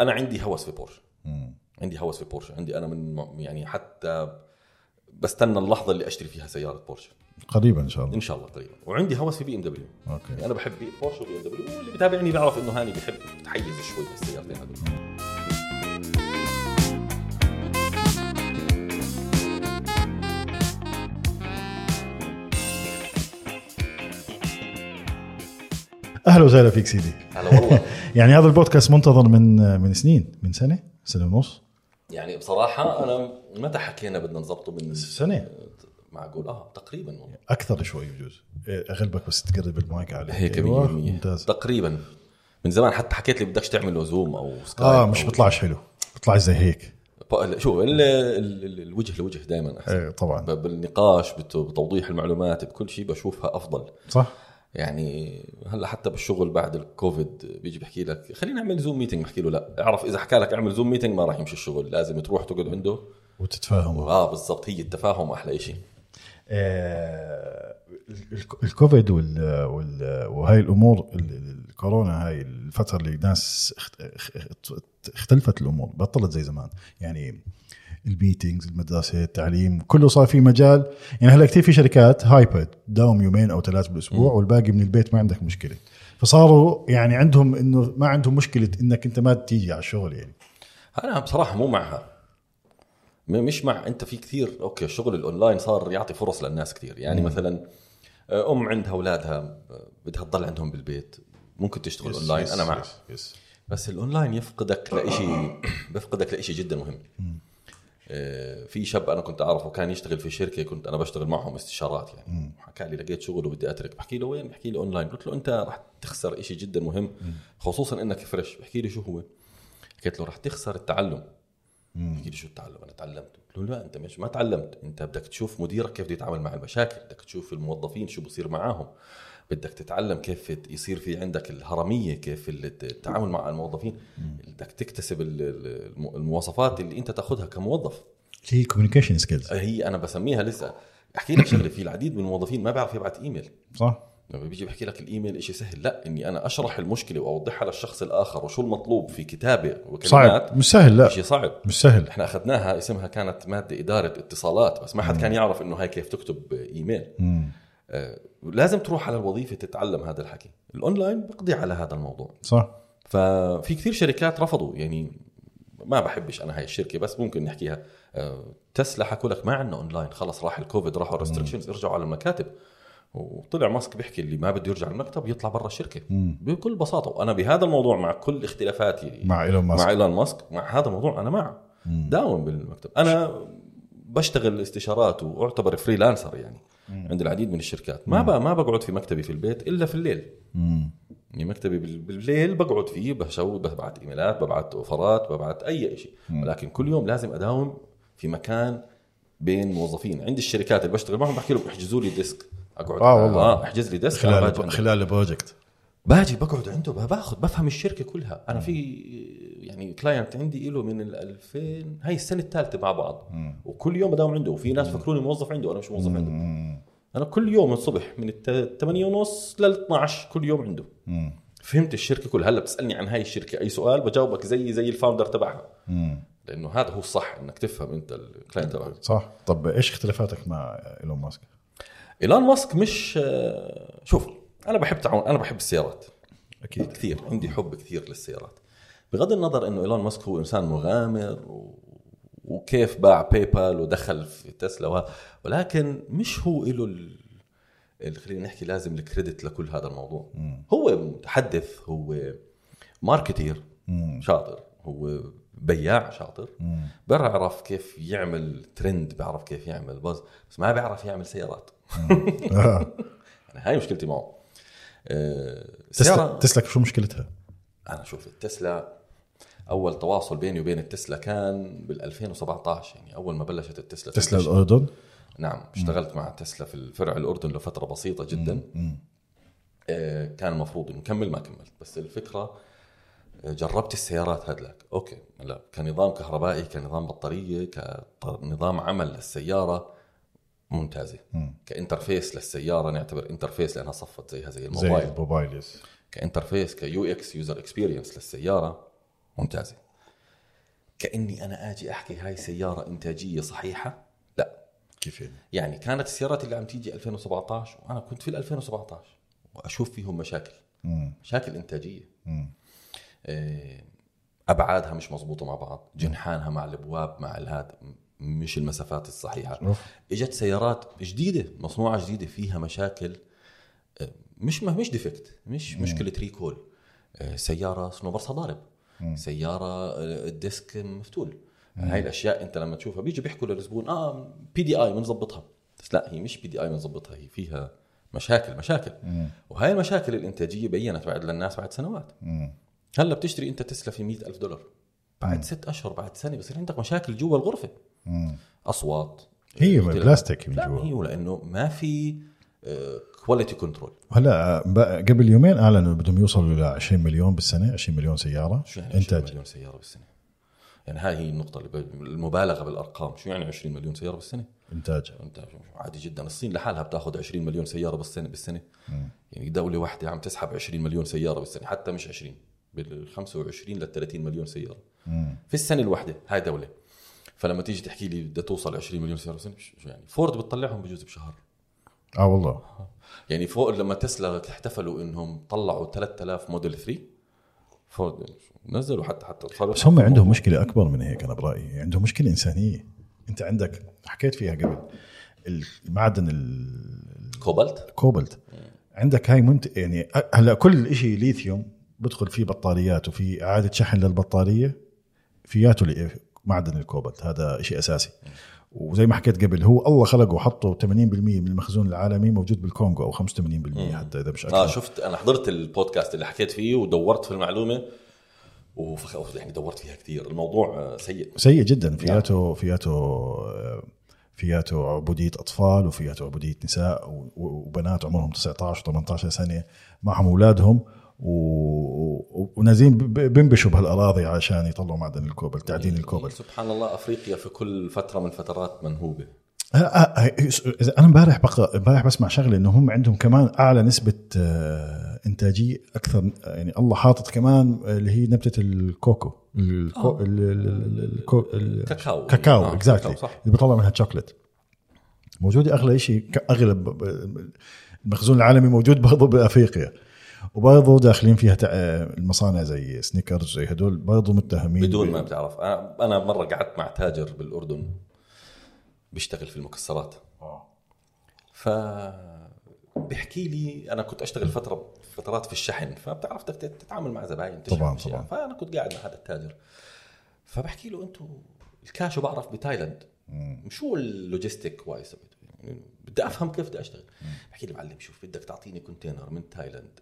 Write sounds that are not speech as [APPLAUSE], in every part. انا عندي هوس في بورش عندي هوس في بورش عندي انا من يعني حتى بستنى اللحظه اللي اشتري فيها سياره بورش قريبا ان شاء الله ان شاء الله قريبا وعندي هوس في بي ام دبليو اوكي انا يعني بحب بي- بورش وبي ام دبليو واللي بتابعني بيعرف انه هاني بحب تحيز شوي بالسيارتين هذول اهلا وسهلا فيك سيدي هلا والله يعني هذا البودكاست منتظر من من سنين من سنه سنه ونص يعني بصراحه انا متى حكينا بدنا نظبطه من سنة. معقول اه تقريبا والله اكثر شوي بجوز إيه، اغلبك بس تقرب المايك عليه هيك 100% أيوة، ممتاز تقريبا من زمان حتى حكيت لي بدكش تعمله زوم او سكايب اه مش أو- بيطلعش حلو بيطلعش زي هيك ب- شو ال- ال- ال- الوجه لوجه دائما احسن إيه، طبعا ب- بالنقاش بت- بتوضيح المعلومات بكل شيء بشوفها افضل صح يعني هلا حتى بالشغل بعد الكوفيد بيجي بحكي لك خلينا نعمل زوم ميتنج بحكي له لا اعرف اذا حكى لك اعمل زوم ميتنج ما راح يمشي الشغل لازم تروح تقعد عنده وتتفاهموا اه بالضبط هي التفاهم احلى شيء آه، الك- الكوفيد وال وال وهاي الامور ال- ال- الكورونا هاي الفتره اللي الناس اخت- اخ- اختلفت الامور بطلت زي زمان يعني الميتينجز المدرسه التعليم كله صار في مجال يعني هلا كثير في شركات هايبرد داوم يومين او ثلاث بالاسبوع والباقي من البيت ما عندك مشكله فصاروا يعني عندهم انه ما عندهم مشكله انك انت ما تيجي على الشغل يعني انا بصراحه مو معها م- مش مع انت في كثير اوكي الشغل الاونلاين صار يعطي فرص للناس كثير يعني مثلا آه، ام عندها اولادها آه، بدها تضل عندهم بالبيت ممكن تشتغل اونلاين انا معك بس الاونلاين يفقدك لإشي بفقدك لإشي جدا مهم آه، في شاب انا كنت اعرفه كان يشتغل في شركه كنت انا بشتغل معهم استشارات يعني حكى لي لقيت شغل وبدي اترك بحكي له وين بحكي لي اونلاين قلت له انت راح تخسر إشي جدا مهم خصوصا انك فريش بحكي لي شو هو حكيت له راح تخسر التعلم بحكي لي شو التعلم انا تعلمت قلت له لا انت مش ما تعلمت انت بدك تشوف مديرك كيف بده يتعامل مع المشاكل بدك تشوف الموظفين شو بصير معاهم بدك تتعلم كيف يصير في عندك الهرميه كيف التعامل مع الموظفين بدك تكتسب ال- ال- الم- المواصفات اللي انت تاخذها كموظف هي كوميونيكيشن سكيلز هي انا بسميها لسه احكي لك شغله في العديد من الموظفين ما بيعرف يبعث ايميل صح لما بيجي بحكي لك الايميل شيء سهل لا اني انا اشرح المشكله واوضحها للشخص الاخر وشو المطلوب في كتابه وكلمات صعب مش سهل لا شيء صعب مش سهل احنا اخذناها اسمها كانت ماده اداره اتصالات بس ما حد كان يعرف انه هاي كيف تكتب ايميل مم. آه، لازم تروح على الوظيفه تتعلم هذا الحكي الاونلاين بقضي على هذا الموضوع صح ففي كثير شركات رفضوا يعني ما بحبش انا هاي الشركه بس ممكن نحكيها آه، تسلا حكوا لك ما عندنا اونلاين خلص راح الكوفيد راحوا الريستريكشنز ارجعوا على المكاتب وطلع ماسك بيحكي اللي ما بده يرجع المكتب يطلع برا الشركه مم. بكل بساطه وانا بهذا الموضوع مع كل اختلافاتي مع ايلون ماسك مع ايلون ماسك مع هذا الموضوع انا معه مم. داوم بالمكتب انا بشتغل استشارات واعتبر فريلانسر يعني عند العديد من الشركات ما بقى ما بقعد في مكتبي في البيت الا في الليل مم. يعني مكتبي بال- بالليل بقعد فيه بسوي ببعت ايميلات ببعت اوفرات ببعت اي شيء ولكن كل يوم لازم اداوم في مكان بين موظفين عند الشركات اللي بشتغل معهم بحكي لهم احجزوا لي ديسك اقعد آه والله. آه احجز لي ديسك أنا باجي خلال عندك. خلال البروجكت باجي بقعد عنده باخذ بفهم الشركه كلها انا في يعني كلاينت عندي له من ال 2000 هاي السنه الثالثه مع بعض وكل يوم بداوم عنده وفي ناس فكروني موظف عنده انا مش موظف عنده انا كل يوم الصبح من الت- 8 ونص لل 12 كل يوم عنده فهمت الشركه كلها هلا بتسالني عن هاي الشركه اي سؤال بجاوبك زي زي الفاوندر تبعها لانه هذا هو الصح انك تفهم انت الكلاينت تبعك صح طب ايش اختلافاتك مع ايلون ماسك؟ ايلون ماسك مش آه، شوف انا بحب تعاون انا بحب السيارات أكيد. كثير عندي حب كثير للسيارات بغض النظر انه ايلون ماسك هو انسان مغامر و... وكيف باع باي بال ودخل في تسلا وه... ولكن مش هو له ال... ال- خلينا نحكي لازم الكريدت لكل هذا الموضوع هو متحدث هو ماركتير شاطر هو بياع شاطر بيعرف كيف يعمل ترند بيعرف كيف يعمل بز بس ما بيعرف يعمل سيارات [LAUGHS] آه. انا هاي مشكلتي معه آه، تسلا السيارة تسلا شو مشكلتها؟ انا شوف التسلا اول تواصل بيني وبين التسلا كان بال 2017 يعني اول ما بلشت التسلا تسلا تنتشر. الاردن نعم اشتغلت مع تسلا في الفرع الاردن لفتره بسيطه جدا آه، كان المفروض انه نكمل ما كملت بس الفكره آه، جربت السيارات هذلاك اوكي لا كنظام كهربائي كنظام بطاريه كنظام عمل للسياره ممتازه مم. كانترفيس للسياره نعتبر انترفيس لانها صفت زيها زي زي الموبايل الموبايل يس كانترفيس كيو اكس يوزر اكسبيرينس للسياره ممتازه كاني انا اجي احكي هاي سياره انتاجيه صحيحه لا كيف يعني؟ يعني كانت السيارات اللي عم تيجي 2017 وانا كنت في ال 2017 واشوف فيهم مشاكل مم. مشاكل انتاجيه مم. إيه، ابعادها مش مزبوطه مع بعض جنحانها مع الابواب مع الهاد م- مش المسافات الصحيحه أوف. اجت سيارات جديده مصنوعه جديده فيها مشاكل آه، مش ما مش ديفكت مش مشكله ريكول آه، سياره صنوبرسها ضارب سياره آه، الديسك مفتول هاي الاشياء انت لما تشوفها بيجي بيحكوا للزبون اه بي دي اي بنظبطها بس لا هي مش بي دي اي بنظبطها هي فيها مشاكل مشاكل مم. وهاي المشاكل الانتاجيه بينت بعد للناس بعد سنوات مم. هلا بتشتري انت تسلا في مئة ألف دولار بعد ست اشهر بعد سنه بصير عندك مشاكل جوا الغرفه مم. اصوات هي بتلعب. بلاستيك من إيه، لا جوا هي لانه ما في آه، كواليتي كنترول هلا بقى- قبل يومين اعلنوا بدهم يوصلوا ل 20 مليون بالسنه 20 مليون سياره شو يعني 20 انتاج مليون سياره بالسنه يعني هاي هي النقطه اللي ب- المبالغه بالارقام شو يعني 20 مليون سياره بالسنه انتاج انت عادي جدا الصين لحالها بتاخذ 20 مليون سياره بالسنه بالسنه يعني دوله واحده عم تسحب 20 مليون سياره بالسنه حتى مش 20 بال 25 لل 30 مليون سياره مم. في السنه الواحده هاي دوله فلما تيجي تحكي لي بدها توصل 20 مليون سياره بالسنه شو شو يعني فورد بتطلعهم بجوز بشهر اه والله يعني فوق لما تسلا احتفلوا انهم طلعوا 3000 موديل 3 فورد نزلوا حتى حتى بس هم عندهم مشكله اكبر من هيك انا برايي عندهم مشكله انسانيه انت عندك حكيت فيها قبل المعدن ال- كوبالت كوبلت عندك هاي منت يعني أ- هلا كل شيء ليثيوم بدخل فيه بطاريات وفي اعاده شحن للبطاريه فياته ل- معدن الكوبلت هذا شيء اساسي وزي ما حكيت قبل هو الله خلقه وحطه 80% من المخزون العالمي موجود بالكونغو او 85% حتى اذا مش اكثر اه شفت انا حضرت البودكاست اللي حكيت فيه ودورت في المعلومه وفخ... يعني دورت فيها كثير الموضوع آه، سيء سيء جدا فياته فياته فياته عبوديه اطفال وفياته عبوديه نساء و- و- وبنات عمرهم 19 و18 سنه معهم اولادهم و... و- ونازلين ب- ب- بينبشوا بهالاراضي عشان يطلعوا معدن الكوبلت تعدين إيه. الكوبلت سبحان الله افريقيا في كل فتره من فترات منهوبه آه، آه، آه، إذا انا امبارح بقى امبارح بسمع شغله انه هم عندهم كمان اعلى نسبه آه، انتاجيه اكثر يعني الله حاطط كمان آه، اللي هي نبته الكوكو الكو... ال- ال- ال- الكو... ال- آه. كاكاو كاكاو آه، اكزاكتلي كاكاو، صح اللي بيطلع منها تشوكلت موجوده اغلى شيء اغلب المخزون العالمي موجود برضه بافريقيا وبرضه داخلين فيها تع- المصانع زي سنيكرز زي هدول برضه متهمين بدون ب- ما بتعرف انا انا مره قعدت مع تاجر بالاردن بيشتغل في المكسرات ف بيحكي لي انا كنت اشتغل فتره فترات في الشحن فبتعرف تت- تتعامل مع زباين تشحن طبعاً، أشياء. طبعاً. فانا كنت قاعد مع هذا التاجر فبحكي له انتم الكاشو بعرف بتايلاند شو اللوجيستيك وايز يعني بدي افهم كيف بدي اشتغل بحكي لي معلم شوف بدك تعطيني كونتينر من تايلاند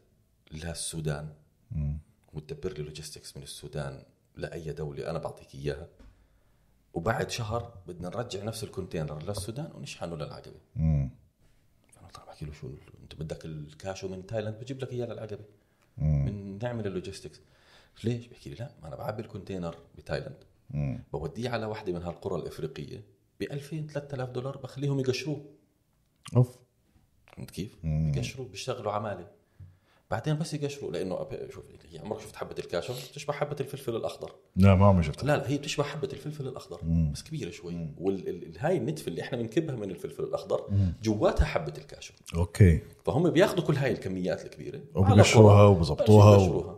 للسودان مم. وتدبر لي لوجيستكس من السودان لاي دوله انا بعطيك اياها وبعد شهر بدنا نرجع نفس الكونتينر للسودان ونشحنه للعقبه مم. انا طبعا بحكي له شو انت بدك الكاشو من تايلاند بجيب لك اياه للعقبه مم. من نعمل اللوجيستكس ليش؟ بحكي لي لا ما انا بعبي الكونتينر بتايلاند مم. بوديه على واحده من هالقرى الافريقيه ب 2000 3000 دولار بخليهم يقشروه اوف فهمت كيف؟ مم. بقشروه بيشتغلوا عماله بعدين بس يقشروا لانه أب- شوف هي عمرك شفت حبه الكاشو بتشبه حبه الفلفل الاخضر لا ما عمري شفتها لا لا هي بتشبه حبه الفلفل الاخضر آه. مم. بس كبيره شوي وهاي النتف اللي احنا بنكبها من الفلفل الاخضر جواتها حبه الكاشو اوكي فهم بياخذوا كل هاي الكميات الكبيره وبقشروها على وبظبطوها و- بقشروها.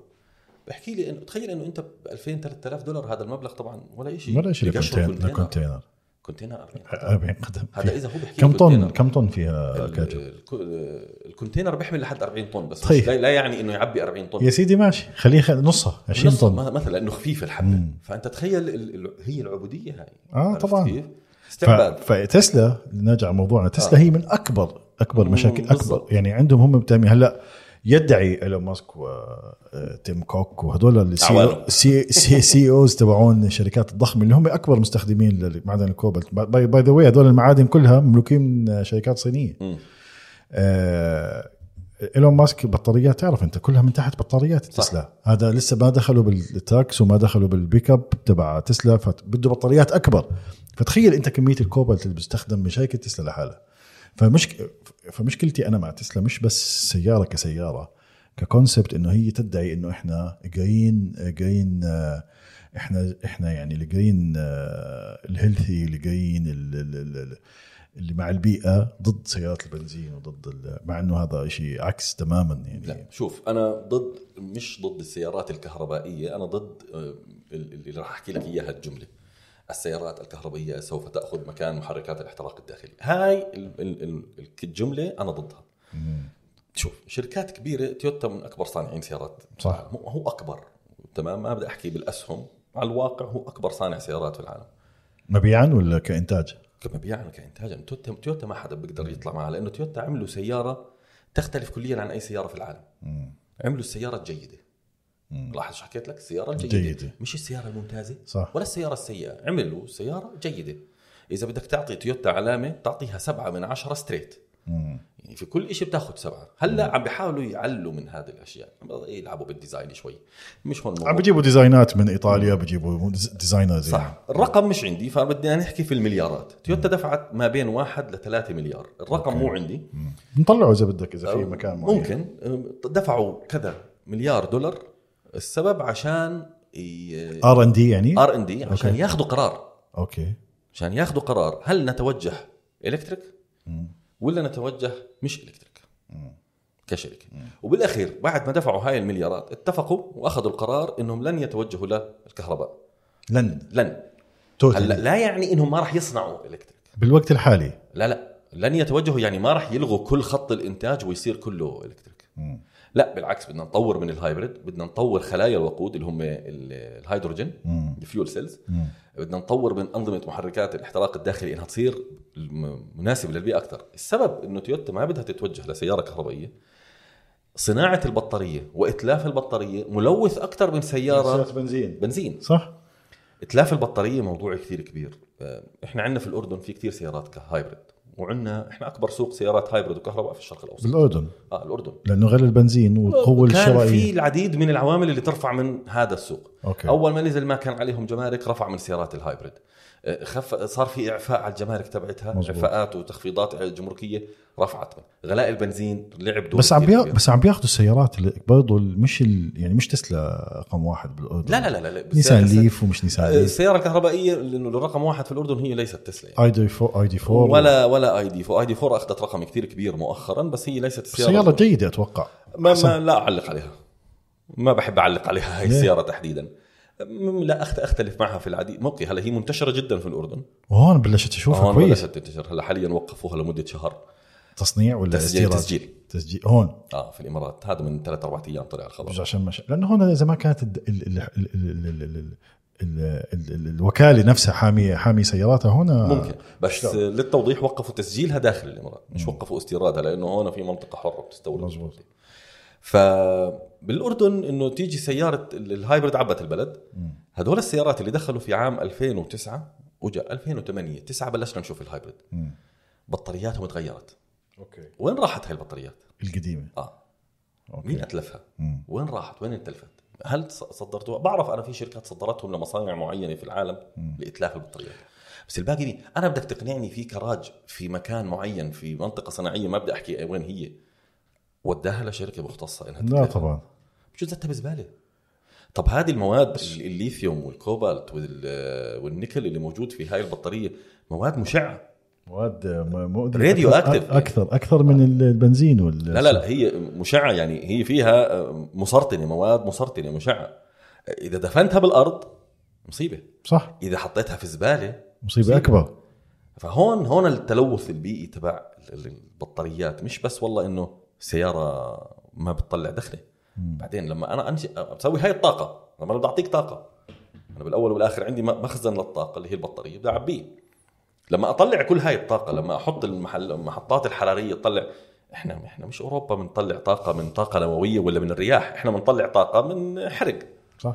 بحكي لي انه تخيل انه انت ب 2000 3000 دولار هذا المبلغ طبعا ولا شيء ولا شيء بقشروا لكونتينر لكونتينر كونتينر 40 40 قدم آه، هذا اذا هو بيحكي كم طن آه، كونتينر. كم طن فيها كاجو ال- ال- الكونتينر بيحمل لحد 40 طن بس طيب. مش- لا لا يعني انه يعبي 40 طن يا سيدي ماشي خليه خ- نصها 20 نص- طن ما- مثلا لانه خفيف الحبه فانت تخيل ال- ال- هي العبوديه هاي آه، عرفت طبعاً. كيف؟ ف- استعباد فتسلا نرجع على موضوعنا تسلا هي من اكبر اكبر آه. مم، مشاكل اكبر بالضبط. يعني عندهم هم بتعمل هلا يدعي ايلون ماسك وتيم كوك وهدول أعوانهم. السي سي سي اوز E تبعون الشركات الضخمه اللي هم اكبر مستخدمين لمعدن الكوبلت باي ذا واي هدول المعادن كلها مملوكين من شركات صينيه مم. آه، ايلون ماسك بطاريات تعرف انت كلها من تحت بطاريات تسلا هذا لسه ما دخلوا بالتراكس وما دخلوا بالبيك اب تبع تسلا فبده بطاريات اكبر فتخيل انت كميه الكوبالت اللي بيستخدم من شركه تسلا لحالها فمشك... فمشكلتي انا مع تسلا مش بس سياره كسياره ككونسبت انه هي تدعي انه احنا جايين جايين آه، احنا احنا يعني لقاين آه، الهيلثي لقاين ال- ال- ال- ال- اللي مع البيئه ضد سيارات البنزين وضد ال- مع انه هذا شيء عكس تماما يعني لا شوف انا ضد مش ضد السيارات الكهربائيه انا ضد آه، اللي راح احكي لك اياها الجمله السيارات الكهربائيه سوف تاخذ مكان محركات الاحتراق الداخلي هاي ال- ال- ال- الجمله انا ضدها مم. شوف شركات كبيره تويوتا من اكبر صانعين سيارات صح. هو- هو اكبر تمام ما بدي احكي بالاسهم على الواقع هو اكبر صانع سيارات في العالم مبيعا ولا كانتاج؟ كمبيعا كانتاجا تويوتا تويوتا ما حدا بيقدر يطلع معها لانه تويوتا عملوا سياره تختلف كليا عن اي سياره في العالم مم. عملوا عملوا السياره الجيده مم. لاحظ شو حكيت لك السياره الجيده الجيدة. مش السياره الممتازه صح. ولا السياره السيئه عملوا سياره جيده اذا بدك تعطي تويوتا علامه تعطيها سبعة من عشرة ستريت مم. يعني في كل شيء بتاخذ سبعة هلا عم بيحاولوا يعلوا من هذه الاشياء يلعبوا بالديزاين شوي مش هون الموضوع. عم بجيبوا ديزاينات من ايطاليا بجيبوا ديز- ديزاينرز يعني. صح الرقم مش عندي فبدنا نحكي في المليارات تويوتا دفعت ما بين واحد لثلاثة مليار الرقم مو عندي مم. نطلعه اذا بدك اذا في مكان معين ممكن دفعوا كذا مليار دولار السبب عشان ي- ار ان دي يعني؟ ار ان دي عشان أوكي. ياخذوا قرار اوكي عشان ياخذوا قرار هل نتوجه الكتريك مم. ولا نتوجه مش الكتريك مم. كشركه وبالاخير بعد ما دفعوا هاي المليارات اتفقوا واخذوا القرار انهم لن يتوجهوا للكهرباء لن لن هلا توتال لا يعني انهم ما راح يصنعوا الكتريك بالوقت الحالي لا لا لن يتوجهوا يعني ما راح يلغوا كل خط الانتاج ويصير كله الكتريك مم. لا بالعكس بدنا نطور من الهايبريد بدنا نطور خلايا الوقود اللي هم ال- الهيدروجين مم. الفيول سيلز مم. بدنا نطور من انظمه محركات الاحتراق الداخلي انها تصير م- مناسبه للبيئه اكثر السبب انه تويوتا ما بدها تتوجه لسياره كهربائيه صناعه البطاريه واتلاف البطاريه ملوث اكثر من سياره بنزين بنزين صح اتلاف البطاريه موضوع كثير كبير آه، احنا عندنا في الاردن في كثير سيارات كهايبرد وعندنا احنا اكبر سوق سيارات هايبرد وكهرباء في الشرق الاوسط بالاردن اه الاردن لانه غير البنزين والقوه كان في الشرائيه العديد من العوامل اللي ترفع من هذا السوق اوكي اول ما نزل ما كان عليهم جمارك رفع من سيارات الهايبريد آه، خف صار في اعفاء على الجمارك تبعتها مظبوط. اعفاءات وتخفيضات جمركيه رفعت من غلاء البنزين لعب دور بس عم كتير بيا... كبير. بس عم بياخذوا السيارات اللي برضه ال- مش ال... يعني مش تسلا رقم واحد بالاردن لا لا لا لا, لا. نيسان بالسيارة- ليف ومش نيسان آه، ليف السياره الكهربائيه لانه الرقم واحد في الاردن هي ليست تسلا يعني. اي دي 4 اي دي 4 ولا ولا اي دي 4 اي دي 4 اخذت رقم كثير كبير مؤخرا بس هي ليست السياره سياره جيده اتوقع ما, أحسن. ما لا اعلق عليها ما بحب اعلق عليها هاي ليه؟ السياره تحديدا م- لا أخت- اختلف معها في العديد اوكي هلا هي منتشره جدا في الاردن وهون بلشت اشوفها هون كويس بلشت تنتشر هلا حاليا وقفوها لمده شهر تصنيع ولا تسجيل استيراد؟ تسجيل تسجيل هون اه في الامارات هذا من ثلاث اربع ايام طلع مش الخبر عشان مش... لانه هون اذا ما كانت ال... ال... ال... ال... ال... ال... ال... ال... ال... ال... الوكاله نفسها حامي حامي سياراتها هنا ممكن بس شلون؟ للتوضيح وقفوا تسجيلها داخل الامارات مش مم. وقفوا استيرادها لانه هون في منطقه حره بتستورد مظبوط. فبالاردن انه تيجي سياره ال- الهايبرد عبت البلد مم. هدول السيارات اللي دخلوا في عام 2009 وجاء 2008 9 بلشنا نشوف الهايبرد مم. بطارياتهم تغيرت اوكي وين راحت هاي البطاريات القديمه اه مين اوكي اتلفها مم. وين راحت وين انتلفت هل ص- صدرتوها بعرف انا في شركات صدرتهم لمصانع معينه في العالم مم. لاتلاف البطاريات بس الباقي مين؟ انا بدك تقنعني في كراج في مكان معين في منطقه صناعيه ما بدي احكي وين هي وداها لشركه مختصه انها لا تتلفها. طبعا جزتها بزباله طب هذه المواد ال- الليثيوم والكوبالت وال- والنيكل اللي موجود في هاي البطاريه مواد مشعه مواد م- مؤذية راديو أكثر- أكتف. اكثر اكثر آه. من ال- البنزين وال لا لا لا هي مشعه يعني هي فيها مسرطنه مواد مسرطنه مشعه اذا دفنتها بالارض مصيبه صح اذا حطيتها في زباله مصيبه مصيبة. اكبر فهون هون التلوث البيئي تبع ال- البطاريات مش بس والله انه سياره ما بتطلع دخله مم. بعدين لما انا انشئ بسوي هاي الطاقه لما انا بدي اعطيك طاقه انا بالاول والاخر عندي م- مخزن للطاقه اللي هي البطاريه بدي اعبيه لما اطلع كل هاي الطاقه لما احط المحل المحطات الحراريه تطلع احنا احنا مش اوروبا بنطلع طاقه من طاقه نوويه ولا من الرياح احنا بنطلع طاقه من حرق [LAUGHS] صح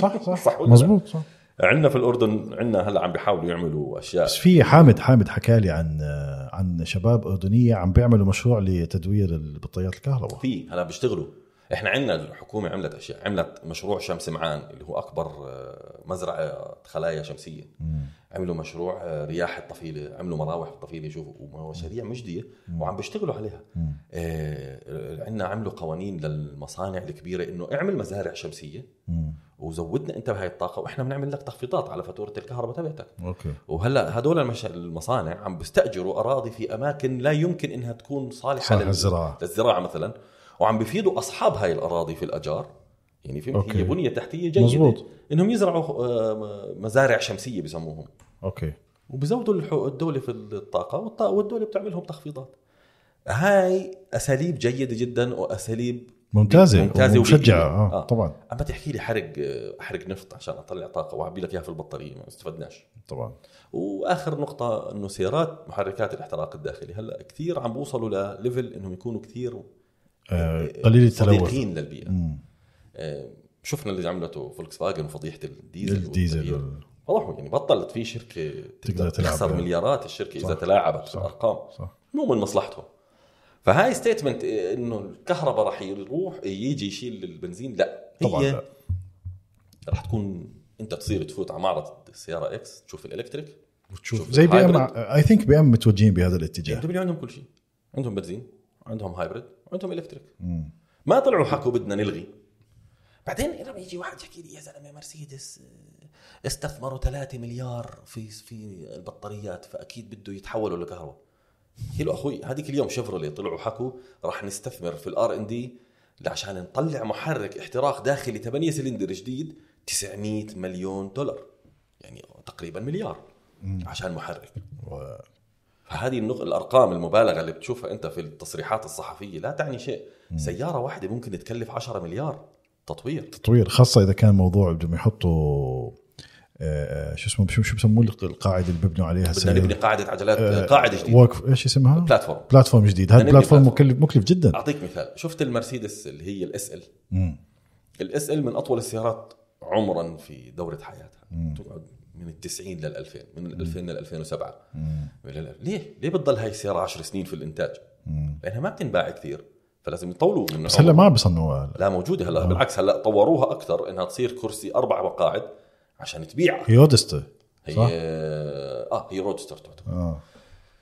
صح صح, صح صح ولا مزبوط صح عندنا في الاردن عندنا هلا عم بيحاولوا يعملوا اشياء بس في حامد حامد حكى لي عن آه، عن شباب اردنيه عم بيعملوا مشروع لتدوير البطاريات الكهرباء في هلا بيشتغلوا احنا عندنا الحكومه عملت اشياء عملت مشروع شمس معان اللي هو اكبر آه، مزرعه خلايا شمسيه مم. عملوا مشروع آه، رياح الطفيله عملوا مراوح الطفيله شوفوا ومشاريع مجديه مم. وعم بيشتغلوا عليها آه، مم. عندنا عملوا قوانين للمصانع الكبيره انه اعمل مزارع شمسيه مم. وزودنا انت بهاي الطاقه واحنا بنعمل لك تخفيضات على فاتوره الكهرباء تبعتك اوكي وهلا هدول المش... المصانع عم بيستاجروا اراضي في اماكن لا يمكن انها تكون صالحه صالحة للزراعة. للزراعه مثلا وعم بيفيدوا اصحاب هاي الاراضي في الاجار يعني في أوكي. هي بنيه تحتيه جيده مزبوط. انهم يزرعوا آه، مزارع شمسيه بسموهم اوكي وبزودوا الحو- الدوله في الطاقه والط- والدوله بتعملهم تخفيضات هاي اساليب جيده جدا واساليب ممتازه ممتازة ممتازه ومشجعه وبإيدك. آه. آه. طبعا اما تحكي لي حرق احرق نفط عشان اطلع طاقه واعبي لك اياها في البطاريه ما استفدناش طبعا واخر نقطه انه سيارات محركات الاحتراق الداخلي هلا كثير عم بوصلوا لليفل انهم يكونوا كثير آه، قليل التلوث صديقين للبيئه مم. آه، شفنا اللي عملته فولكس فاجن وفضيحه الديزل الديزل والتغيير. وال- فضحوا يعني بطلت في شركه تقدر تقدر تلعب تخسر يعني. مليارات الشركه اذا صح. تلاعبت في صح. الارقام صح مو من مصلحتهم فهاي ستيتمنت انه الكهرباء راح يروح يجي يشيل البنزين لا هي طبعاً لا. راح تكون انت تصير تفوت على معرض السياره اكس تشوف الالكتريك وتشوف شوف زي بي ام الhybrid. اي ثينك بي ام متوجهين بهذا الاتجاه يدبليو عندهم كل شيء عندهم بنزين عندهم هايبريد عندهم الكتريك مم. ما طلعوا حكوا بدنا نلغي بعدين لما يجي واحد يحكي لي يا زلمه مرسيدس آه، استثمروا 3 مليار في في البطاريات فاكيد بده يتحولوا لكهرباء قلت له اخوي هذيك اليوم شفرولي طلعوا حكوا راح نستثمر في الار ان دي عشان نطلع محرك احتراق داخلي 8 سلندر جديد 900 مليون دولار يعني تقريبا مليار عشان محرك و- فهذه النغ... الارقام المبالغه اللي بتشوفها انت في التصريحات الصحفيه لا تعني شيء سياره واحده ممكن تكلف 10 مليار تطوير تطوير خاصه اذا كان موضوع بدهم يحطوا آه، آه، شو اسمه شو شو بسموه الق- القاعده اللي ببنوا عليها بدنا نبني قاعده عجلات آه، قاعده جديده ورك ايش اسمها؟ بلاتفورم بلاتفورم جديد هذا بدنا نبني آه. بلاتفورم بلاتفورم. مكلف مكلف جدا اعطيك مثال شفت المرسيدس اللي هي الاس ال مم. الاس ال من اطول السيارات عمرا في دوره حياتها تقعد من ال 90 لل 2000 من ال 2000 لل 2007 مم. ليه ليه بتضل هاي السياره 10 سنين في الانتاج مم. لانها ما بتنباع كثير فلازم يطولوا من بس هلا ما بصنعوها هلا لا موجوده نعم. هلا بالعكس هلا طوروها اكثر انها تصير كرسي اربع مقاعد عشان تبيع هي اودستا هي صح؟ اه هي رودستر تعتبر اه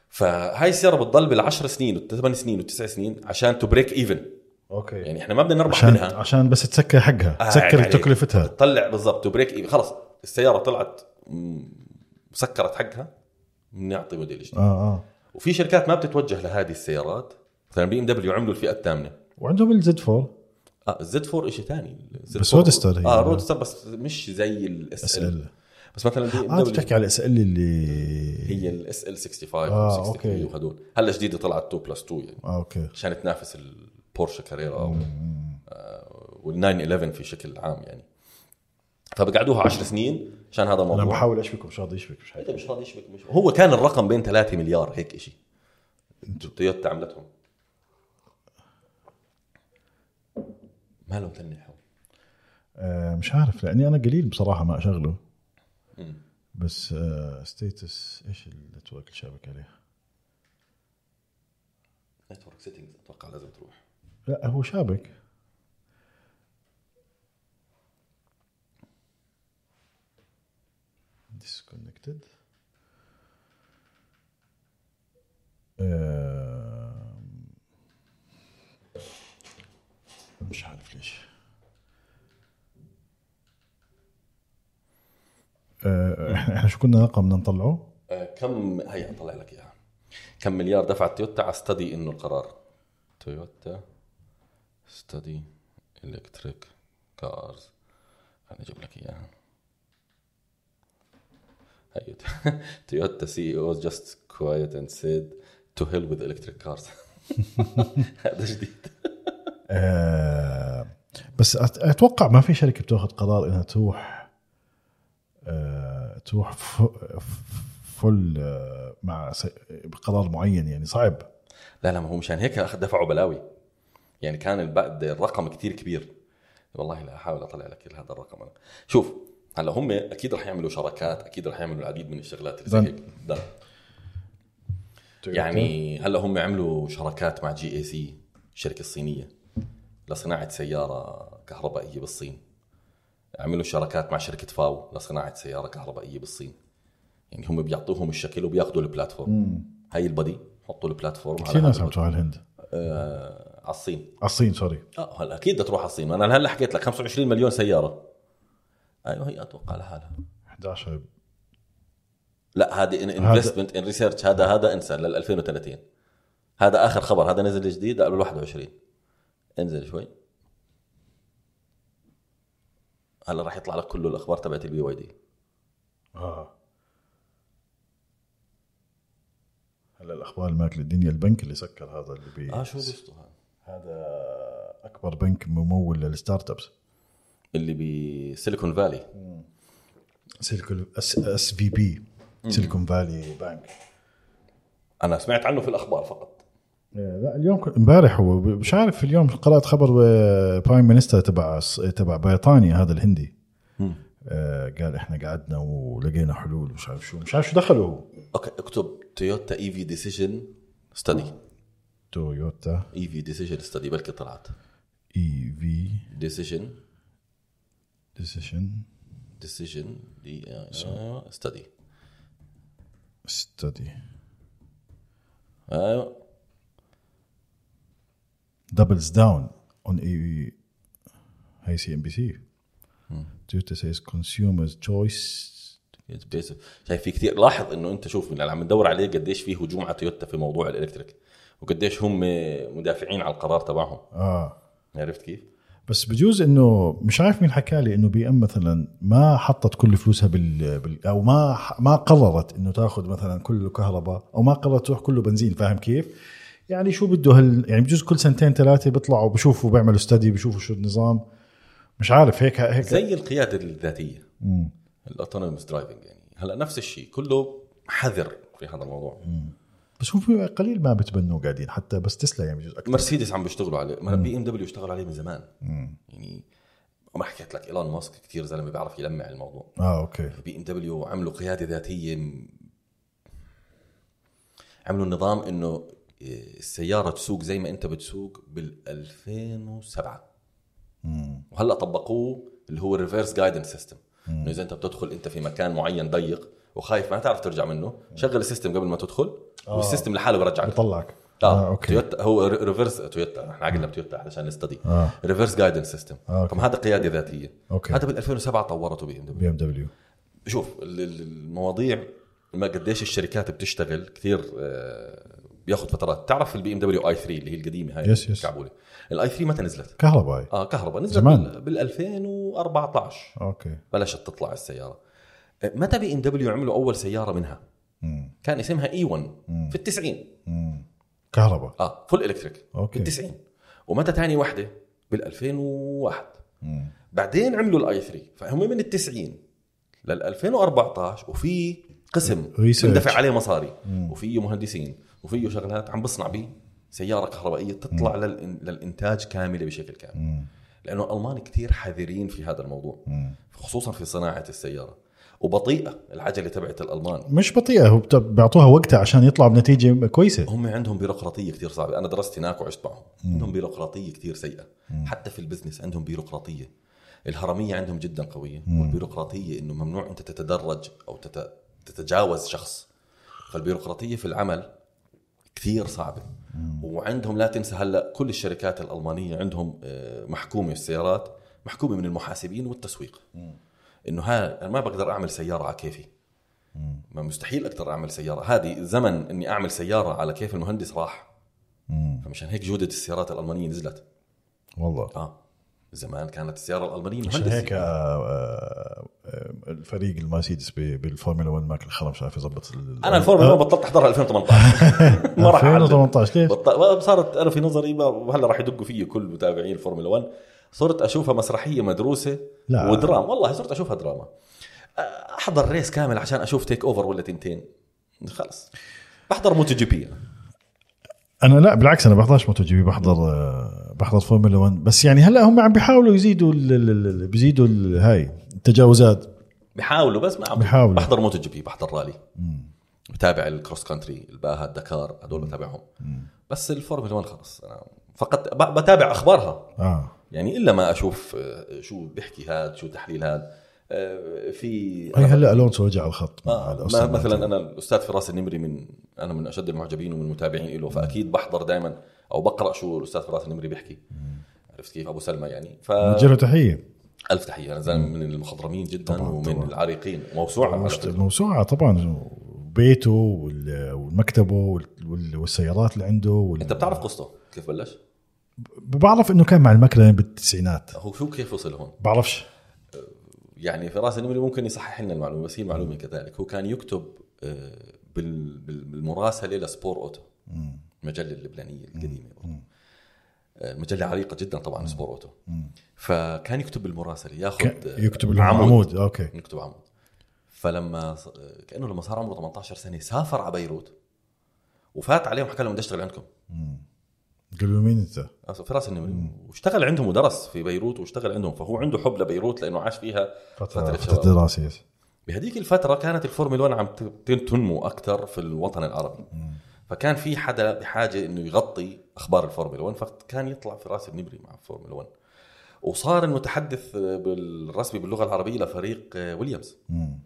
فهاي السياره بتضل بالعشر سنين والثمان سنين والتسع سنين عشان تو بريك ايفن اوكي يعني احنا ما بدنا نربح عشان منها عشان بس تسكر حقها آه، تسكر عليك. تكلفتها تطلع بالضبط تو بريك ايفن خلص السياره طلعت م- مسكرت حقها بنعطي موديل جديد اه اه وفي شركات ما بتتوجه لهذه السيارات مثلا بي ام دبليو عملوا الفئه الثامنه وعندهم الزد 4 اه الزد 4 شيء ثاني بس Roadster هي. اه رودستر بس مش زي الاس اس ال ال بس مثلا بي اه انت بتحكي على اس ال اللي E. هي الاس ال 65 آه، و 63 أوكي. وهدول هلا جديده طلعت 2 بلس 2 يعني اه اوكي عشان تنافس البورشه كاريرا او آه، وال 911 في شكل عام يعني فبقعدوها 10 سنين عشان هذا انا الموضوع بحاول اشبك مش راضي يشبك مش انت مش راضي يشبك مش هو كان الرقم بين 3 مليار هيك شيء تويوتا عملتهم ما لهم تنحوا آه مش عارف لاني انا قليل بصراحه ما اشغله بس آه ستيتس ايش النتورك اللي شابك عليه؟ نتورك سيتنجز اتوقع لازم تروح لا هو شابك disconnected آه، مش عارف ليش آه، احنا إحنا شو كنا رقم بدنا نطلعه؟ آه، كم هي اطلع لك اياها كم مليار دفعت تويوتا على استدي انه القرار تويوتا استدي الكتريك كارز خليني اجيب لك اياها هي ت- تويوتا E سي او جاست كوايت اند سيد تو هيل وذ الكتريك كارز [LAUGHS] هذا جديد آه، بس أت- اتوقع ما في شركه بتاخذ قرار انها تروح آه، تروح ف- فل آه، مع س- بقرار معين يعني صعب لا لا ما هو مشان هيك أخ- دفعوا بلاوي يعني كان الب- الرقم كتير كبير والله لا احاول اطلع لك هذا الرقم انا شوف هلا هم اكيد رح يعملوا شراكات اكيد رح يعملوا العديد من الشغلات اللي زي دن. هيك دن. يعني هلا هم عملوا شراكات مع جي اي سي الشركه الصينيه لصناعه سياره كهربائيه بالصين عملوا شراكات مع شركه فاو لصناعه سياره كهربائيه بالصين يعني هم بيعطوهم الشكل وبياخذوا البلاتفورم هاي البادي حطوا البلاتفورم كثير هذا ناس عم تروح على الهند آه، على الصين على الصين سوري آه، اه هلا اكيد بدها تروح على الصين ما انا هلا حكيت لك 25 مليون سياره ايوه هي اتوقع لحالها 11 لا هذه انفستمنت ان ريسيرش هذا هذا انسى لل 2030 هذا اخر خبر هذا نزل جديد قبل 21 انزل شوي هلا راح يطلع لك كله الاخبار تبعت البي واي دي اه هلا الاخبار ماكل الدنيا البنك اللي سكر هذا اللي بي اه شو قصته هذا هذا اكبر بنك ممول للستارت ابس اللي بسيليكون فالي سيليكون اس اس في بي سيليكون فالي بانك انا سمعت عنه في الاخبار فقط إيه، لا اليوم كن- امبارح هو ب- مش عارف اليوم قرات خبر برايم مينستر تبع الص- تبع بريطانيا هذا الهندي آه، قال احنا قعدنا ولقينا حلول مش عارف شو مش عارف شو دخلوا هو اوكي اكتب E تويوتا اي في ديسيجن ستدي تويوتا اي في ديسيجن ستدي بلكي طلعت اي في ديسيجن ديسيشن ديسيجن دي ستدي ستدي ايوه doubles down on a هاي سي ام بي سي تويوتا says consumers choice It's basic. شايف في كثير لاحظ انه انت شوف اللي عم ندور عليه قديش في هجوم على تويوتا في موضوع الالكتريك وقديش هم مدافعين على القرار تبعهم اه عرفت كيف؟ بس بجوز انه مش عارف مين حكى لي انه بي ام مثلا ما حطت كل فلوسها بال, بال او ما ح- ما قررت انه تاخذ مثلا كله كهرباء او ما قررت تروح كله بنزين فاهم كيف؟ يعني شو بده هال يعني بجوز كل سنتين ثلاثه بيطلعوا بشوفوا بيعملوا استدي بشوفوا شو النظام مش عارف هيك هيك زي القياده الذاتيه الاوتونوموس درايفنج يعني هلا نفس الشيء كله حذر في هذا الموضوع بس هو في قليل ما بتبنوا قاعدين حتى بس تسلا يعني بجوز اكثر مرسيدس عم بيشتغلوا عليه ما بي ام دبليو اشتغلوا عليه من زمان يعني ما حكيت لك ايلون ماسك كثير زلمه بيعرف يلمع الموضوع اه اوكي بي ام دبليو عملوا قياده ذاتيه م- عملوا نظام انه إيه، السياره تسوق زي ما انت بتسوق بال 2007 وهلا طبقوه اللي هو الريفرس جايدنس سيستم انه اذا انت بتدخل انت في مكان معين ضيق وخايف ما تعرف ترجع منه شغل السيستم قبل ما تدخل آه. والسيستم لحاله برجعك بطلعك اه اوكي اوكي تويوتا هو ريفرس تويوتا احنا عقلنا بتويوتا عشان نستدي آه. ريفرس جايدنس سيستم آه، أوكي. طب هذا قياده ذاتيه أوكي. هذا بال 2007 طورته بي ام دبليو بي ام دبليو شوف ال- ال- المواضيع ما قديش الشركات بتشتغل كثير آه، بياخذ فترات تعرف البي ام دبليو اي 3 اللي هي القديمه هاي يس، يس. الكعبوله الاي 3 متى نزلت؟ كهربائي اه كهرباء نزلت زمان. بال 2014 اوكي بلشت تطلع السياره آه، متى بي ام دبليو عملوا اول سياره منها؟ مم. كان اسمها اي 1 في التسعين مم. كهرباء اه فول الكتريك أوكي. بال90 ومتى ثاني وحده بال2001 بعدين عملوا الاي 3 فهم من ال90 لل2014 وفي قسم Research. بندفع عليه مصاري وفيه مهندسين وفيه شغلات عم بصنع به سياره كهربائيه تطلع للإن- للانتاج كامله بشكل كامل لانه الالمان كثير حذرين في هذا الموضوع خصوصا في صناعه السياره وبطيئه العجله تبعت الالمان مش بطيئه هو بت- بيعطوها وقتها عشان يطلعوا بنتيجه كويسه هم عندهم بيروقراطيه كثير صعبه انا درست هناك وعشت معهم عندهم بيروقراطيه كثير سيئه حتى في البزنس عندهم بيروقراطيه الهرميه عندهم جدا قويه والبيروقراطيه انه ممنوع انت تتدرج او تت... تتجاوز شخص فالبيروقراطيه في العمل كثير صعبه وعندهم لا تنسى هلا كل الشركات الالمانيه عندهم آه، محكومه السيارات محكومه من المحاسبين والتسويق انه ها انا ما بقدر اعمل سياره على كيفي ما مستحيل اقدر اعمل سياره هذه زمن اني اعمل سياره على كيف المهندس راح فمشان هيك جوده السيارات الالمانيه نزلت والله اه زمان كانت السياره الالمانيه عشان مهندس هيك آه، آه، آه، الفريق المرسيدس ب- بالفورمولا 1 ماكل خرا مش عارف يظبط ال- انا الفورمولا 1 بطلت احضرها 2018 [LAUGHS] ما راح أعلن. 2018 ليش؟ بط- صارت انا في نظري ما- هلا راح يدقوا فيي كل متابعين الفورمولا 1 صرت اشوفها مسرحيه مدروسه لا. ودراما والله صرت اشوفها دراما احضر ريس كامل عشان اشوف تيك اوفر ولا تنتين خلص بحضر موتو جي بي انا لا بالعكس انا بحضرش موتو جي بي بحضر آه، بحضر فورمولا 1 بس يعني هلا هم عم بيحاولوا يزيدوا ال- ال- ال- بيزيدوا ال- هاي التجاوزات بحاولوا بس ما عم بيحاولوا. بحضر موتو جي بي بحضر رالي بتابع الكروس كونتري الباها الدكار هدول بتابعهم بس الفورمولا 1 خلص انا فقط ب- بتابع اخبارها اه يعني الا ما اشوف آه، شو بيحكي هذا شو تحليل هذا آه، في هي هلا الونسو رجع على الخط مع آه الأستاذ ما- مارتن. مثلا انا الاستاذ فراس النمري من انا من اشد المعجبين ومن المتابعين له فاكيد بحضر دائما او بقرا شو الاستاذ فراس النمري بيحكي عرفت كيف ابو سلمى يعني ف نوجه له تحيه الف تحيه انا زلمه من المخضرمين جدا طبعاً، ومن طبعاً. العريقين موسوعه على مش- فكرة. موسوعة طبعا بيته وال- والمكتبه وال- وال- والسيارات اللي عنده وال... انت بتعرف قصته كيف بلش؟ بعرف انه كان مع المكرن بالتسعينات هو شو كيف وصل هون؟ بعرفش يعني فراس النمري ممكن يصحح لنا المعلومه بس هي معلومه كذلك هو كان يكتب آه، بال- بال- بالمراسله لسبور اوتو مم. المجله اللبنانيه القديمه مم. آه، مجله عريقه جدا طبعا سبور اوتو مم. فكان يكتب بالمراسله ك- ياخذ يكتب لهم عمود اوكي يكتب طيب، آه، عمود فلما ص- كانه لما صار عمره 18 سنه سافر على بيروت وفات عليهم حكى لهم بدي اشتغل عندكم مم. قال له مين انت؟ أصل فراس النمري واشتغل عندهم ودرس في بيروت واشتغل عندهم فهو عنده حب لبيروت لانه عاش فيها فترة شباب. فترة دراسة يس بهذيك الفترة كانت الفورمولا 1 عم ت- تنمو أكثر في الوطن العربي فكان في حدا بحاجة إنه يغطي أخبار الفورمولا 1 فكان يطلع فراس النمري مع الفورمولا 1 وصار المتحدث بالرسمي باللغة العربية لفريق آه، ويليامز مم.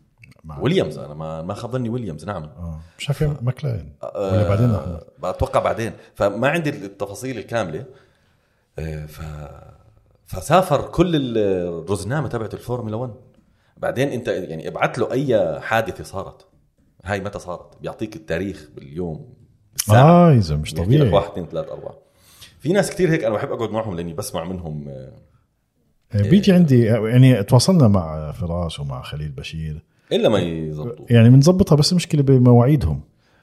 مع- ويليامز أنا ما ما خاب ظني ويليامز نعم آه. مش عارف يعمل ماكلارين آه، ولا بعدين أحمد؟ بتوقع بعدين فما عندي التفاصيل الكامله آه، ف فسافر كل الرزنامه تبعت الفورمولا 1 بعدين انت يعني ابعت له اي حادثه صارت هاي متى صارت بيعطيك التاريخ باليوم بالساعه اه يا زلمه مش بيحكي لك طبيعي واحد اثنين ثلاثة أربعة في ناس كتير هيك أنا بحب أقعد معهم لأني بسمع منهم آه، آه، بيجي عندي يعني تواصلنا مع فراس ومع خليل بشير إلا ما يزبطوا يعني بنظبطها بس المشكله بمواعيدهم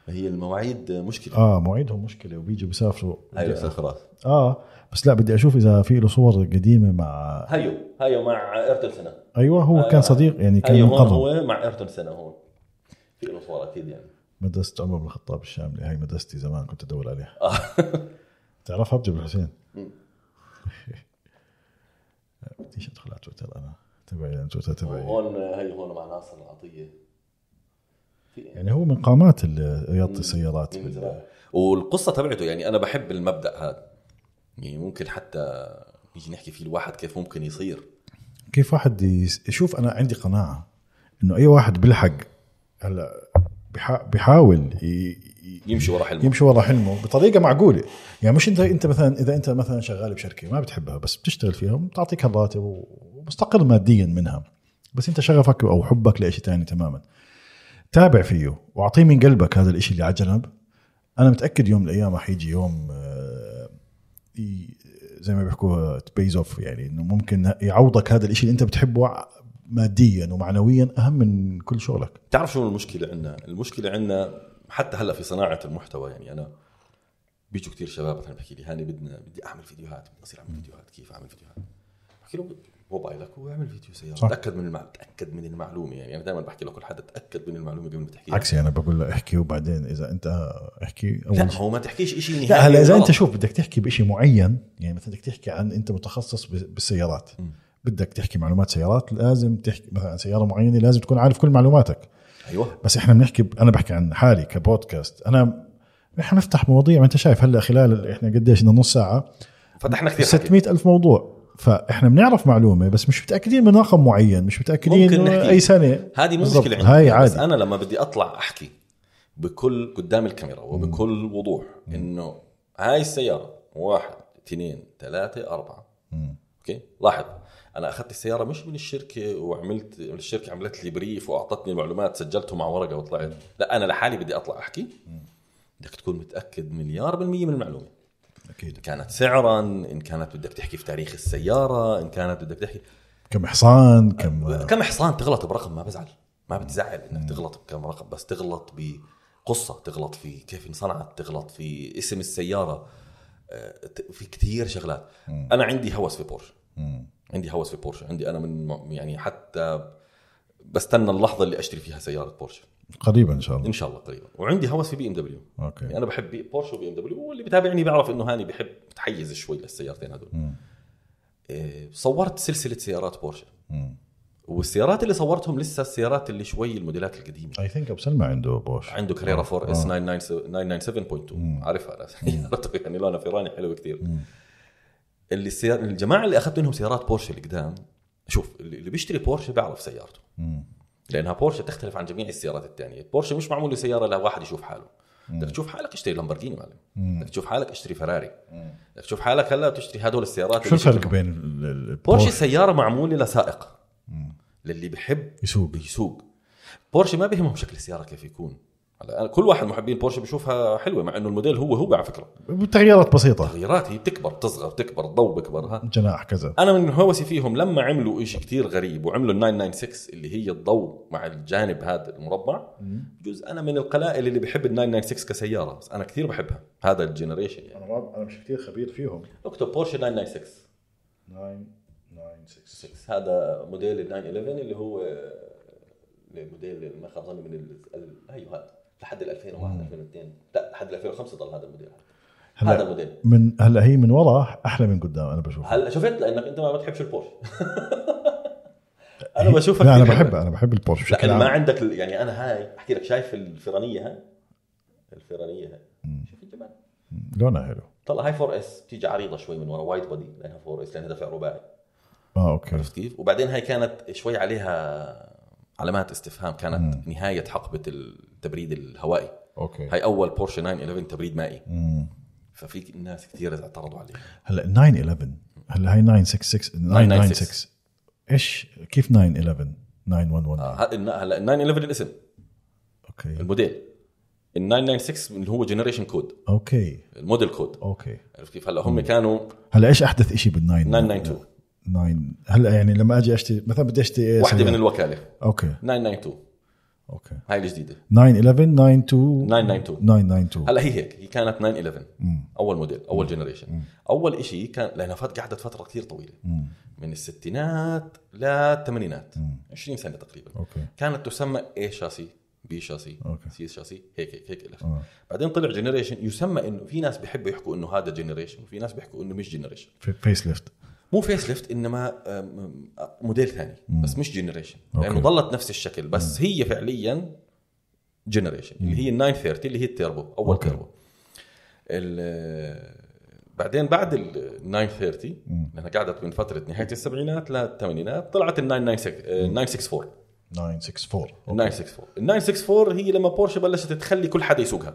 هي المواعيد مشكلة اه مواعيدهم مشكله وبيجوا بيسافروا هاي أستاذ فراس اه بس لا بدي اشوف اذا في له صور قديمه مع هايو هايو مع إيرتون سنة ايوه هو آه. كان صديق يعني كان هايو هون مقرب هو مع إيرتون سنة هون في له صورة أكيد يعني مدرسه عمر بن الخطاب الشامله هاي مدرستي زمان كنت ادور عليها آه. تعرفها بجبل الحسين مم. [LAUGHS] بديش ادخل على تويتر انا تبعي لأن تويتر تبعي هون هي هون مع ناصر العطيه في- يعني هو من قامات ال- رياضه السيارات من بال- زمان. والقصه تبعته يعني انا بحب المبدا هذا يعني ممكن حتى نيجي نحكي فيه الواحد كيف ممكن يصير كيف واحد يس- يشوف انا عندي قناعه انه اي واحد بيلحق هلا بيحا- بيحاول ي- ي- يمشي ورا حلمه يمشي ورا حلمه بطريقه معقوله يعني مش انت انت مثلا اذا انت مثلا شغال بشركه ما بتحبها بس بتشتغل فيها وبتعطيك الراتب ومستقر ماديا منها بس انت شغفك او حبك لشيء ثاني تماما تابع فيه واعطيه من قلبك هذا الشيء اللي على جنب انا متاكد يوم من الايام راح يجي يوم آه، ي- زي ما بيحكوها تبيز اوف يعني انه ممكن يعوضك هذا الشيء اللي انت بتحبه ماديا ومعنويا اهم من كل شغلك تعرف شو المشكله عندنا المشكله عندنا حتى هلا في صناعه المحتوى يعني انا بيجوا كتير شباب مثلا بحكي لي هاني بدنا بدي اعمل فيديوهات بدي اصير اعمل فيديوهات كيف اعمل فيديوهات بحكي له موبايلك واعمل فيديو سياره صح. تاكد من المعلومه تاكد من المعلومه يعني انا دائما بحكي لكل حدا تاكد من المعلومه قبل ما تحكيها عكسي انا بقول له احكي وبعدين اذا انت احكي اول لا هو ما تحكيش شيء نهائي لا هلا اذا غلط. انت شوف بدك تحكي بشيء معين يعني مثلا بدك تحكي عن انت متخصص ب- بالسيارات مم. بدك تحكي معلومات سيارات لازم تحكي مثلا عن سياره معينه لازم تكون عارف كل معلوماتك ايوه بس احنا بنحكي ب- انا بحكي عن حالي كبودكاست انا احنا نفتح مواضيع ما انت شايف هلا خلال احنا قديش لنا نص ساعه فتحنا كثير حكي. 600 الف موضوع فاحنا بنعرف معلومه بس مش متاكدين من رقم معين مش متاكدين ممكن نحكي. اي سنه هذه مو بالضبط. مشكله عندي هاي بس عادي انا لما بدي اطلع احكي بكل قدام الكاميرا وبكل وضوح انه هاي السياره واحد اثنين ثلاثه اربعه مم. اوكي لاحظ انا اخذت السياره مش من الشركه وعملت الشركه عملت لي بريف واعطتني معلومات سجلته مع ورقه وطلعت لا انا لحالي بدي اطلع احكي بدك تكون متاكد مليار بالميه من المعلومه اكيد ان كانت سعرا ان كانت بدك تحكي في تاريخ السياره ان كانت بدك تحكي كم حصان كم كم حصان تغلط برقم ما بزعل ما بتزعل انك تغلط بكم رقم بس تغلط بقصه تغلط في كيف انصنعت تغلط في اسم السياره آه، ت- في كتير شغلات مم. انا عندي هوس في بورش مم. عندي هوس في بورش عندي انا من م- يعني حتى بستنى اللحظه اللي اشتري فيها سياره بورش قريبا ان شاء الله ان شاء الله قريبا وعندي هوس في بي ام دبليو اوكي يعني انا بحب بي- بورش وبي ام دبليو واللي بتابعني بيعرف انه هاني بحب متحيز شوي للسيارتين هذول مم. آه، صورت سلسله سيارات بورش مم. والسيارات اللي صورتهم لسه السيارات اللي شوي الموديلات القديمه اي ثينك ابو سلمى عنده بوش عنده كاريرا 4 اس 997.2 عارفها انا [LAUGHS] سيارته يعني لونها فيراني حلوه كثير اللي السيار... الجماعه اللي اخذت منهم سيارات بورشه القدام شوف اللي اللي بيشتري بورشه بيعرف سيارته مم. لانها بورشه تختلف عن جميع السيارات الثانيه بورشه مش معمول سياره لواحد يشوف حاله بدك تشوف حالك اشتري لامبورجيني معلم بدك تشوف حالك اشتري فراري بدك تشوف حالك هلا تشتري هدول السيارات اللي شو الفرق شكلهم- بين ال- ال- بورشي البورش سياره معموله لسائق للي بحب يسوق يسوق بورشي ما بيهمهم شكل السياره كيف يكون هلا أنا- كل واحد من محبين بورشي بيشوفها حلوه مع انه الموديل هو هو على فكره تغييرات بسيطه تغييرات هي بتكبر بتصغر بتكبر الضوء بكبر ها جناح كذا انا من هوسي فيهم لما عملوا شيء كتير غريب وعملوا ال 996 اللي هي الضوء مع الجانب هذا المربع بجوز انا من القلائل اللي بحب ال 996 كسياره بس انا كثير بحبها هذا الجنريشن يعني انا ما انا مش كثير خبير فيهم اكتب بورشي 996 996 6 هذا موديل ال 911 اللي هو الموديل ما خاب ظني من ال... ال- ايوه هذا لحد ال 2001 2002 لا لحد ال 2005 ضل هذا الموديل هلا- هذا الموديل من هلا هي من ورا احلى من قدام انا بشوفها هلا شفت لانك انت ما بتحبش البورش [LAUGHS] انا بشوفك لا انا كثير بحبها انا بحب البورش لا بشكل أنا ما عام عندك ال- يعني انا هاي احكي لك شايف الفرانيه هاي الفرانيه هاي شوف الجمال لونها حلو طلع هاي 4 اس بتيجي عريضه شوي من ورا وايد بودي لانها 4 اس لانها دفع رباعي اه اوكي عرفت كيف؟ وبعدين هاي كانت شوي عليها علامات استفهام كانت مم. نهايه حقبه التبريد الهوائي اوكي هاي اول بورشي 911 تبريد مائي مم. ففي ناس كثير اعترضوا عليها هلا 911 هلا هي 966 996 ايش كيف 911 911 آه، ه- هلا ال 911 الاسم اوكي الموديل ال 996 اللي هو جنريشن كود اوكي الموديل كود اوكي عرفت كيف هلا هم كانوا هلا ايش احدث شيء بال 992 992 هلا يعني لما اجي اشتري مثلا بدي اشتري واحده سيارة. من الوكاله اوكي 992 اوكي هاي الجديده 911 92 992 992 هلا هي هيك هي كانت 911 اول موديل اول جنريشن اول شيء كان لانها فات قعدت فتره كثير طويله مم. من الستينات للثمانينات 20 سنه تقريبا اوكي كانت تسمى اي شاسي بي شاسي أوكي. سي شاسي هيك هيك هيك إلها. آه. بعدين طلع جنريشن يسمى انه في ناس بيحبوا يحكوا انه هذا جنريشن وفي ناس بيحكوا انه مش جنريشن في- فيس ليفت مو فيس ليفت انما أم، أم، موديل ثاني بس مش جنريشن لانه أوكي. ضلت نفس الشكل بس هي فعليا جنريشن اللي هي ال 930 اللي هي التيربو اول أوكي. تيربو ال- بعدين بعد ال 930 لانها قعدت من فتره نهايه السبعينات للثمانينات طلعت ال آه، 964 964 ال 964 ال 964 هي لما بورشه بلشت تخلي كل حدا يسوقها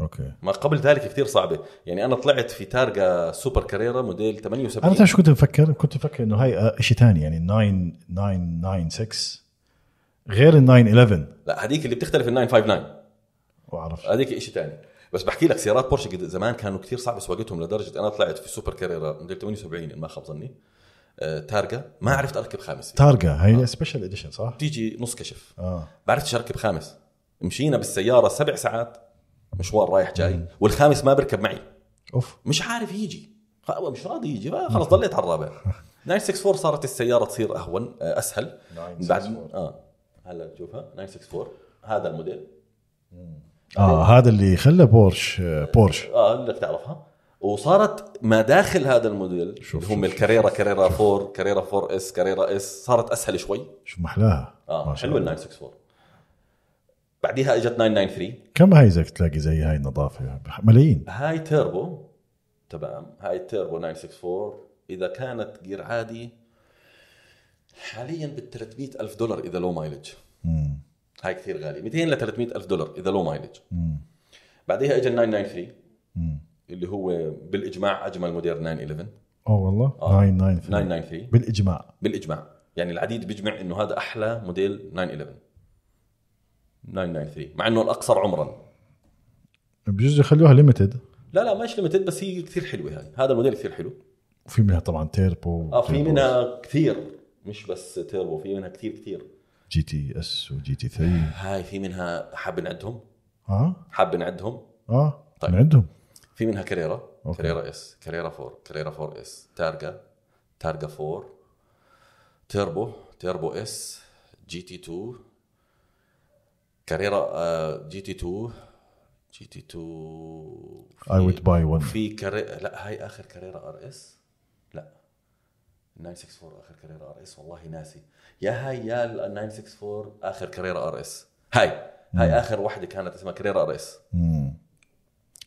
اوكي ما قبل ذلك كثير صعبه يعني انا طلعت في تارجا سوبر كاريرا موديل 78 انا تعرف شو كنت مفكر؟ كنت مفكر انه هاي شيء ثاني يعني 9996 غير ال 911 لا هذيك اللي بتختلف ال 959 بعرف هذيك شيء ثاني بس بحكي لك سيارات بورشة قد زمان كانوا كثير صعب سواقتهم لدرجه انا طلعت في سوبر كاريرا موديل 78 إن ما خاب ظني آه، تارجا ما عرفت اركب خامس تارجا هاي سبيشال اديشن صح؟ تيجي نص كشف اه ما عرفتش اركب خامس مشينا بالسياره سبع ساعات مشوار رايح جاي والخامس ما بركب معي اوف مش عارف يجي خ- مش راضي يجي بقى خلاص ضليت على الرابع 964 صارت السياره تصير اهون آه، اسهل 964. اه هلا تشوفها 964 هذا الموديل اه هذا اللي خلى بورش آه، بورش اه اللي تعرفها وصارت ما داخل هذا الموديل شوف، اللي هم شوف، الكاريرا كاريرا 4 كاريرا 4 اس كاريرا اس صارت اسهل شوي شو محلاها اه ما شاء حلوه ال الله. 964 بعديها اجت 993 كم هاي زك تلاقي زي هاي النظافه ملايين هاي تيربو تمام هاي تيربو 964 اذا كانت جير عادي حاليا بال 300 الف دولار اذا لو مايلج مم. هاي كثير غالي 200 ل 300 الف دولار اذا لو مايلج مم. بعديها اجى ال 993 مم. اللي هو بالاجماع اجمل موديل 911 اه والله آه. 993 993 بالاجماع بالاجماع يعني العديد بيجمع انه هذا احلى موديل 911 993 مع انه الاقصر عمرا بجوز يخلوها ليمتد لا لا مش ليمتد بس هي كثير حلوه هاي هذا الموديل كثير حلو وفي منها طبعا تيربو اه في منها كثير مش بس تيربو في منها كثير كثير جي تي اس وجي تي 3 هاي في منها حاب نعدهم اه حاب نعدهم اه طيب. من عندهم في منها كاريرا أوكي. كاريرا اس كاريرا 4 كاريرا 4 اس تارجا تارجا 4 تيربو تيربو اس جي تي 2 كاريرا آه، جي تي 2 جي تي 2 I would buy one. في كاري... لا هاي اخر كاريرا ار اس لا 964 اخر كاريرا ار اس والله ناسي يا هاي يا ال 964 اخر كاريرا ار اس هاي هاي اخر واحده كانت اسمها كاريرا ار اس مم.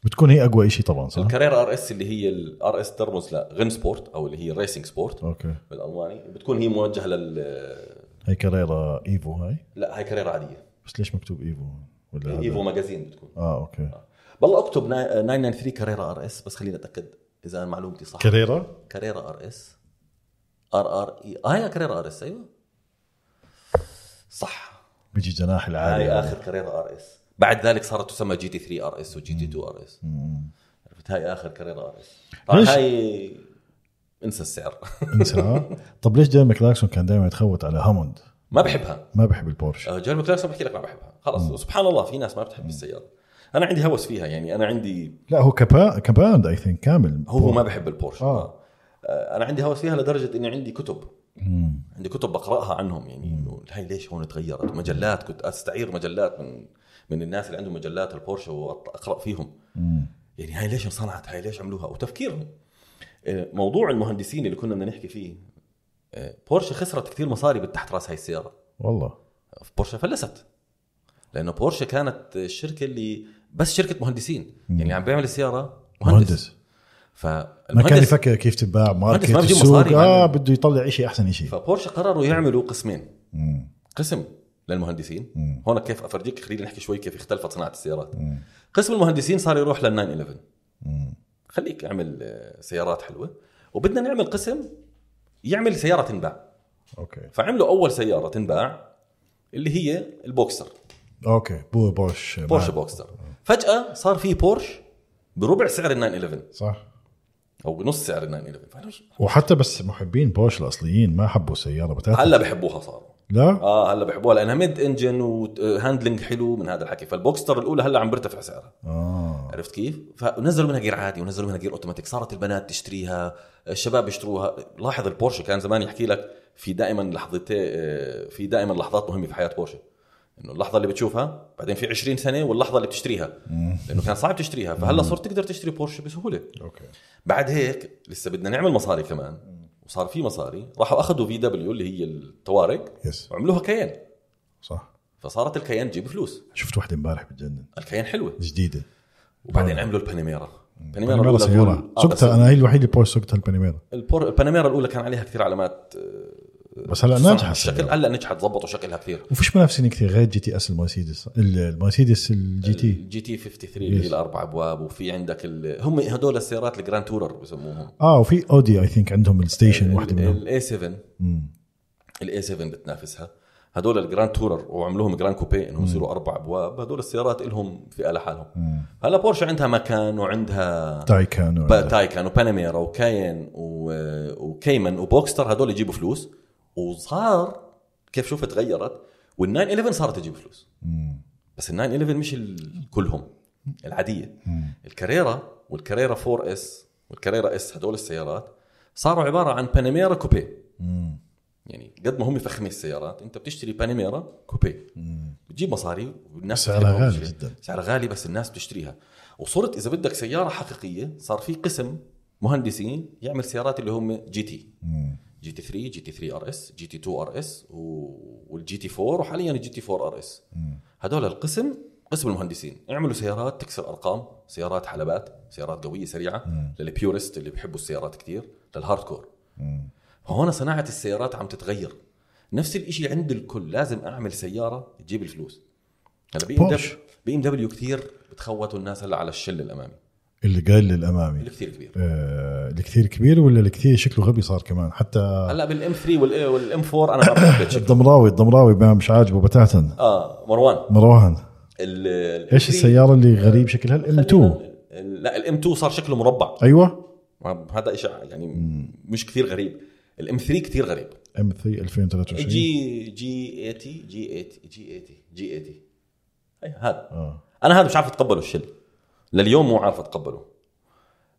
بتكون هي اقوى شيء طبعا صح؟ الكاريرا ار اس اللي هي الار اس ترمز لغن سبورت او اللي هي ريسنج سبورت اوكي بالالماني بتكون هي موجهه لل هي كاريرا ايفو هاي لا هاي كاريرا عاديه بس ليش مكتوب ايفو؟ ولا هذا؟ ايفو ماجازين بتكون اه اوكي بالله اكتب 993 كاريرا ار اس بس خليني اتاكد اذا انا معلومتي صح كريرة كاريرا ار اس ار ار اي اه هي كاريرا ار اس ايوه صح بيجي جناح العالي هاي آه. اخر كاريرا ار اس بعد ذلك صارت تسمى جي تي 3 ار اس وجي تي 2 ار اس مم. عرفت هاي اخر كاريرا ار اس طبعا ليش؟ هاي انسى السعر [LAUGHS] انسى آه. طب ليش جيمي كلاكسون كان دائما يتخوت على هاموند ما بحبها ما بحب البورش آه، جيرمي كلاركسون بحكي لك ما بحبها خلص سبحان الله في ناس ما بتحب السياره انا عندي هوس فيها يعني انا عندي لا هو كبا كباند اي ثينك كامل هو ما بحب البورش آه. آه. آه، انا عندي هوس فيها لدرجه اني عندي كتب عندي كتب بقراها عنهم يعني انه هاي ليش هون تغيرت مجلات كنت استعير مجلات من من الناس اللي عندهم مجلات البورش واقرا فيهم مم. يعني هاي ليش انصنعت هاي ليش عملوها وتفكيرهم آه، موضوع المهندسين اللي كنا بدنا نحكي فيه آه، بورشة خسرت كثير مصاري بالتحت راس هاي السياره والله بورشة فلست لانه بورشة كانت الشركه اللي بس شركه مهندسين مم. يعني عم بيعمل السياره مهندس مهندس فالمهندس ما كان يفكر كيف تتباع ماركت ما بيجيب السوق مصاري، يعني. اه ما- بده يطلع شيء احسن شيء فبورشة قرروا يعملوا قسمين قسم للمهندسين هون كيف افرجيك خلينا نحكي شوي كيف اختلفت صناعه السيارات قسم المهندسين صار يروح لل 911 خليك اعمل آه، سيارات حلوه وبدنا نعمل قسم يعمل سياره تنباع اوكي فعملوا اول سياره تنباع اللي هي البوكسر اوكي بو بورش بورش معك. بوكسر فجاه صار في بورش بربع سعر ال 911 صح او بنص سعر ال 911 فأنا- وحتى بس محبين بورش الاصليين ما حبوا السياره بتاعتها هلا بحبوها صاروا لا اه هلا بحبوها لانها ميد انجن وهاندلنج حلو من هذا الحكي فالبوكستر الاولى هلا عم برتفع سعرها اه عرفت كيف؟ فنزلوا منها جير عادي ونزلوا منها جير اوتوماتيك صارت البنات تشتريها الشباب يشتروها لاحظ البورشه كان زمان يحكي لك في دائما لحظتي آه، في دائما لحظات مهمه في حياه بورشه انه اللحظه اللي بتشوفها بعدين في 20 سنه واللحظه اللي بتشتريها لانه كان صعب تشتريها فهلا صرت تقدر تشتري بورشه بسهوله اوكي بعد هيك لسه بدنا نعمل مصاري كمان وصار في مصاري راحوا اخذوا في دبليو اللي هي الطوارق يس وعملوها كيان صح فصارت الكيان تجيب فلوس شفت واحده امبارح بتجنن الكيان حلوه جديده وبعدين عملوا البانيميرا بانيميرا الأولى سياره دول- آه، بس سقطها انا هي الوحيده اللي بورش سقطها البانيميرا البور... البانيميرا الاولى كان عليها كثير علامات آه، بس هلا ناجحه شكل السيارة. هلا نجحت ظبطوا شكلها كثير وفيش منافسين كثير غير جي تي اس المرسيدس ال- المرسيدس الجي تي جي تي 53 اللي Yes. هي الاربع ابواب وفي عندك ال... هم هدول السيارات الجراند تورر بسموهم اه وفي اودي اي ثينك عندهم الستيشن واحده منهم الاي 7 مم. الاي 7 بتنافسها هدول الجراند تورر وعملوهم جراند كوبي انهم يصيروا اربع ابواب هدول السيارات لهم فئه لحالهم مم. طيب. هلا بورشة عندها مكان وعندها تايكان با- ولا- تايكان وبانيميرا وكاين و- وكيمن وبوكستر هدول يجيبوا فلوس وصار كيف شوف تغيرت وال911 صارت تجيب فلوس مم. بس ال911 مش ال- كلهم العاديه مم. الكاريرا والكاريرا 4 اس والكاريرا اس هدول السيارات صاروا عباره عن بانيميرا كوبي مم. يعني قد ما هم فخمين السيارات انت بتشتري بانيميرا كوبي مم. بتجيب مصاري والناس سعرها بتحبها غالي وبتشتريها. جدا. سعرها غالي بس الناس بتشتريها وصرت اذا بدك سياره حقيقيه صار في قسم مهندسين يعمل سيارات اللي هم جي تي مم. جي تي 3 جي تي 3 ار اس جي تي 2 ار اس والجي تي 4 وحاليا الجي تي 4 ار اس مم. هدول القسم قسم المهندسين يعملوا سيارات تكسر ارقام سيارات حلبات سيارات قويه سريعه للبيورست اللي بيحبوا السيارات كثير للهاردكور مم. هون صناعة السيارات عم تتغير نفس الإشي عند الكل لازم أعمل سيارة تجيب الفلوس هلا بي ام بورش. بي ام دبليو كثير بتخوتوا الناس هلا على الشل الأمامي اللي قال للامامي اللي كثير كبير آه، اللي كثير كبير ولا اللي كثير شكله غبي صار كمان حتى هلا بالام 3 والام 4 أنا ما [LAUGHS] بحبش الضمراوي الضمراوي ما مش عاجبه بتاتا آه مروان مروان ال- ال- ايش M3 السياره اللي غريب شكلها الام 2 ال- لا الام 2 صار شكله مربع ايوه ما- هذا إشي يعني مش كثير غريب الام 3 كثير غريب ام 3 2023 جي جي 80 جي 80 جي 80 جي 80 هي أيوة، هذا اه انا هذا مش عارف اتقبله الشل لليوم مو عارف اتقبله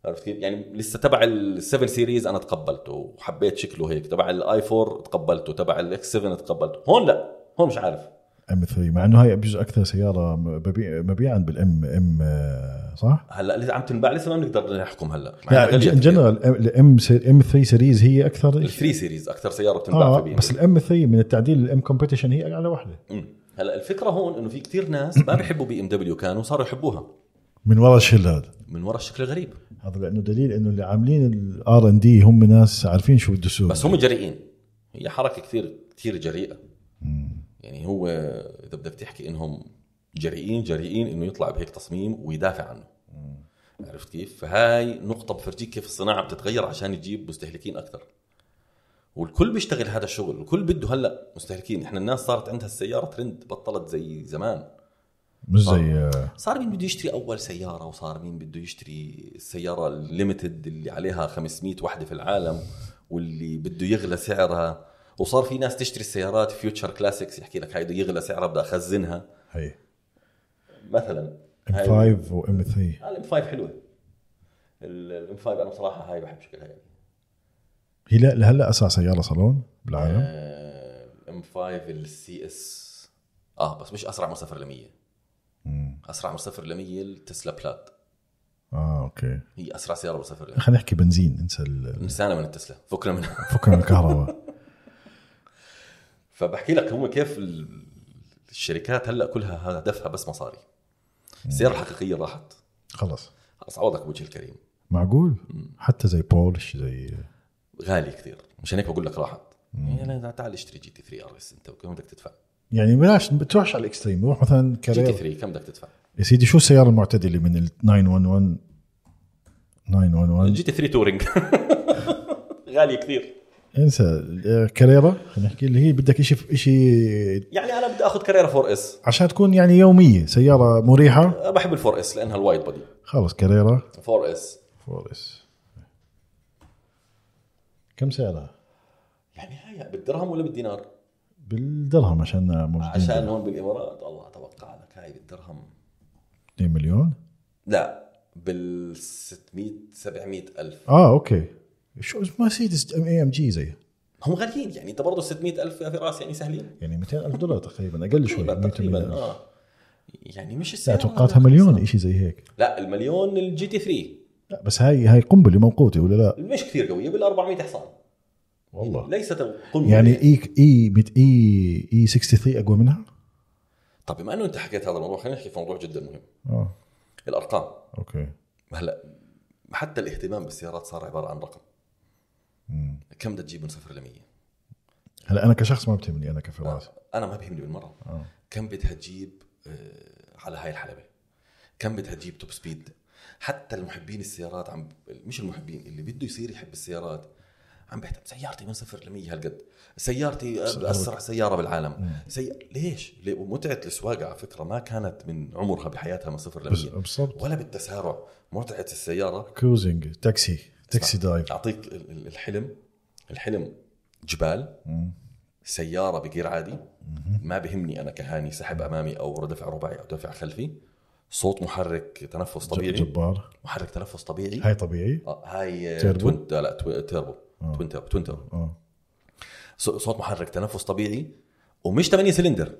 عرفت كيف؟ يعني لسه تبع ال7 سيريز انا تقبلته وحبيت شكله هيك، تبع الاي 4 تقبلته، تبع الاكس 7 تقبلته، هون لا، هون مش عارف ام 3 مع انه هاي بجوز اكثر سياره مبيع- مبيعا بالام ام آه، صح؟ هلا لسه عم تنباع لسه ما بنقدر نحكم هلا لا ان جنرال الام ام 3 سيريز هي اكثر ال3 سيريز اكثر سياره بتنباع اه آه في بس بس الام 3 من التعديل الام كومبيتيشن هي اعلى وحده هلا الفكره هون انه في كثير ناس ما بيحبوا بي ام دبليو كانوا صاروا يحبوها من ورا الشل هذا من ورا الشكل الغريب هذا لانه دليل انه اللي عاملين الار ان دي هم ناس عارفين شو بده يسووا بس هم جريئين هي حركه كثير كثير جريئه يعني هو اذا بدك تحكي انهم جريئين جريئين انه يطلع بهيك تصميم ويدافع عنه عرفت كيف؟ فهاي نقطة بفرجيك كيف الصناعة بتتغير عشان تجيب مستهلكين أكثر. والكل بيشتغل هذا الشغل، الكل بده هلا مستهلكين، احنا الناس صارت عندها السيارة ترند بطلت زي زمان. مش زي آه، صار مين بده يشتري أول سيارة وصار مين بده يشتري السيارة الليمتد اللي عليها 500 وحدة في العالم واللي بده يغلى سعرها وصار في ناس تشتري السيارات فيوتشر كلاسيكس يحكي لك هاي بده يغلى سعرها بدي أخزنها هي مثلا ام هاي- 5 وام 3 الام 5 حلوه الام 5 انا بصراحه هاي بحب شكلها يعني هي لا- لهلا اسرع سياره صالون إيه. بالعالم الام 5 السي اس اه بس مش اسرع مسافر ل 100 مم. اسرع مسافر ل 100 التسلا بلات اه اوكي هي اسرع سياره مسافر ل خلينا نحكي بنزين انسى ال- نسانا من التسلا فكنا منها فكنا [LAUGHS] من الكهرباء فبحكي لك هم كيف ال- الشركات هلا كلها هدفها بس مصاري السياره الحقيقيه راحت خلص خلص عوضك وجه الكريم معقول حتى زي بولش زي غالي كثير مشان هيك بقول لك راحت يعني تعال اشتري جي تي 3 ار اس انت وكم بدك تدفع يعني بلاش بتروحش على الاكستريم روح مثلا جي تي كارير 3 كم بدك تدفع يا سيدي شو السياره المعتدله من ال 911 911 جي تي 3 تورنج [LAUGHS] غالي كثير انسى ال- آه، كاريرا خلينا نحكي اللي هي بدك شيء شيء يعني انا بدي اخذ كاريرا 4 اس عشان تكون يعني يوميه سياره مريحه بحب ال 4 اس لانها الوايد بودي خلص كاريرا 4 اس فورس كم سعرها؟ يعني هاي بالدرهم ولا بالدينار؟ بالدرهم عشان موجودين عشان هون بالامارات والله اتوقع لك هاي بالدرهم 2 مليون لا بال 600 700 الف اه اوكي شو مرسيدس اي ام إيه جي زيها هم غاليين يعني انت برضه 600 الف يا فراس يعني سهلين يعني 200 الف دولار تقريبا اقل شوي تقريبا 180 تقريبا ألف. اه يعني مش لا السعر توقعتها آه، مليون شيء زي هيك لا المليون الجي تي 3 لا بس هاي هاي قنبله موقوته ولا لا مش كثير قويه بال 400 حصان ليست قنبله يعني اي اي مت- اي اي 63 اقوى منها؟ طب طيب، بما انه انت حكيت هذا الموضوع خلينا نحكي في موضوع جدا مهم اه الارقام اوكي هلا حتى الاهتمام بالسيارات صار عباره عن رقم مم. كم بدك تجيب من صفر ل 100 هلا انا كشخص ما بتهمني انا كفراس انا ما بيهمني بالمره آه. كم بدها تجيب آه، على هاي الحلبه كم بدها تجيب توب سبيد حتى المحبين السيارات عم مش المحبين اللي بده يصير يحب السيارات عم بهتم سيارتي من صفر ل 100 هالقد سيارتي اسرع سياره بالعالم سي... ليش؟ ليه- ومتعه السواقه على فكره ما كانت من عمرها بحياتها من صفر ل بس- 100 بالضبط ولا بالتسارع متعه السياره كروزنج تاكسي تاكسي دايف اعطيك ال- ال- الحلم الحلم جبال سياره بجير عادي ما بهمني انا كهاني سحب امامي او دفع رباعي او دفع خلفي صوت محرك تنفس طبيعي جبار محرك تنفس طبيعي هاي طبيعي آه، هاي تيربو؟ آه. توين لا لا تو- تيربو توين تيربو توين تيربو اه صو- صوت محرك تنفس طبيعي ومش 8 سلندر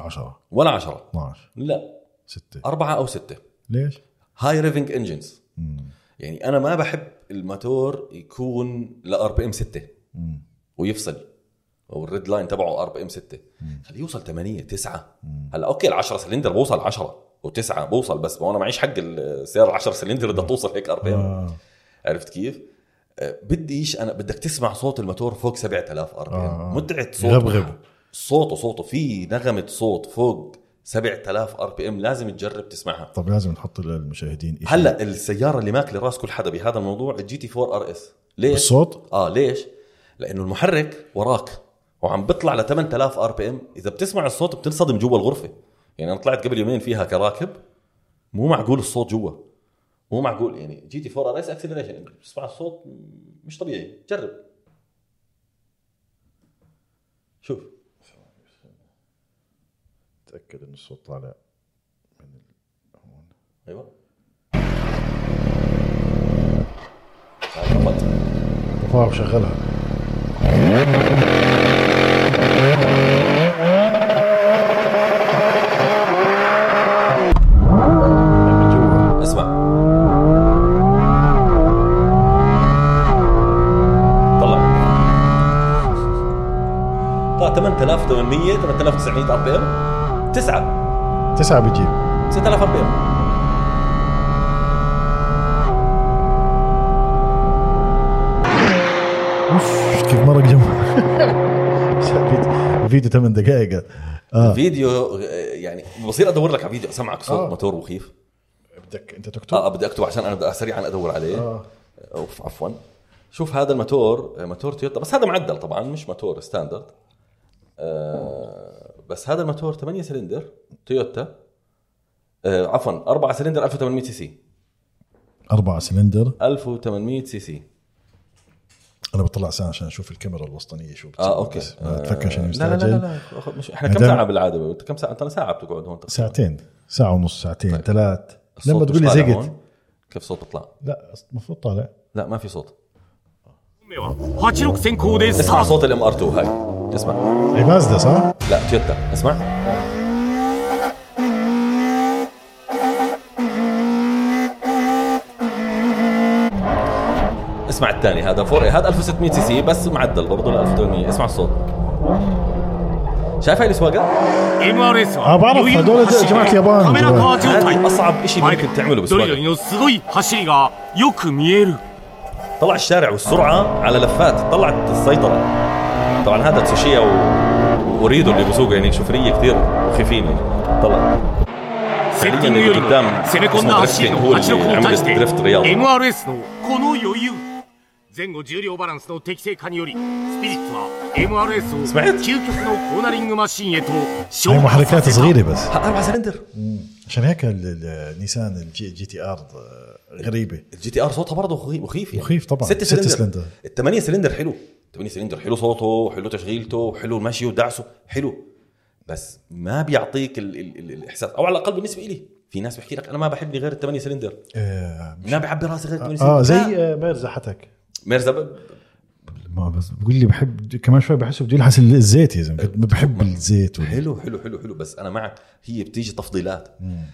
10 ولا 10 12 لا 6 أربعة أو ستة ليش؟ هاي ريفنج انجنز مم. يعني أنا ما بحب الماتور يكون لار بي ام 6 مم. ويفصل والريد لاين تبعه 4 ام 6 خليه يوصل 8 9 هلا اوكي ال 10 سلندر بوصل 10 و9 بوصل بس ما انا معيش حق السياره ال 10 سلندر بدها توصل هيك 4 ام آه. عرفت كيف؟ آه، بديش انا بدك تسمع صوت الموتور فوق 7000 ار بي آه. ام متعه صوته يغبغب. صوته صوته في نغمه صوت فوق 7000 ار بي ام لازم تجرب تسمعها طب لازم نحط للمشاهدين إشي. هلا السياره اللي ماكله راس كل حدا بهذا الموضوع الجي تي 4 ار اس ليش؟ الصوت اه ليش؟ لانه المحرك وراك وعم بيطلع ل 8000 ار بي ام اذا بتسمع الصوت بتنصدم جوا الغرفه يعني انا طلعت قبل يومين فيها كراكب مو معقول الصوت جوا مو معقول يعني جي تي 4 ار اس اكسلريشن يعني بتسمع الصوت مش طبيعي جرب شوف تاكد ان الصوت طالع ايوه هاي خبط. فاهم شغلها اسمع طلع طلع 8800 8900 ار بي ام 9 تسعة بجيب 6000 ار بي ام اوف كيف مرق [LAUGHS] جنب الفيديو 8 دقائق فيديو يعني بصير ادور لك على فيديو اسمعك صوت آه. موتور مخيف بدك انت تكتب اه بدي اكتب عشان انا بدي سريعا ادور عليه آه. اوف عفوا شوف هذا الماتور أه، ماتور تويوتا بس هذا معدل طبعا مش ماتور ستاندرد آه بس هذا الماتور 8 سلندر تويوتا آه عفوا 4 سلندر 1800 سي سي آه. اربعة سلندر 1800 سي سي انا بطلع ساعه عشان اشوف الكاميرا الوسطانيه شو بتصور اه اوكي بس ما آه، تفكرش اني لا لا لا مستعجل لا أخ- مش احنا كم مدام- ساعه بالعاده كم ساعه انت ساعه بتقعد هون تقريباً. ساعتين ساعه ونص ساعتين طيب. ثلاث الصوت لما مش تقول لي طالع زقت هون. كيف صوت بيطلع؟ لا المفروض طالع لا ما في صوت 目は86先行でスタート اسمع صوت الام ار 2 هاي اسمع هي مازدا صح؟ لا تويوتا اسمع اسمع الثاني هذا فور هذا 1600 سي سي بس معدل برضه ل 1800 اسمع الصوت شايف هاي السواقه؟ MRS あバはラ余裕どれので走りジャマキでヤバーンカメラカー状態 هذه اصعب شيء マイク ممكن تعمله どれよ بالسواقه りのすごい走りがよく見える طلع الشارع والسرعه على لفات طلعت السيطره طبعا هذا تسوشيا و... واريدو اللي بسوقه يعني شفريه كثير مخيفين يعني طلع セッティングよりもダン攻め込んだ走りのダン86に対してダンダン MRS のこの余裕前後重量バランスの適正化によりスピリッツは MRS をスマイル究極のコーナリングマシンへと هي 昇華さ محركات せた صغيره بس اربع سلندر عشان هيك ال- ال- نيسان الجي, جي تي آه، ار غريبه الجي تي ار صوتها برضه خي- مخيف يعني مخيف طبعاً. ست ست سلندر, سلندر. الثمانية سلندر حلو الثمانية سلندر حلو صوته حلو تشغيلته حلو مشيه ودعسه حلو بس ما بيعطيك ال ال ال الاحساس او على الاقل بالنسبه لي في ناس بحكي لك انا ما بحبني غير الثمانية سلندر اه, ما بعبي راسي غير الثمانية سلندر آه لا. زي آه، ميرزا حتك ميرزا ب- ما بس بقول لي بحب كمان شوي بحسه بده يلحس الزيت يا زلمه كنت بحب الزيت وال- حلو حلو حلو حلو بس انا معك هي بتيجي تفضيلات آه،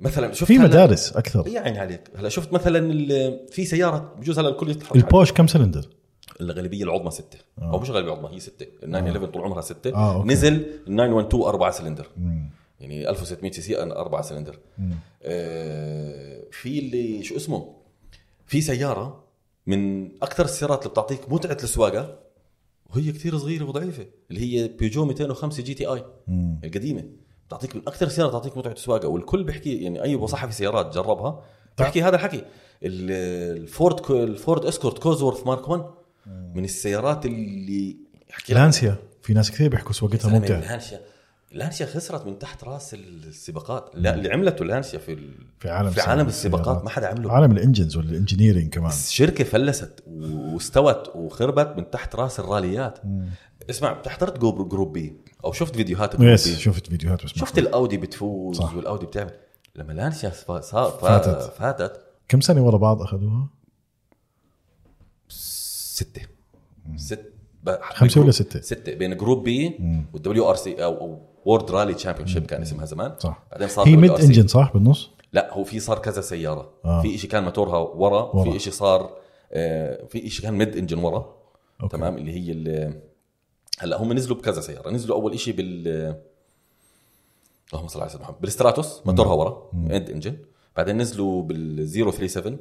مثلا شفت في هلا- مدارس اكثر يا عيني عليك هلا شفت مثلا ال- في سياره بجوز هلا الكل يتحرك عليها. البوش كم سلندر؟ الغالبيه العظمى سته آه. او مش الغالبيه العظمى هي سته ال 911 طول عمرها سته آه، آه، أوكي. نزل ال 912 اربعه سلندر يعني 1600 سي سي اربعه سلندر آه في اللي شو اسمه في سياره من اكثر السيارات اللي بتعطيك متعه السواقه وهي كثير صغيره وضعيفه اللي هي بيجو 205 جي تي اي القديمه بتعطيك من اكثر السيارات بتعطيك متعه السواقه والكل بيحكي يعني اي صحفي سيارات جربها بيحكي هذا الحكي ال- الفورد كو- الفورد اسكورت كوزورث مارك 1 من السيارات اللي احكي لك لانسيا في ناس كثير بيحكوا سواقتها زلمة ممتعه الهانشيا الهانشيا خسرت من تحت راس السباقات لا اللي عملته الهانشيا في ال... في عالم في عالم السباقات ما حدا عمله عالم الانجنز والانجينيرنج كمان الشركه فلست واستوت وخربت من تحت راس الراليات اسمع احضرت جروب جروب بي او شفت فيديوهات جروب يس بي شفت فيديوهات بس ما شفت الاودي بتفوز صح. صح. والاودي بتعمل لما لانسيا فا... صار- فا... فاتت. فاتت فاتت كم سنه ورا بعض اخذوها؟ سته ست ب- خمسة ولا ستة؟ سته بين جروب بي والدبليو ار سي او, أو وورد رالي تشامبيون شيب كان اسمها زمان صح بعدين صار هي ميد WRC. انجن صح بالنص؟ لا هو في صار كذا سياره آه. آه. في شيء كان موتورها ورا, ورا. ورا. في شيء صار آه في شيء كان ميد انجن ورا أوكي. أوكي. تمام اللي هي ال- هلا هم نزلوا بكذا سياره نزلوا اول شيء بال اللهم صل على سيدنا محمد بالستراتوس موتورها ورا ميد انجن بعدين نزلوا بال 037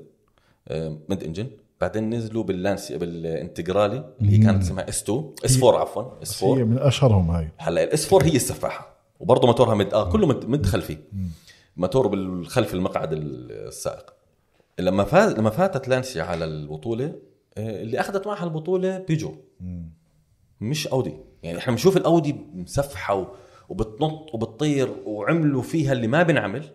آه، ميد انجن بعدين نزلوا باللانسي بالانتجرالي اللي هي كانت اسمها اس 2 اس 4 عفوا اس بس هي 4 من اشهرهم هاي هلا الاس 4 هي السفاحه وبرضه موتورها مد اه كله مد, مد خلفي موتور بالخلف المقعد السائق لما فاز لما فاتت لانسيا على البطوله آه، اللي اخذت معها البطوله بيجو مش اودي يعني احنا بنشوف الاودي مسفحه و- وبتنط وبتطير وعملوا فيها اللي ما بنعمل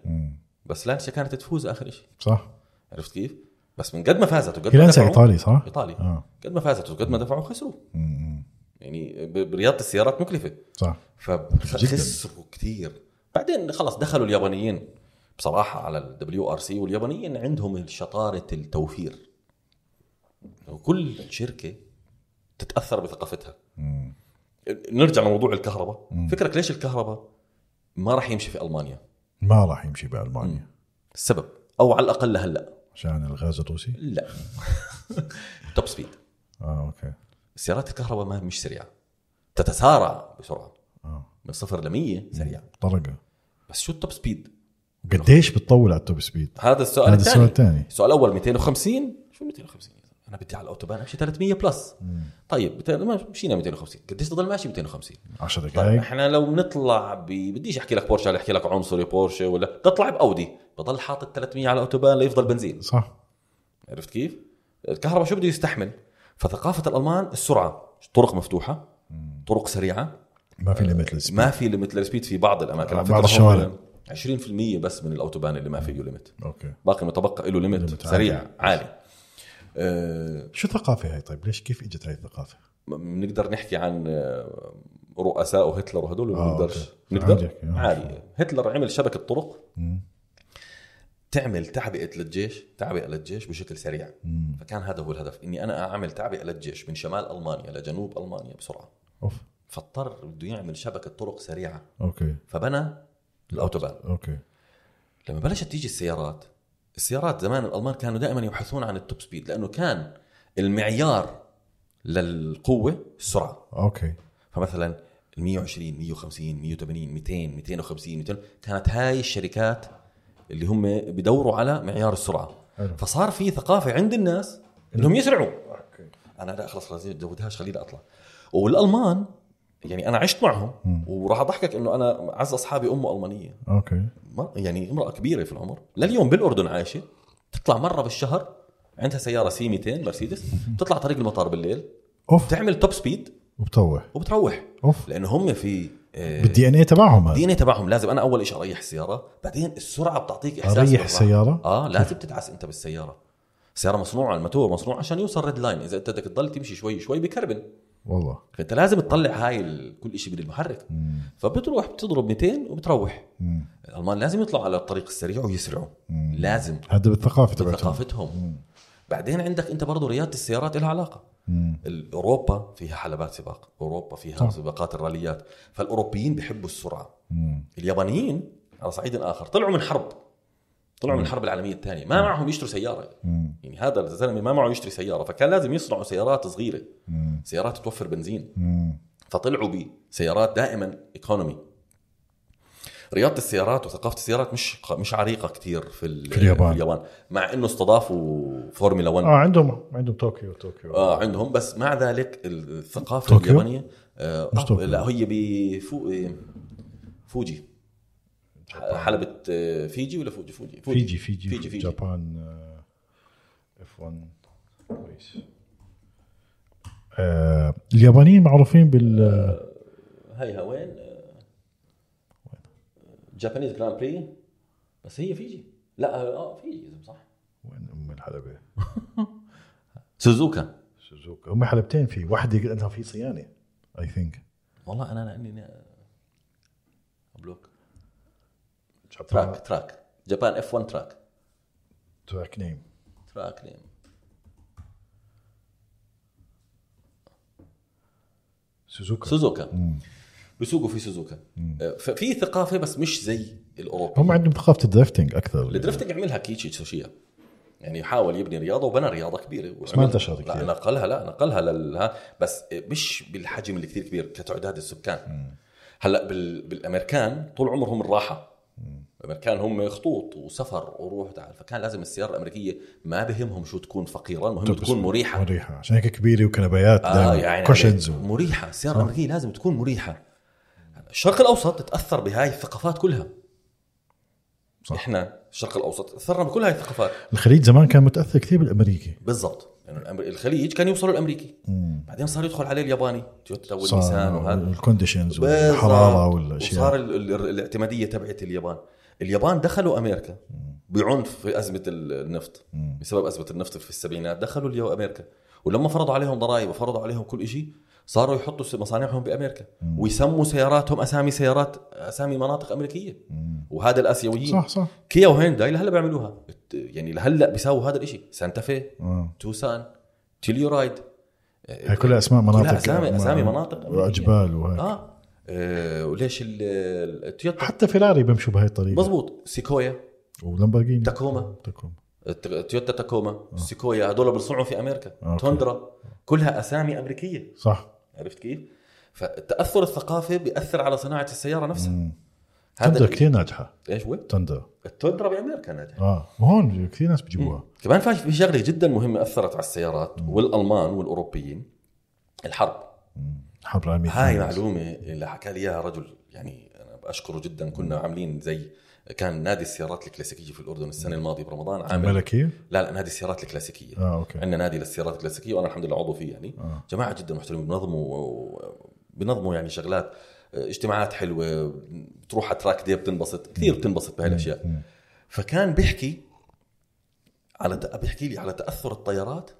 بس لانسيا كانت تفوز اخر شيء صح؟ عرفت كيف؟ بس من قد ما فازت وقد هي ما لانسيا دفعوا ايطالي صح؟ ايطالي اه قد ما فازت وقد ما دفعوا خسروا مم. يعني ب- برياضه السيارات مكلفه صح فخسروا كثير بعدين خلص دخلوا اليابانيين بصراحه على الدبليو ار سي واليابانيين عندهم شطاره التوفير وكل شركه تتاثر بثقافتها نرجع لموضوع الكهرباء فكرك ليش الكهرباء ما راح يمشي في المانيا ما راح يمشي بالمانيا السبب او على الاقل لهلا عشان الغاز الروسي لا توب سبيد اه اوكي السيارات الكهرباء ما مش سريعه تتسارع بسرعه اه من صفر ل 100 سريعه طرقه بس شو التوب سبيد قديش بتطول على التوب سبيد؟ هذا السؤال هذا الثاني السؤال الثاني السؤال الاول 250 شو 250 انا بدي على الاوتوبان امشي 300 بلس طيب بت- ما- مشينا 250 قديش تضل ماشي 250 10 طيب دقائق احنا لو بنطلع ب... بديش احكي لك بورشه ولا احكي لك عنصري بورشه ولا بطلع باودي بضل حاطط 300 على الاوتوبان ليفضل بنزين صح عرفت كيف؟ الكهرباء شو بده يستحمل؟ فثقافه الالمان السرعه طرق مفتوحه طرق سريعه ما في ليميت آه، ما في ليميت للسبيد في بعض الاماكن على بعض فكرة الشوارع. هم 20% بس من الاوتوبان اللي ما فيه ليميت اوكي باقي متبقى له ليميت ليميت سريع عالي. عالي آه، شو الثقافه هاي طيب ليش كيف اجت هاي الثقافه؟ بنقدر نحكي عن آه، رؤساء وهتلر وهدول ولا آه، بنقدرش أوكي. نقدر عندك، آه. عادي هتلر عمل شبكه طرق مم. تعمل تعبئه للجيش تعبئه للجيش بشكل سريع مم. فكان هذا هو الهدف اني انا اعمل تعبئه للجيش من شمال المانيا لجنوب المانيا بسرعه اوف فاضطر بده يعمل شبكه طرق سريعه اوكي فبنى الاوتوبان اوكي لما بلشت تيجي السيارات السيارات زمان الالمان كانوا دائما يبحثون عن التوب سبيد لانه كان المعيار للقوه السرعه اوكي فمثلا ال 120 150 180 200 250 200 كانت هاي الشركات اللي هم بدوروا على معيار السرعه حلو. فصار في ثقافه عند الناس انهم يسرعوا انا لا خلص خلص زودهاش خليني اطلع والالمان يعني انا عشت معهم وراح اضحكك انه انا اعز اصحابي امه المانيه اوكي مر- يعني امراه كبيره في العمر لليوم بالاردن عايشه تطلع مره بالشهر عندها سياره سي 200 مرسيدس بتطلع طريق المطار بالليل اوف بتعمل توب سبيد وبتروح وبتروح اوف لانه هم في آه، بالدي ان اي تبعهم هذا دي ان اي تبعهم لازم انا اول شيء اريح السياره بعدين السرعه بتعطيك احساس أريح بالراحة. السيارة؟ اه لازم تدعس انت بالسياره السياره مصنوعه الماتور مصنوع عشان يوصل ريد لاين اذا انت بدك تضل تمشي شوي شوي بكربن والله فانت لازم تطلع هاي ال- كل شيء من المحرك مم. فبتروح بتضرب 200 وبتروح مم. الالمان لازم يطلعوا على الطريق السريع ويسرعوا مم. لازم هذا بالثقافه تبعتهم ثقافتهم بعدين عندك انت برضه رياضه السيارات لها علاقه مم. ال- اوروبا فيها حلبات سباق اوروبا فيها صح. سباقات الراليات فالاوروبيين بيحبوا السرعه مم. اليابانيين على صعيد اخر طلعوا من حرب طلعوا من الحرب العالميه الثانيه ما معهم يشتروا سياره مم. يعني هذا الزلمه ما معه يشتري سياره فكان لازم يصنعوا سيارات صغيره مم. سيارات توفر بنزين مم. فطلعوا بسيارات دائما ايكونومي رياضه السيارات وثقافه السيارات مش مش عريقه كثير في, ال- في اليابان. في اليابان مع انه استضافوا فورمولا 1 اه عندهم عندهم طوكيو طوكيو اه عندهم بس مع ذلك الثقافه طوكيو؟ اليابانيه آه مش آه، طوكيو. لا هي بفو آه، فوجي ح- حلبة آه، فيجي ولا فوجي فوجي فيجي فيجي فيجي, فيجي. جابان اف 1 كويس آه، اليابانيين معروفين بال آه، هيها وين آه، جابانيز جراند بري بس هي فيجي لا آه، اه فيجي إذا صح وين ام الحلبه سوزوكا سوزوكا هم حلبتين في واحده لانها في صيانه اي ثينك والله انا لاني بلوك تراك تراك جابان اف 1 تراك تراك نيم تراك نيم سوزوكا سوزوكا بيسوقوا في سوزوكا آه، ففي ثقافه بس مش زي الاوروبي هم عندهم ثقافه الدرفتنج اكثر الدرفتنج عملها كيتشي تسوشيا يعني حاول يبني رياضه وبنى رياضه كبيره بس ما انتشرت لا كثير. نقلها لا نقلها لها بس مش بالحجم اللي كثير كبير كتعداد السكان هلا بال... بالامريكان طول عمرهم الراحه الامريكان هم خطوط وسفر وروح تعال فكان لازم السياره الامريكيه ما بهمهم شو تكون فقيره المهم تكون مريحه مريحه عشان هيك كبيره وكنبيات اه يعني كوشنز و... مريحه السياره الامريكيه لازم تكون مريحه الشرق الاوسط تاثر بهاي الثقافات كلها صح. صح. احنا الشرق الاوسط تاثرنا بكل هاي الثقافات الخليج زمان كان متاثر كثير بالامريكي بالضبط يعني الأمر- الخليج كان يوصلوا الامريكي بعدين صار يدخل عليه الياباني تويوتا والنيسان وهذا الكونديشنز بالضبط. والحراره والاشياء وصار ال- ال- الاعتماديه تبعت اليابان اليابان دخلوا امريكا بعنف في ازمه ال- النفط بسبب ازمه النفط في السبعينات دخلوا اليو امريكا ولما فرضوا عليهم ضرائب وفرضوا عليهم كل شيء صاروا يحطوا س- مصانعهم بامريكا ويسموا سياراتهم اسامي سيارات اسامي مناطق امريكيه وهذا الاسيويين صح صح كيا وهينداي لهلا بيعملوها الت- يعني لهلا بيساووا هذا الشيء سانتا في آه. توسان تيليورايد هاي كلها اسماء مناطق يعني، كلها اسامي اسامي مناطق وجبال وهيك آه. اه آه، وليش ال- ال- التويوتا حتى فيراري بيمشوا بهاي الطريقه مزبوط سيكويا ولامبورجيني تاكوما. تاكوما الت- تويوتا تاكوما سيكويا هذول بيصنعوا في امريكا أوكي. توندرا كلها اسامي امريكيه صح عرفت كيف؟ فالتاثر الثقافي بياثر على صناعه السياره نفسها تندر ال- كثير ناجحه ايش هو؟ تندر التويوت ترى بامريكا ناجح اه وهون كثير ناس بيجيبوها كمان فاش في شغله جدا مهمه اثرت على السيارات والالمان والاوروبيين الحرب الحرب العالميه هاي الثانية. معلومه اللي حكى لي اياها رجل يعني انا بشكره جدا كنا عاملين زي كان نادي السيارات الكلاسيكيه في الاردن السنه الماضيه برمضان عامل ملكيه لا لا نادي السيارات الكلاسيكيه اه اوكي عندنا نادي للسيارات الكلاسيكيه وانا الحمد لله عضو فيه يعني آه. جماعه جدا محترمين بنظموا بنظموا يعني شغلات اجتماعات حلوه بتروح على تراك دي بتنبسط كثير بتنبسط بهالاشياء مم. فكان بيحكي على تأ- بيحكي لي على تاثر الطيارات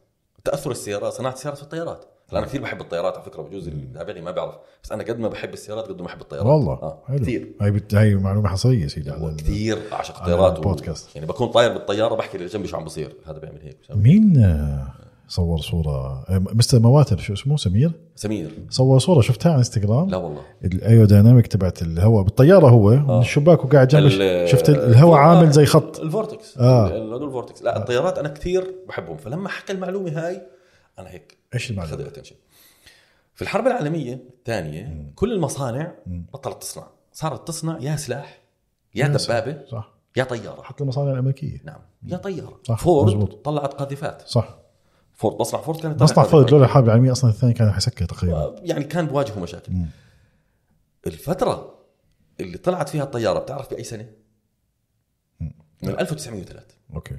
تاثر السيارات صناعه السيارات في الطيارات هلا انا كثير بحب الطيارات على فكره بجوز اللي تابعني ما بيعرف بس انا قد ما بحب السيارات قد ما بحب الطيارات والله آه. حلو كثير هاي بت... هاي معلومه حصريه سيدي على ال- كثير اعشق على الطيارات البودكاست. يعني بكون طاير بالطياره بحكي اللي جنبي شو عم بصير هذا بيعمل هيك مين آه، صور صوره آه، مستر مواتر شو اسمه سمير سمير صور صوره شفتها على انستغرام لا والله الايودايناميك تبعت الهواء بالطياره هو من الشباك وقاعد جنبه ال- شفت الهواء عامل زي خط الفورتكس آه. ال- هدول الفورتكس لا الطيارات انا كثير بحبهم فلما حكى المعلومه هاي انا هيك ايش اخذ المعلومه؟ الاتنشن في الحرب العالميه الثانيه كل المصانع بطلت تصنع صارت تصنع يا سلاح يا يا سلاح. دبابه صح يا طياره حتى المصانع الامريكيه نعم يا طياره صح، فورد مزبوط. طلعت قاذفات صح فورد مصنع فورد كانت طلعت مصنع فورد قاذفات. لولا الحرب العالميه اصلا الثانيه كان حيسكر تقريبا يعني كان بواجهه مشاكل مم. الفتره اللي طلعت فيها الطياره بتعرف باي سنه؟ مم. من 1903 اوكي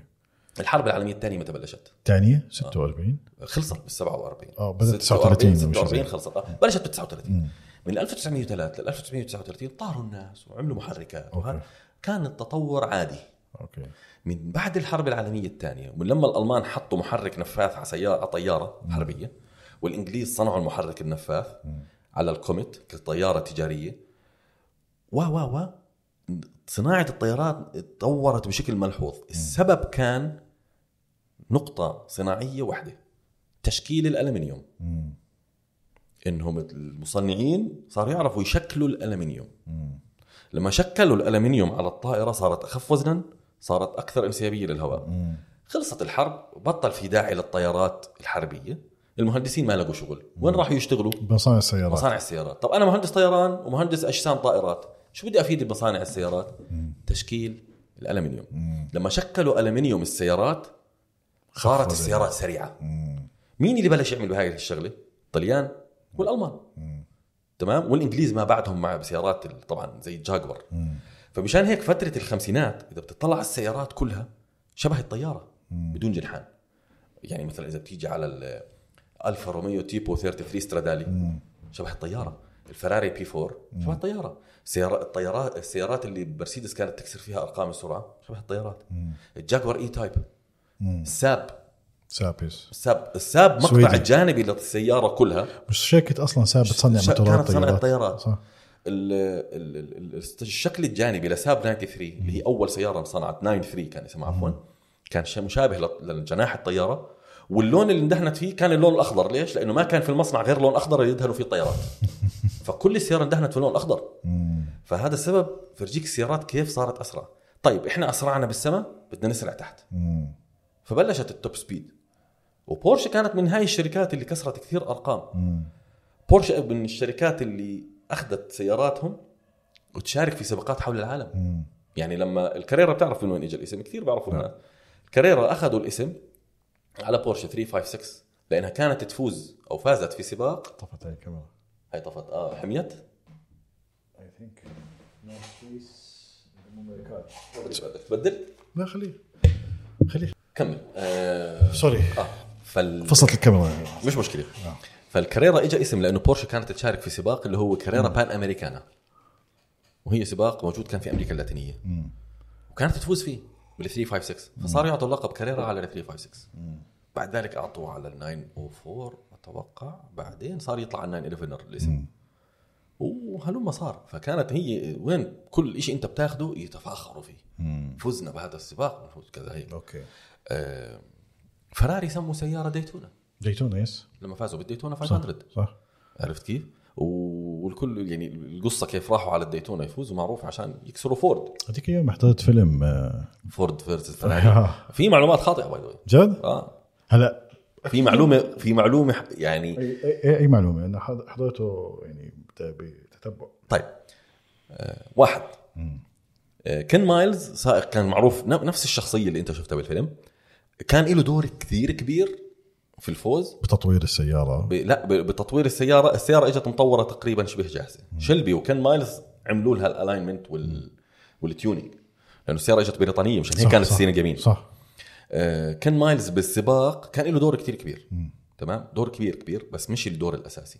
الحرب العالميه الثانيه متى بلشت؟ ثانيه 46 خلصت بال 47 آه، بدأت 46 39 أو 46 شي زي. خلصت آه، بلشت بال 39 مم. من 1903 ل 1939 طاروا الناس وعملوا محركات أوكي. وهذا كان التطور عادي اوكي من بعد الحرب العالميه الثانيه ومن لما الالمان حطوا محرك نفاث على سياره على طياره حربيه والانجليز صنعوا المحرك النفاث على الكوميت كطياره تجاريه و و و صناعه الطيارات تطورت بشكل ملحوظ السبب كان نقطه صناعيه واحده تشكيل الالمنيوم مم. انهم المصنعين صاروا يعرفوا يشكلوا الالمنيوم مم. لما شكلوا الالمنيوم على الطائره صارت اخف وزنا صارت اكثر انسيابيه للهواء مم. خلصت الحرب بطل في داعي للطيارات الحربيه المهندسين ما لقوا شغل وين راحوا يشتغلوا مصانع السيارات مصانع السيارات طب انا مهندس طيران ومهندس اجسام طائرات شو بدي افيد بمصانع السيارات تشكيل الالمنيوم مم. لما شكلوا الالمنيوم السيارات صارت وزنها. السيارات سريعه مم. مين اللي بلش يعمل بهاي الشغله الطليان والالمان مم. تمام والانجليز ما بعدهم مع بسيارات ال- طبعا زي الجاكور مم. فمشان هيك فتره الخمسينات اذا بتطلع على السيارات كلها شبه الطياره مم. بدون جنحان يعني مثلا اذا بتيجي على الالفا روميو تيبو 33 سترادالي شبه الطياره الفراري بي 4 شبه الطياره سيارة الطيارات السيارات اللي بمرسيدس كانت تكسر فيها ارقام السرعه شبه الطيارات الجاكور اي تايب مم. الساب سابس الساب الساب مقطع سويدي. الجانبي للسياره كلها مش شركه اصلا ساب بتصنع ش- موتورات كانت صناعة طيارات. صح ال- ال- ال- ال- الشكل الجانبي لساب 93 اللي هي اول سياره انصنعت 93 كان اسمها عفوا كان شيء مشابه لط- لجناح الطياره واللون اللي اندهنت فيه كان اللون الاخضر ليش؟ لانه ما كان في المصنع غير لون اخضر اللي يدهنوا فيه [LAUGHS] الطيارات فكل السياره اندهنت في اللون الاخضر مم. فهذا السبب فرجيك السيارات كيف صارت اسرع طيب احنا اسرعنا بالسماء بدنا نسرع تحت مم. فبلشت التوب سبيد وبورشة كانت من هاي الشركات اللي كسرت كثير ارقام مم. بورشة من الشركات اللي اخذت سياراتهم وتشارك في سباقات حول العالم مم. يعني لما الكاريرا بتعرف من وين اجى الاسم كثير بيعرفوا الناس الكاريرا اخذوا الاسم على بورشة 356 لانها كانت تفوز او فازت في سباق طفت هاي الكاميرا هاي طفت اه حميت I think North Face Mumbai car. تبدل لا خليه خليه كمل آه سوري آه. فال... فصلت الكاميرا مش مشكله نعم. فالكاريرا اجى اسم لانه بورشة كانت تشارك في سباق اللي هو كاريرا بان امريكانا وهي سباق موجود كان في امريكا اللاتينيه مم. وكانت تفوز فيه بال 356 فصار يعطوا لقب كاريرا على ال 356 بعد ذلك اعطوه على ال 904 اتوقع بعدين صار يطلع على 911 الاسم وهلما صار فكانت هي وين كل شيء انت بتاخده يتفاخروا فيه مم. فزنا بهذا السباق نفوز كذا هيك اوكي آه، فراري سموا سياره ديتونا ديتون يس لما فازوا بالديتونا 500 صح عرفت كيف؟ و- والكل يعني القصه كيف راحوا على الديتونا يفوزوا معروف عشان يكسروا فورد هذيك اليوم حضرت فيلم آه، فورد فيرسس فراري في معلومات خاطئه باي ذا واي. جد اه هلا في معلومه في معلومه ح- يعني اي اي, أي معلومه انا حض- حضرته يعني بت- بتتبع طيب آه، واحد آه، كين مايلز سائق كان معروف ن- نفس الشخصيه اللي انت شفتها بالفيلم كان له دور كثير كبير في الفوز بتطوير السياره ب... لا ب... بتطوير السياره السياره اجت مطوره تقريبا شبه جاهزه شلبي وكان مايلز عملوا لها الالاينمنت وال... والتيونينج لانه السياره اجت بريطانيه مشان هيك صح، كانت صح، السينه جميل صح آه، كان مايلز بالسباق كان له دور كثير كبير تمام دور كبير كبير بس مش الدور الاساسي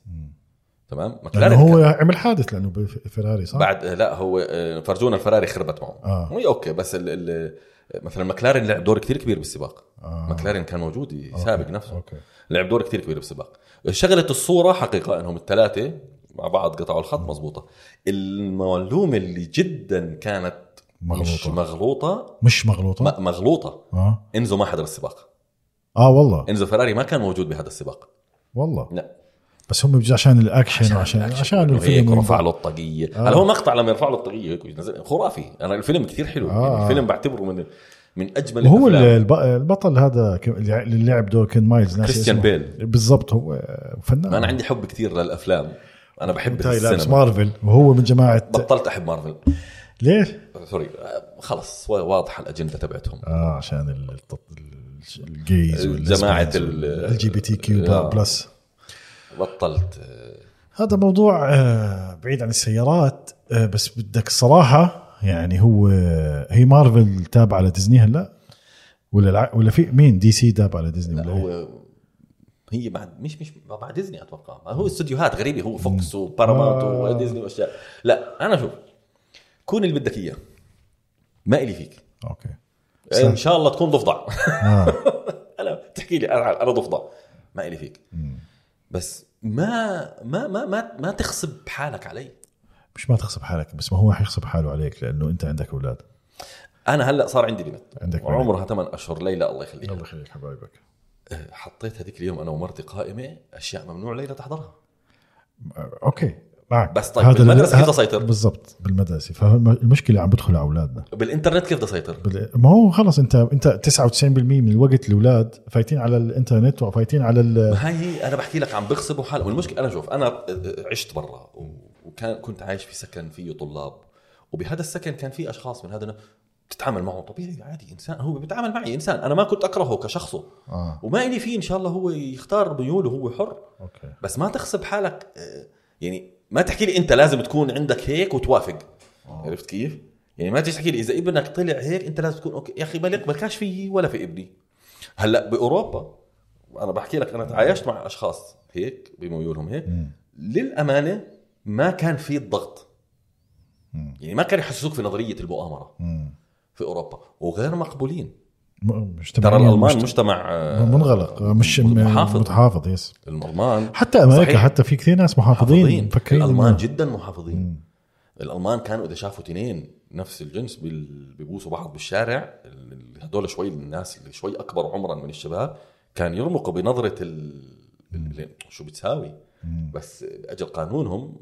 تمام لانه مكلارن هو كان عمل حادث لانه بفيراري صح؟ بعد آه، لا هو آه، فرجونا الفراري خربت معه آه. هي اوكي بس ال... ال... مثلا مكلارن لعب دور كثير كبير بالسباق آه. مكلارن كان موجود يسابق نفسه اوكي لعب دور كثير كبير بالسباق شغله الصوره حقيقه انهم الثلاثه مع بعض قطعوا الخط مزبوطة المعلومه اللي جدا كانت مش مغلوطة. مغلوطه مش مغلوطه؟ م- مغلوطه اه انزو ما حضر السباق اه والله انزو فراري ما كان موجود بهذا السباق والله لا بس هم بيجوا عشان الاكشن وعشان الأكشن عشان إنه هيك الفيلم رفع له الطاقيه آه. هلا هو مقطع لما يرفع له الطاقيه هيك وينزل- خرافي انا الفيلم كثير حلو آه. يعني الفيلم بعتبره من من اجمل وهو ال- الافلام الب- البطل هذا ك- اللي اللي لعب دور كين مايلز ناسي كريستيان اسمه. بيل. بالضبط هو فنان انا عندي حب كثير للافلام انا بحب هاي لابس السينما مارفل وهو من جماعه بطلت احب مارفل ليش؟ سوري آه، خلص وا- واضحه الاجنده تبعتهم اه عشان ال- الت- ال- الجيز جماعة ال- ال جي بي تي آه. كيو بلس بطلت آه، هذا موضوع آه، بعيد عن السيارات آه، بس بدك صراحه يعني هو هي مارفل تابعه لديزني هلا ولا الع... ولا في مين دي سي تابعه لديزني ولا إيه؟ هو... هو هي بعد مش مش مع ديزني اتوقع ما هو استديوهات غريبه هو فوكس وباراماونت آه. وديزني واشياء لا انا شوف كون اللي بدك اياه ما الي فيك اوكي يعني ان شاء الله تكون ضفدع [LAUGHS] آه. انا بتحكي لي انا انا ضفدع ما الي فيك بس ما ما ما ما, ما تخصب حالك علي مش ما تخصب حالك بس ما هو حيخصب حاله عليك لانه انت عندك اولاد انا هلا صار عندي بنت عندك بنت. عمرها 8 اشهر ليلى الله يخليها أه، يخليك حبايبك حطيت هذيك اليوم انا ومرتي قائمه اشياء ممنوع ليلى تحضرها اوكي معك بس طيب بالمدرسة كيف أسيطر؟ بالضبط بالمدرسه فالمشكله عم بدخل على اولادنا بالانترنت كيف بدي اسيطر؟ بال- ما هو خلص انت انت 99% من الوقت الاولاد فايتين على الانترنت وفايتين على ال هاي هي انا بحكي لك عم بغصبوا حالهم والمشكله انا شوف انا عشت برا و- وكان كنت عايش في سكن فيه طلاب وبهذا السكن كان في اشخاص من هذا بتتعامل معه طبيعي عادي انسان هو بيتعامل معي انسان انا ما كنت اكرهه كشخصه آه. وما لي فيه ان شاء الله هو يختار ميوله هو حر اوكي بس ما تخصب حالك آه، يعني ما تحكي لي انت لازم تكون عندك هيك وتوافق عرفت كيف؟ يعني ما تيجي تحكي لي اذا ابنك طلع هيك انت لازم تكون اوكي يا اخي ما كاش فيي ولا في ابني هلا باوروبا انا بحكي لك انا تعايشت مع اشخاص هيك بميولهم هيك للامانه ما كان في الضغط مم. يعني ما كان يحسسوك في نظريه المؤامره مم. في اوروبا وغير مقبولين م- مجتمع ترى الالمان مجت- مجتمع آه، منغلق مش محافظ. محافظ متحافظ يس الالمان حتى امريكا صحيح. صحيح. حتى في كثير ناس محافظين محافظين مفكرين الالمان إنه- جدا محافظين مم. الالمان كانوا اذا شافوا تنين نفس الجنس بال- بيبوسوا بعض بالشارع ال- هدول شوي الناس اللي شوي اكبر عمرا من الشباب كان يرمقوا بنظره ال... ال- شو بتساوي مم. بس اجل قانونهم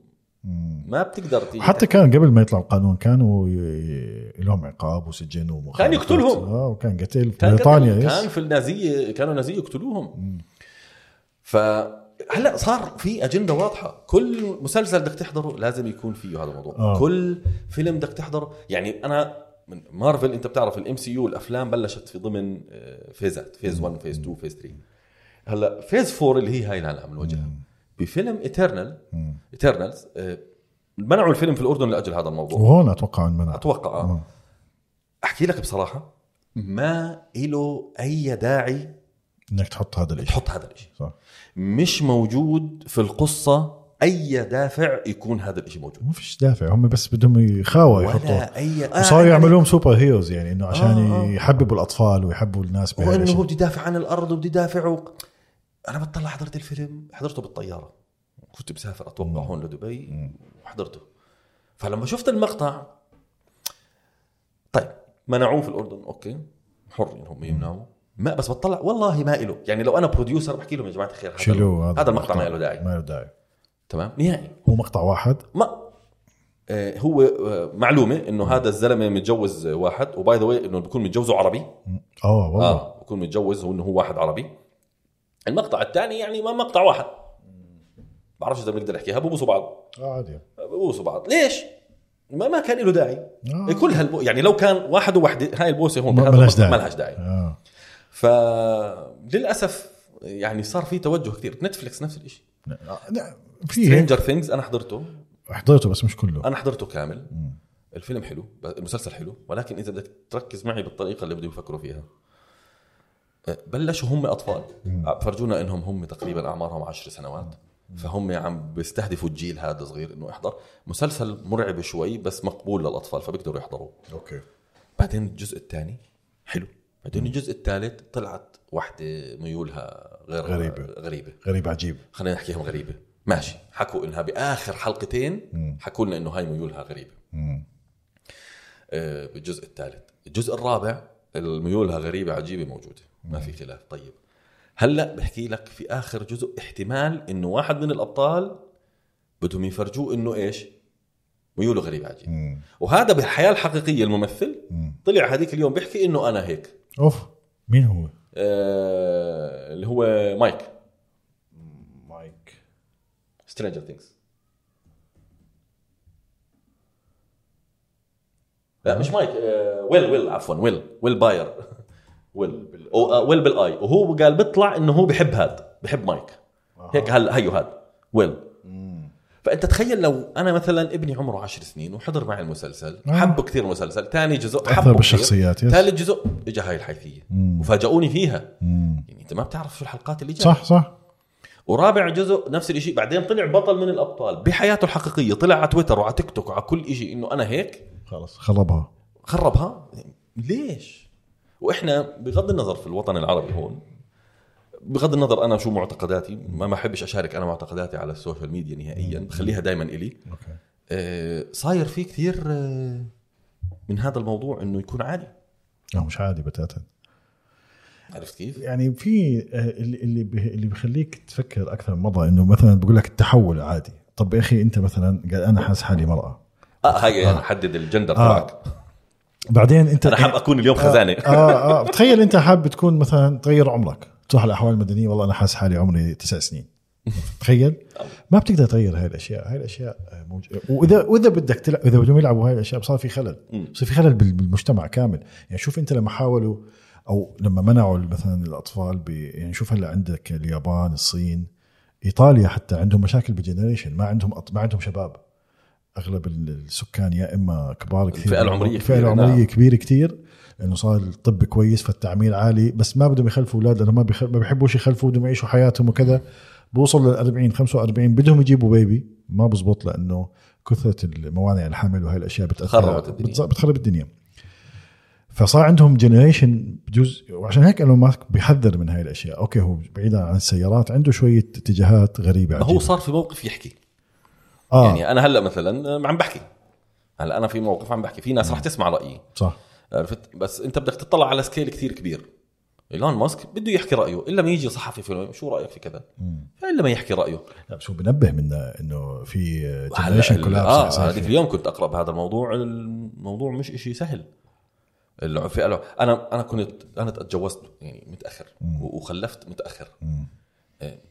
مم. ما بتقدر تيجي حتى كان قبل ما يطلع القانون كانوا ي- ي- لهم عقاب وسجن ومخالفات كان يقتلهم. اه وكان قتل في كان بريطانيا قتل- كان يس في النازيه كانوا نازيه يقتلوهم فهلا صار في اجنده واضحه كل مسلسل بدك تحضره لازم يكون فيه هذا الموضوع آه. كل فيلم بدك تحضره يعني انا من مارفل انت بتعرف الام سي يو الافلام بلشت في ضمن آه، فيزات فيز 1 فيز 2 فيز 3 هلا فيز 4 اللي هي هاي اللي هلا عم نواجهها بفيلم ايترنال ايترنالز منعوا الفيلم في الاردن لاجل هذا الموضوع وهون اتوقع انمنع اتوقع مم. اه احكي لك بصراحه ما إله اي داعي انك تحط هذا الشيء تحط هذا الشيء صح مش موجود في القصه اي دافع يكون هذا الشيء موجود ما فيش دافع هم بس بدهم يخاوة يحطوه ولا اي آه وصاروا يعملوهم سوبر هيروز يعني انه عشان آه، آه. يحببوا الاطفال ويحبوا الناس يعني هو انه هو بهالشيء بده يدافع عن الارض وبده يدافع و... انا بطلع حضرت الفيلم حضرته بالطياره كنت مسافر اتوقع هون لدبي وحضرته فلما شفت المقطع طيب منعوه في الاردن اوكي حر انهم يمنعوه ما بس بطلع والله ما إله يعني لو انا بروديوسر بحكي لهم يا جماعه الخير شيلوه هذا المقطع ما له داعي ما له داعي تمام نهائي هو مقطع واحد ما آه، هو آه، معلومه انه هذا الزلمه متجوز آه، واحد وباي ذا واي انه بيكون متجوزه عربي اه والله اه بيكون متجوز وانه هو واحد عربي المقطع الثاني يعني ما مقطع واحد بعرفش اذا بنقدر نحكيها ببوسوا بعض اه عادي ببوسوا بعض ليش؟ ما ما كان له داعي آه. كل هالبو يعني لو كان واحد ووحده هاي البوسه هون ما- بهذا ملهاش المقطع داعي. ما لهاش داعي آه. فللاسف يعني صار في توجه كثير نتفلكس نفس الشيء لا، في هيك. سترينجر ثينجز انا حضرته حضرته بس مش كله انا حضرته كامل مم. الفيلم حلو ب- المسلسل حلو ولكن اذا بدك تركز معي بالطريقه اللي بدهم يفكروا فيها أه، بلشوا هم اطفال فرجونا انهم هم تقريبا اعمارهم عشر سنوات فهم عم بيستهدفوا الجيل هذا صغير انه احضر مسلسل مرعب شوي بس مقبول للاطفال فبيقدروا يحضروه اوكي بعدين الجزء الثاني حلو بعدين الجزء الثالث طلعت وحده ميولها غير غريبة. غريبه غريب عجيب خلينا نحكيهم غريبه ماشي حكوا انها باخر حلقتين مم. حكوا لنا انه هاي ميولها غريبه مم. آه، بالجزء الثالث الجزء الرابع الميولها غريبه عجيبه موجوده ما في خلاف طيب هلا بحكي لك في اخر جزء احتمال انه واحد من الابطال بدهم يفرجوه انه ايش ميوله غريبه عجيبه مم. وهذا بالحياه الحقيقيه الممثل مم. طلع هذيك اليوم بيحكي انه انا هيك اوف مين هو؟ آه، اللي هو مايك مايك سترينجر ثينكس لا مش مايك آه، ويل ويل عفوا ويل ويل باير [LAUGHS] ويل أو- آه، ويل بالاي وهو قال بيطلع انه هو بحب هاد بحب مايك هيك هلا هيو هاد ويل فانت تخيل لو انا مثلا ابني عمره عشر سنين وحضر معي المسلسل آه. حبه كثير المسلسل ثاني جزء أثر حبه بالشخصيات، يس. ثالث جزء اجى هاي الحيثيه مم. وفاجئوني فيها يعني انت ما بتعرف شو الحلقات اللي جايه صح صح ورابع جزء نفس الشيء بعدين طلع بطل من الابطال بحياته الحقيقيه طلع على تويتر وعلى تيك توك وعلى كل شيء انه انا هيك خلص خربها خربها ليش واحنا بغض النظر في الوطن العربي هون بغض النظر انا شو معتقداتي ما ما احبش اشارك انا معتقداتي على السوشيال ميديا نهائيا بخليها دائما الي اوكي آه، صاير في كثير آه، من هذا الموضوع انه يكون عادي لا مش عادي بتاتا عرفت كيف يعني في آه، اللي اللي بي- اللي بخليك تفكر اكثر من مره انه مثلا بقول لك التحول عادي طب يا اخي انت مثلا قال انا حاسس حالي مراه اه هاي يعني حدد الجندر آه. تبعك بعدين إيه؟ انت انا حاب اكون اليوم خزانه اه اه تخيل انت حاب تكون مثلا تغير عمرك تروح على الاحوال المدنيه والله انا حاسس حالي عمري تسع سنين تخيل ما بتقدر تغير هاي الاشياء هاي الاشياء آه، موج... واذا واذا بدك تلعب اذا بدهم يلعبوا هاي الاشياء صار في خلل صار في خلل بال- بالمجتمع كامل يعني شوف انت لما حاولوا او لما منعوا مثلا الاطفال ب... يعني شوف هلا عندك اليابان الصين ايطاليا حتى عندهم مشاكل بالجنريشن ما عندهم أط... ما عندهم شباب اغلب ال- السكان يا اما كبار كثير الفئة العمرية الفئه كبيرة، العمريه نعم. كبير كتير لانه صار الطب كويس فالتعمير عالي بس ما بدهم يخلفوا اولاد لانه ما بيخ... ما بيحبوش يخلفوا بدهم يعيشوا حياتهم وكذا بوصلوا لل 40 45 بدهم يجيبوا بيبي ما بزبط لانه كثره الموانع الحمل وهي الاشياء بتاثر خربت الدنيا. بتز- بتخرب الدنيا فصار عندهم جنريشن بجوز وعشان هيك ايلون ماسك بيحذر من هاي الاشياء اوكي هو بعيدا عن السيارات عنده شويه اتجاهات غريبه هو عجيبة. صار في موقف يحكي آه. يعني انا هلا مثلا عم بحكي هلا انا في موقف عم بحكي في ناس رح تسمع رايي صح عرفت بس انت بدك تطلع على سكيل كثير كبير ايلون ماسك بده يحكي رايه الا ما يجي صحفي فيلم شو رايك في كذا الا ما يحكي رايه لا بس هو بنبه منا انه في جنريشن هلا ال- اه كولابس هذيك اليوم كنت اقرا بهذا الموضوع الموضوع مش إشي سهل الفئه الع- انا انا كنت انا تجوزت يعني متاخر وخلفت متاخر إيه،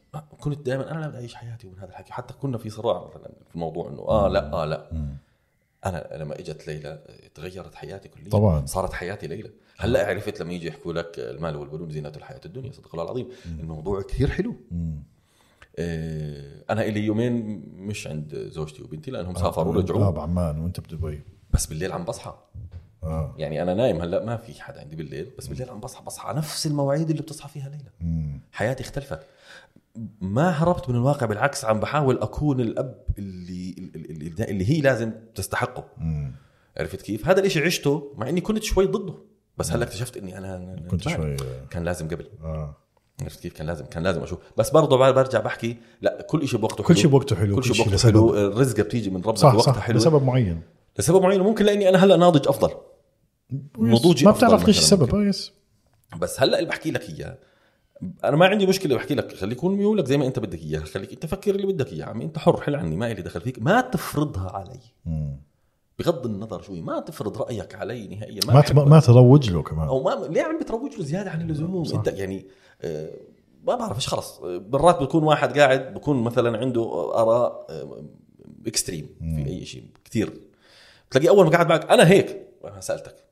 كنت دائما انا لا بدي اعيش حياتي من هذا الحكي حتى كنا في صراع مثلا في الموضوع انه اه لا اه لا انا لما اجت ليلى إيه، تغيرت حياتي كليا طبعاً. صارت حياتي ليلى هلا عرفت لما يجي يحكوا لك المال والبنون زينه الحياه الدنيا صدق الله العظيم الموضوع كثير حلو إيه، انا الي يومين مش عند زوجتي وبنتي لانهم سافروا اه ورجعوا بعمان وانت بدبي بس بالليل عم بصحى اه يعني انا نايم هلا ما في حدا عندي بالليل بس بالليل عم بصحى بصحى على نفس المواعيد اللي بتصحى فيها ليلى مم. حياتي اختلفت ما هربت من الواقع بالعكس عم بحاول اكون الاب اللي اللي, اللي هي لازم تستحقه مم. عرفت كيف هذا الاشي عشته مع اني كنت شوي ضده بس هلا اكتشفت اني انا أنا كنت تبعك. شوي كان لازم قبل اه عرفت كيف كان لازم كان لازم اشوف بس برضه بعد برجع بحكي لا كل شيء بوقته كل شيء بوقته حلو، كل كل شيء شيء بوقته لسبب. حلو الرزقه بتيجي من ربنا صح بوقتها صح حلو لسبب معين لسبب معين وممكن لاني انا هلا ناضج افضل نضوجي ما أفضل بتعرف ليش مثلاً السبب ممكن. اه يس بس هلا اللي بحكي لك اياه انا ما عندي مشكله بحكي لك خلي يكون ميولك زي ما انت بدك اياها خليك انت فكر اللي بدك اياه عمي انت حر حل عني ما إلي دخل فيك ما تفرضها علي مم. بغض النظر شوي ما تفرض رايك علي نهائيا ما, ما تب- بحبك. ما تروج له كمان او ما ليه عم بتروج له زياده عن اللزوم صح. انت يعني آه، ما بعرف ايش خلص آه، مرات بكون واحد قاعد آه، بكون مثلا عنده اراء اكستريم في اي شيء كثير تلاقيه اول ما قعد معك انا هيك انا سالتك [LAUGHS]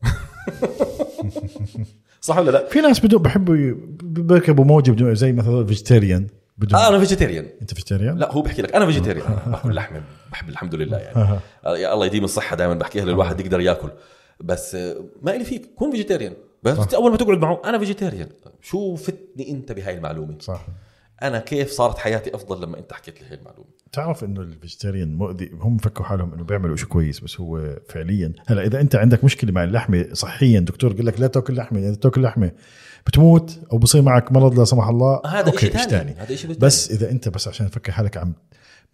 صح ولا لا؟ في ناس بدون بحبوا ي- بيركبوا موجه بدون زي مثلا فيجيتيريان بدون آه انا فيجيتيريان انت فيجيتيريان؟ لا هو بحكي لك انا فيجيتيريان باكل لحمه بحب الحمد لله يعني يا الله يديم الصحه دائما بحكيها للواحد يقدر ياكل بس آه، ما إلي فيك كون فيجيتيريان بس اول ما تقعد معه انا فيجيتيريان شو فتني انت بهاي المعلومه صح انا كيف صارت حياتي افضل لما انت حكيت لي هاي المعلومه تعرف انه الفيجيتيريان مؤذي هم فكوا حالهم انه بيعملوا شيء كويس بس هو فعليا هلا اذا انت عندك مشكله مع اللحمه صحيا دكتور قال لك لا تاكل لحمه اذا تاكل لحمه بتموت او بصير معك مرض لا سمح الله هذا أوكي، شيء إيش ثاني هذا شيء بس اذا انت بس عشان تفكر حالك عم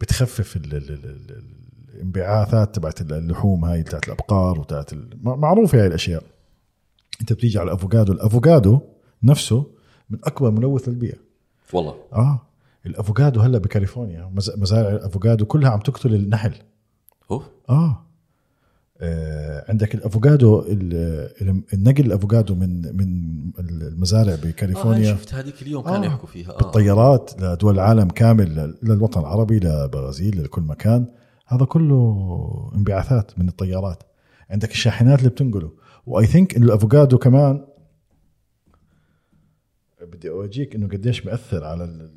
بتخفف ال- ال- ال- ال- ال- الانبعاثات تبعت اللحوم هاي تبعت الابقار وتبعت ال- مع- معروفه هاي الاشياء انت بتيجي على الافوكادو الافوكادو نفسه من اكبر ملوث للبيئه والله اه الافوكادو هلا بكاليفورنيا مز- مزارع الافوكادو كلها عم تقتل النحل اوف آه. آه عندك الافوكادو ال- ال- النقل الافوكادو من من المزارع آه بكاليفورنيا شفت هذيك اليوم كانوا آه. يحكوا فيها آه. بالطيارات لدول العالم كامل لل- للوطن العربي لبرازيل لكل مكان هذا كله انبعاثات من الطيارات عندك الشاحنات اللي بتنقله واي ثينك انه الافوكادو كمان بدي اورجيك انه قديش بياثر على ال-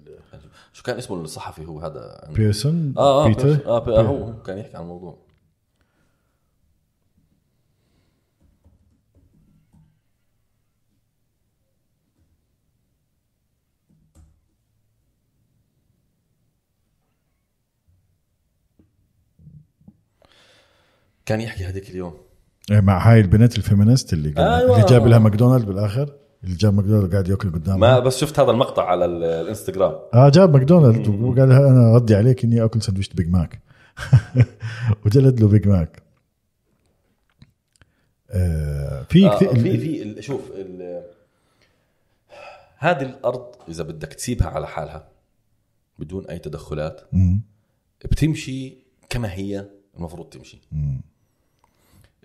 شو كان اسمه الصحفي هو هذا عنده؟ بيرسون اه اه بيتر بيرسون. آه, بي- آه هو كان يحكي عن الموضوع كان يحكي هذيك اليوم إيه، مع هاي البنت الفيمينست اللي قال أيوة. اللي جاب لها ماكدونالد بالاخر اللي جاب ماكدونالد قاعد ياكل قدامها ما بس شفت هذا المقطع على ال- الانستغرام اه جاب ماكدونالد وقال لها انا ردي عليك اني اكل سندويشة بيج ماك [LAUGHS] وجلد له بيج ماك آه في آه، كثير في في ال- شوف ال- هذه الارض اذا بدك تسيبها على حالها بدون اي تدخلات مم، بتمشي كما هي المفروض تمشي مم،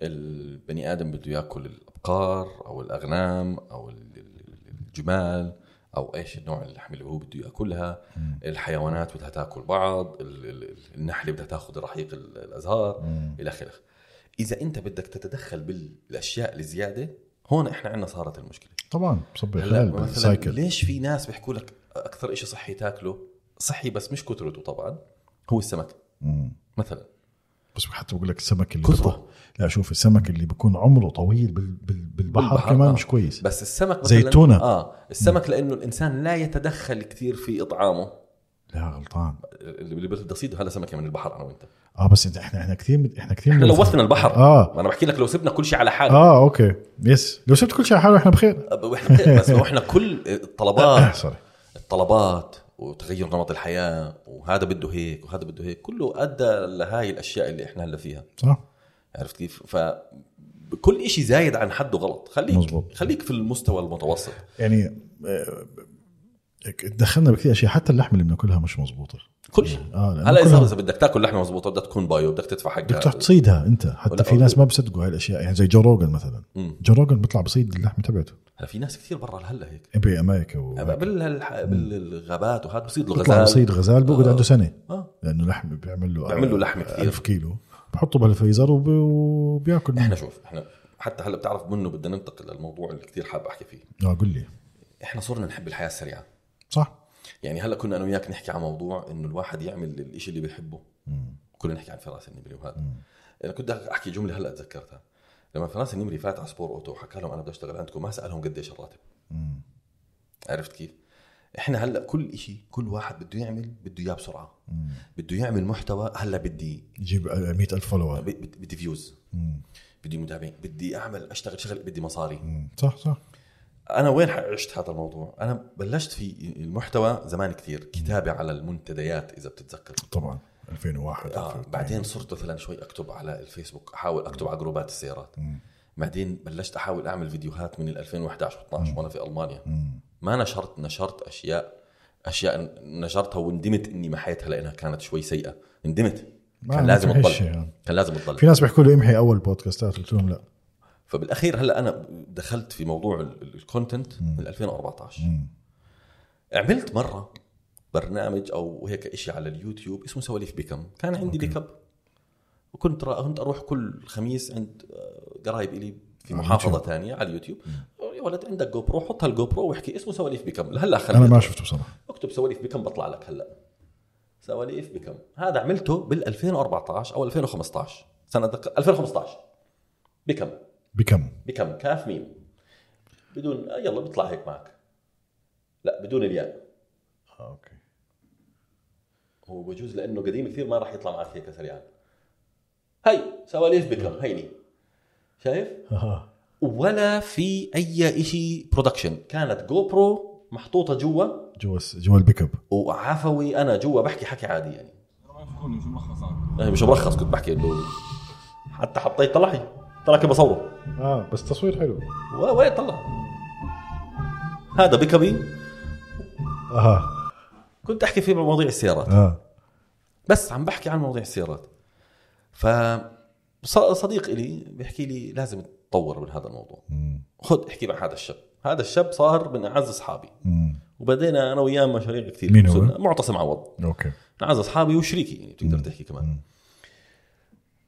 البني ادم بده ياكل الابقار او الاغنام او ال- ال- الجمال او ايش النوع اللحم اللي هو بده ياكلها مم. الحيوانات بدها تاكل بعض ال- ال- ال- النحله بدها تاخذ رحيق ال- الازهار مم. الى اخره اذا انت بدك تتدخل بالاشياء الزياده هون احنا عندنا صارت المشكله طبعا بصبي هلا خلال مثلا بالسايكل ليش في ناس بيحكوا لك اكثر شيء صحي تاكله صحي بس مش كترته طبعا هو السمك مم. مثلا بس حتى بقول لك السمك اللي كثرة. بيطلع- لا شوف السمك اللي بيكون عمره طويل بال- بال- بالبحر بالبحر، كمان آه. مش كويس بس السمك مثلا زي التونة. اه السمك لانه الانسان لا يتدخل كثير في اطعامه لا غلطان اللي بده يصيده هذا سمكه من البحر انا وانت اه بس إنت- احنا احنا كثير مت- احنا كثير احنا مت- لوثنا البحر آه. ما انا بحكي لك لو سبنا كل شيء على حاله اه اوكي يس لو سبت كل شيء على حاله احنا بخير آه، آه. احنا بخير، [LAUGHS] بس احنا كل الطلبات سوري الطلبات وتغير نمط الحياه وهذا بده هيك وهذا بده هيك كله ادى لهاي الاشياء اللي احنا هلا فيها صح عرفت كيف؟ ف كل شيء زايد عن حده غلط خليك مزبوط. خليك في المستوى المتوسط يعني آه، دخلنا بكثير اشياء حتى اللحمه اللي بناكلها مش مزبوطه كل شيء اه لأنه هلا كلها اذا اذا بدك تاكل لحمه مضبوطه بدك تكون بايو بدك تدفع حقها بدك تروح تصيدها انت ولا- حتى في ناس ما بصدقوا هاي الاشياء يعني زي جو روجن مثلا مم. جو روجن بيطلع بصيد اللحمه تبعته هلا في ناس كثير برا هلا هيك بامريكا و... بالهل... بالغابات وهذا بصير له بيطلع غزال بصيد غزال بيقعد آه. عنده سنه آه. لانه لحم بيعمل له بيعمل له لحم كثير. 1000 كيلو بحطه بالفريزر وب- وبياكل احنا منه شوف احنا حتى هلا بتعرف منه بدنا ننتقل للموضوع اللي كثير حاب احكي فيه اه قل لي احنا صرنا نحب الحياه السريعه صح يعني هلا كنا انا وياك نحكي عن موضوع انه الواحد يعمل الشيء اللي بيحبه مم. كنا نحكي عن فراس النمري وهذا مم. انا كنت بدي احكي جمله هلا تذكرتها لما فراس النمري فات على سبور اوتو وحكى لهم انا بدي اشتغل عندكم ما سالهم قديش الراتب مم. عرفت كيف؟ احنا هلا كل شيء كل واحد بده يعمل بده اياه بسرعه مم. بده يعمل محتوى هلا بدي يجيب 100000 فولور بدي بدي فيوز بدي متابعين بدي اعمل اشتغل شغل بدي مصاري صح صح انا وين عشت هذا الموضوع انا بلشت في المحتوى زمان كثير كتابه على المنتديات اذا بتتذكر طبعا 2001 آه 2002. بعدين صرت مثلا شوي اكتب على الفيسبوك احاول اكتب على جروبات السيارات مم. بعدين بلشت احاول اعمل فيديوهات من ال 2011 و12 وانا في المانيا مم. ما نشرت نشرت اشياء اشياء نشرتها وندمت اني محيتها لانها كانت شوي سيئه ندمت ما- كان ما لازم في تضل شيء يعني. كان لازم تضل في ناس بيحكوا له امحي اول بودكاستات قلت لهم لا فبالاخير هلا انا دخلت في موضوع ال- ال- الكونتنت من 2014 مم. عملت مره برنامج او هيك إشي على اليوتيوب اسمه سواليف بيكم كان عندي بيك اب كنت را- كنت اروح كل خميس عند آه، قرايب الي في محافظه اليوتيوب. ثانيه على اليوتيوب يا ولد عندك جو برو حط هالجو برو واحكي اسمه سواليف بكم هلا انا خليته ما شفته بصراحه اكتب سواليف بكم بطلع لك هلا سواليف بكم هذا عملته بال 2014 او 2015 سنه دق- 2015 بكم بكم بكم كاف ميم بدون آه، يلا بيطلع هيك معك لا بدون الياء اوكي هو بجوز لانه قديم كثير ما راح يطلع معك هيك سريعا هي سواليف بكم هيني شايف ولا في اي شيء برودكشن كانت جو برو محطوطه جوا جوا الس- جوا البيك اب وعفوي انا جوا بحكي حكي عادي يعني يعني مش ملخص كنت بحكي انه حتى حطيت طلع لي طلع كيف بصوره اه بس تصوير حلو ولا ولا طلع هذا بيكابي اها كنت احكي فيه بمواضيع السيارات اه بس عم بحكي عن مواضيع السيارات ف ص- صديق إلي بيحكي لي لازم تطور من هذا الموضوع مم. خد احكي مع هذا الشاب هذا الشاب صار من اعز اصحابي مم. وبدينا انا وياه مشاريع كثير مين هو؟ صرنا- معتصم عوض اوكي من اعز اصحابي وشريكي يعني بتقدر مم. تحكي كمان مم.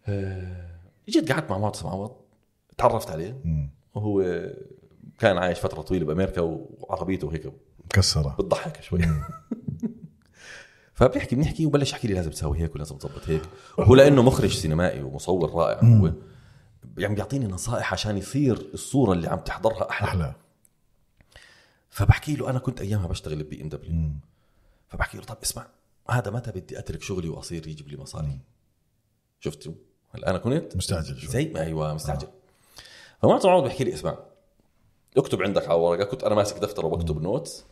آه، جيت قعدت مع معتصم عوض تعرفت عليه مم. وهو كان عايش فتره طويله بامريكا وعربيته هيك مكسره بتضحك شوي [LAUGHS] فبيحكي بنحكي وبلش يحكي لي لازم تسوي هيك ولازم تظبط هيك وهو لانه مخرج سينمائي ومصور رائع هو يعني بيعطيني نصائح عشان يصير الصوره اللي عم تحضرها احلى احلى فبحكي له انا كنت ايامها بشتغل بي ام دبليو مم. فبحكي له طب اسمع هذا متى بدي اترك شغلي واصير يجيب لي مصاري شفت هلا انا كنت مستعجل شوي آه. زي ما ايوه مستعجل فمعطي عوض بيحكي لي اسمع اكتب عندك على ورقه كنت انا ماسك دفتر وبكتب نوتس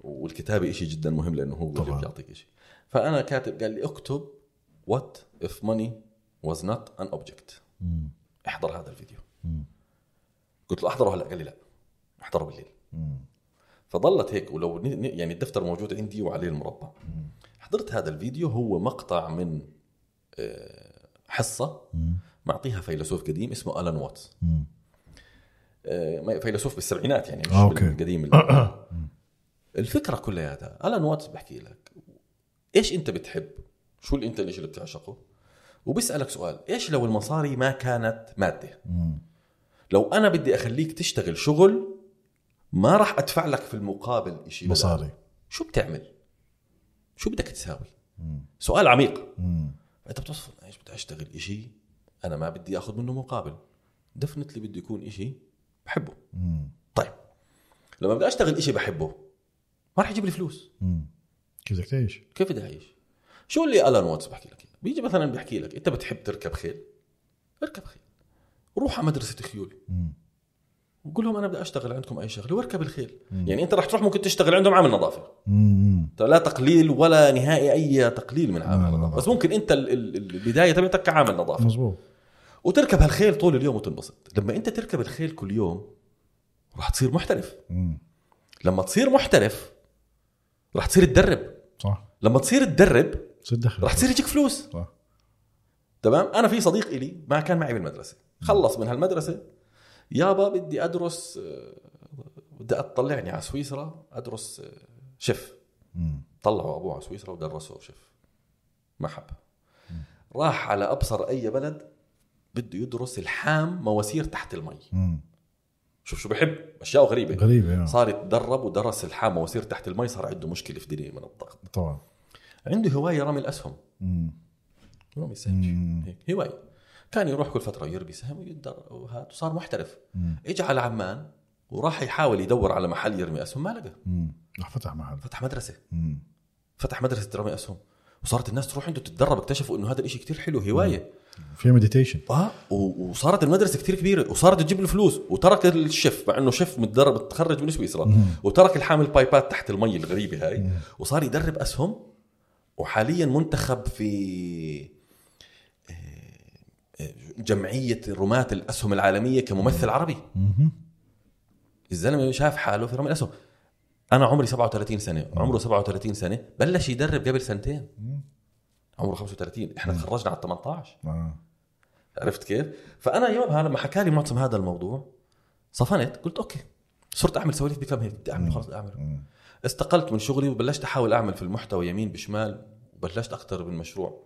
والكتابه إشي جدا مهم لانه هو اللي طبعاً. بيعطيك إشي فانا كاتب قال لي اكتب وات اف ماني واز نوت ان اوبجكت مم. احضر هذا الفيديو مم. قلت له احضره هلا قال لي لا احضره بالليل مم. فظلت هيك ولو ن- ن- يعني الدفتر موجود عندي وعليه المربع حضرت هذا الفيديو هو مقطع من آه، حصه مم. معطيها فيلسوف قديم اسمه الان واتس مم. آه، ما- فيلسوف بالسبعينات يعني مش آه، أوكي. [COUGHS] بالقديم اللي- الفكره كلياتها الان واتس بحكي لك ايش انت بتحب؟ شو الانتاج اللي بتعشقه؟ وبسالك سؤال ايش لو المصاري ما كانت ماده؟ مم. لو انا بدي اخليك تشتغل شغل ما راح ادفع لك في المقابل شيء مصاري شو بتعمل؟ شو بدك تساوي؟ مم. سؤال عميق مم. انت بتوصف ايش بدي اشتغل شيء انا ما بدي اخذ منه مقابل دفنتلي بده يكون شيء بحبه مم. طيب لما بدي اشتغل شيء بحبه ما راح يجيب لي فلوس مم. كيف بدك تعيش؟ كيف بدي اعيش شو اللي الان واتس بحكي لك إياه؟ بيجي مثلا بيحكي لك انت بتحب تركب خيل اركب خيل روح على مدرسه خيول مم. وقول لهم انا بدي اشتغل عندكم اي شغله واركب الخيل مم. يعني انت راح تروح ممكن تشتغل عندهم عامل نظافه مم. طيب لا تقليل ولا نهائي اي تقليل من عامل عامل النظافه نظافة. بس ممكن انت ال- ال- البدايه تبعتك كعامل نظافه مزبوط وتركب هالخيل طول اليوم وتنبسط لما انت تركب الخيل كل يوم راح تصير محترف مم. لما تصير محترف راح تصير تدرب صح لما تصير تدرب تصير دخل راح تصير يجيك فلوس صح تمام انا في صديق الي ما كان معي بالمدرسه خلص من هالمدرسه يابا بدي ادرس آه، بدي اطلعني على سويسرا ادرس آه، شيف مم. طلعوا ابوه على سويسرا ودرسوه شيف ما حب راح على ابصر اي بلد بده يدرس الحام مواسير تحت المي مم. شوف شو بحب اشياء غريبه غريبة يعني. صار يتدرب ودرس الحام مواسير تحت المي صار عنده مشكله في دنيا من الضغط طبعا عنده هوايه رمي الاسهم مم. رمي سهم هيك هوايه كان يروح كل فتره يرمي سهم ويقدر وهات وصار محترف مم. اجى على عمان وراح يحاول يدور على محل يرمي اسهم ما لقى مم. راح فتح محل فتح مدرسه مم. فتح مدرسه رمي اسهم وصارت الناس تروح عنده تتدرب اكتشفوا انه هذا الاشي كتير حلو هوايه فيها مديتيشن اه و- وصارت المدرسه كتير كبيره وصارت تجيب له فلوس وترك الشيف مع انه شيف متدرب تخرج من سويسرا مم. وترك الحامل بايبات تحت المي الغريبه هاي وصار يدرب اسهم وحاليا منتخب في آه، آه، جمعيه رماة الاسهم العالميه كممثل عربي مم. الزلمه شاف حاله في رمي الاسهم انا عمري 37 سنه عمره 37 سنه بلش يدرب قبل سنتين مم. عمره 35 احنا تخرجنا على 18 آه. عرفت كيف؟ فانا يومها لما حكى لي معتصم هذا الموضوع صفنت قلت اوكي صرت اعمل سواليف بكم هيك بدي اعمل خلص بدي اعمل مم. استقلت من شغلي وبلشت احاول اعمل في المحتوى يمين بشمال وبلشت اكتر من مشروع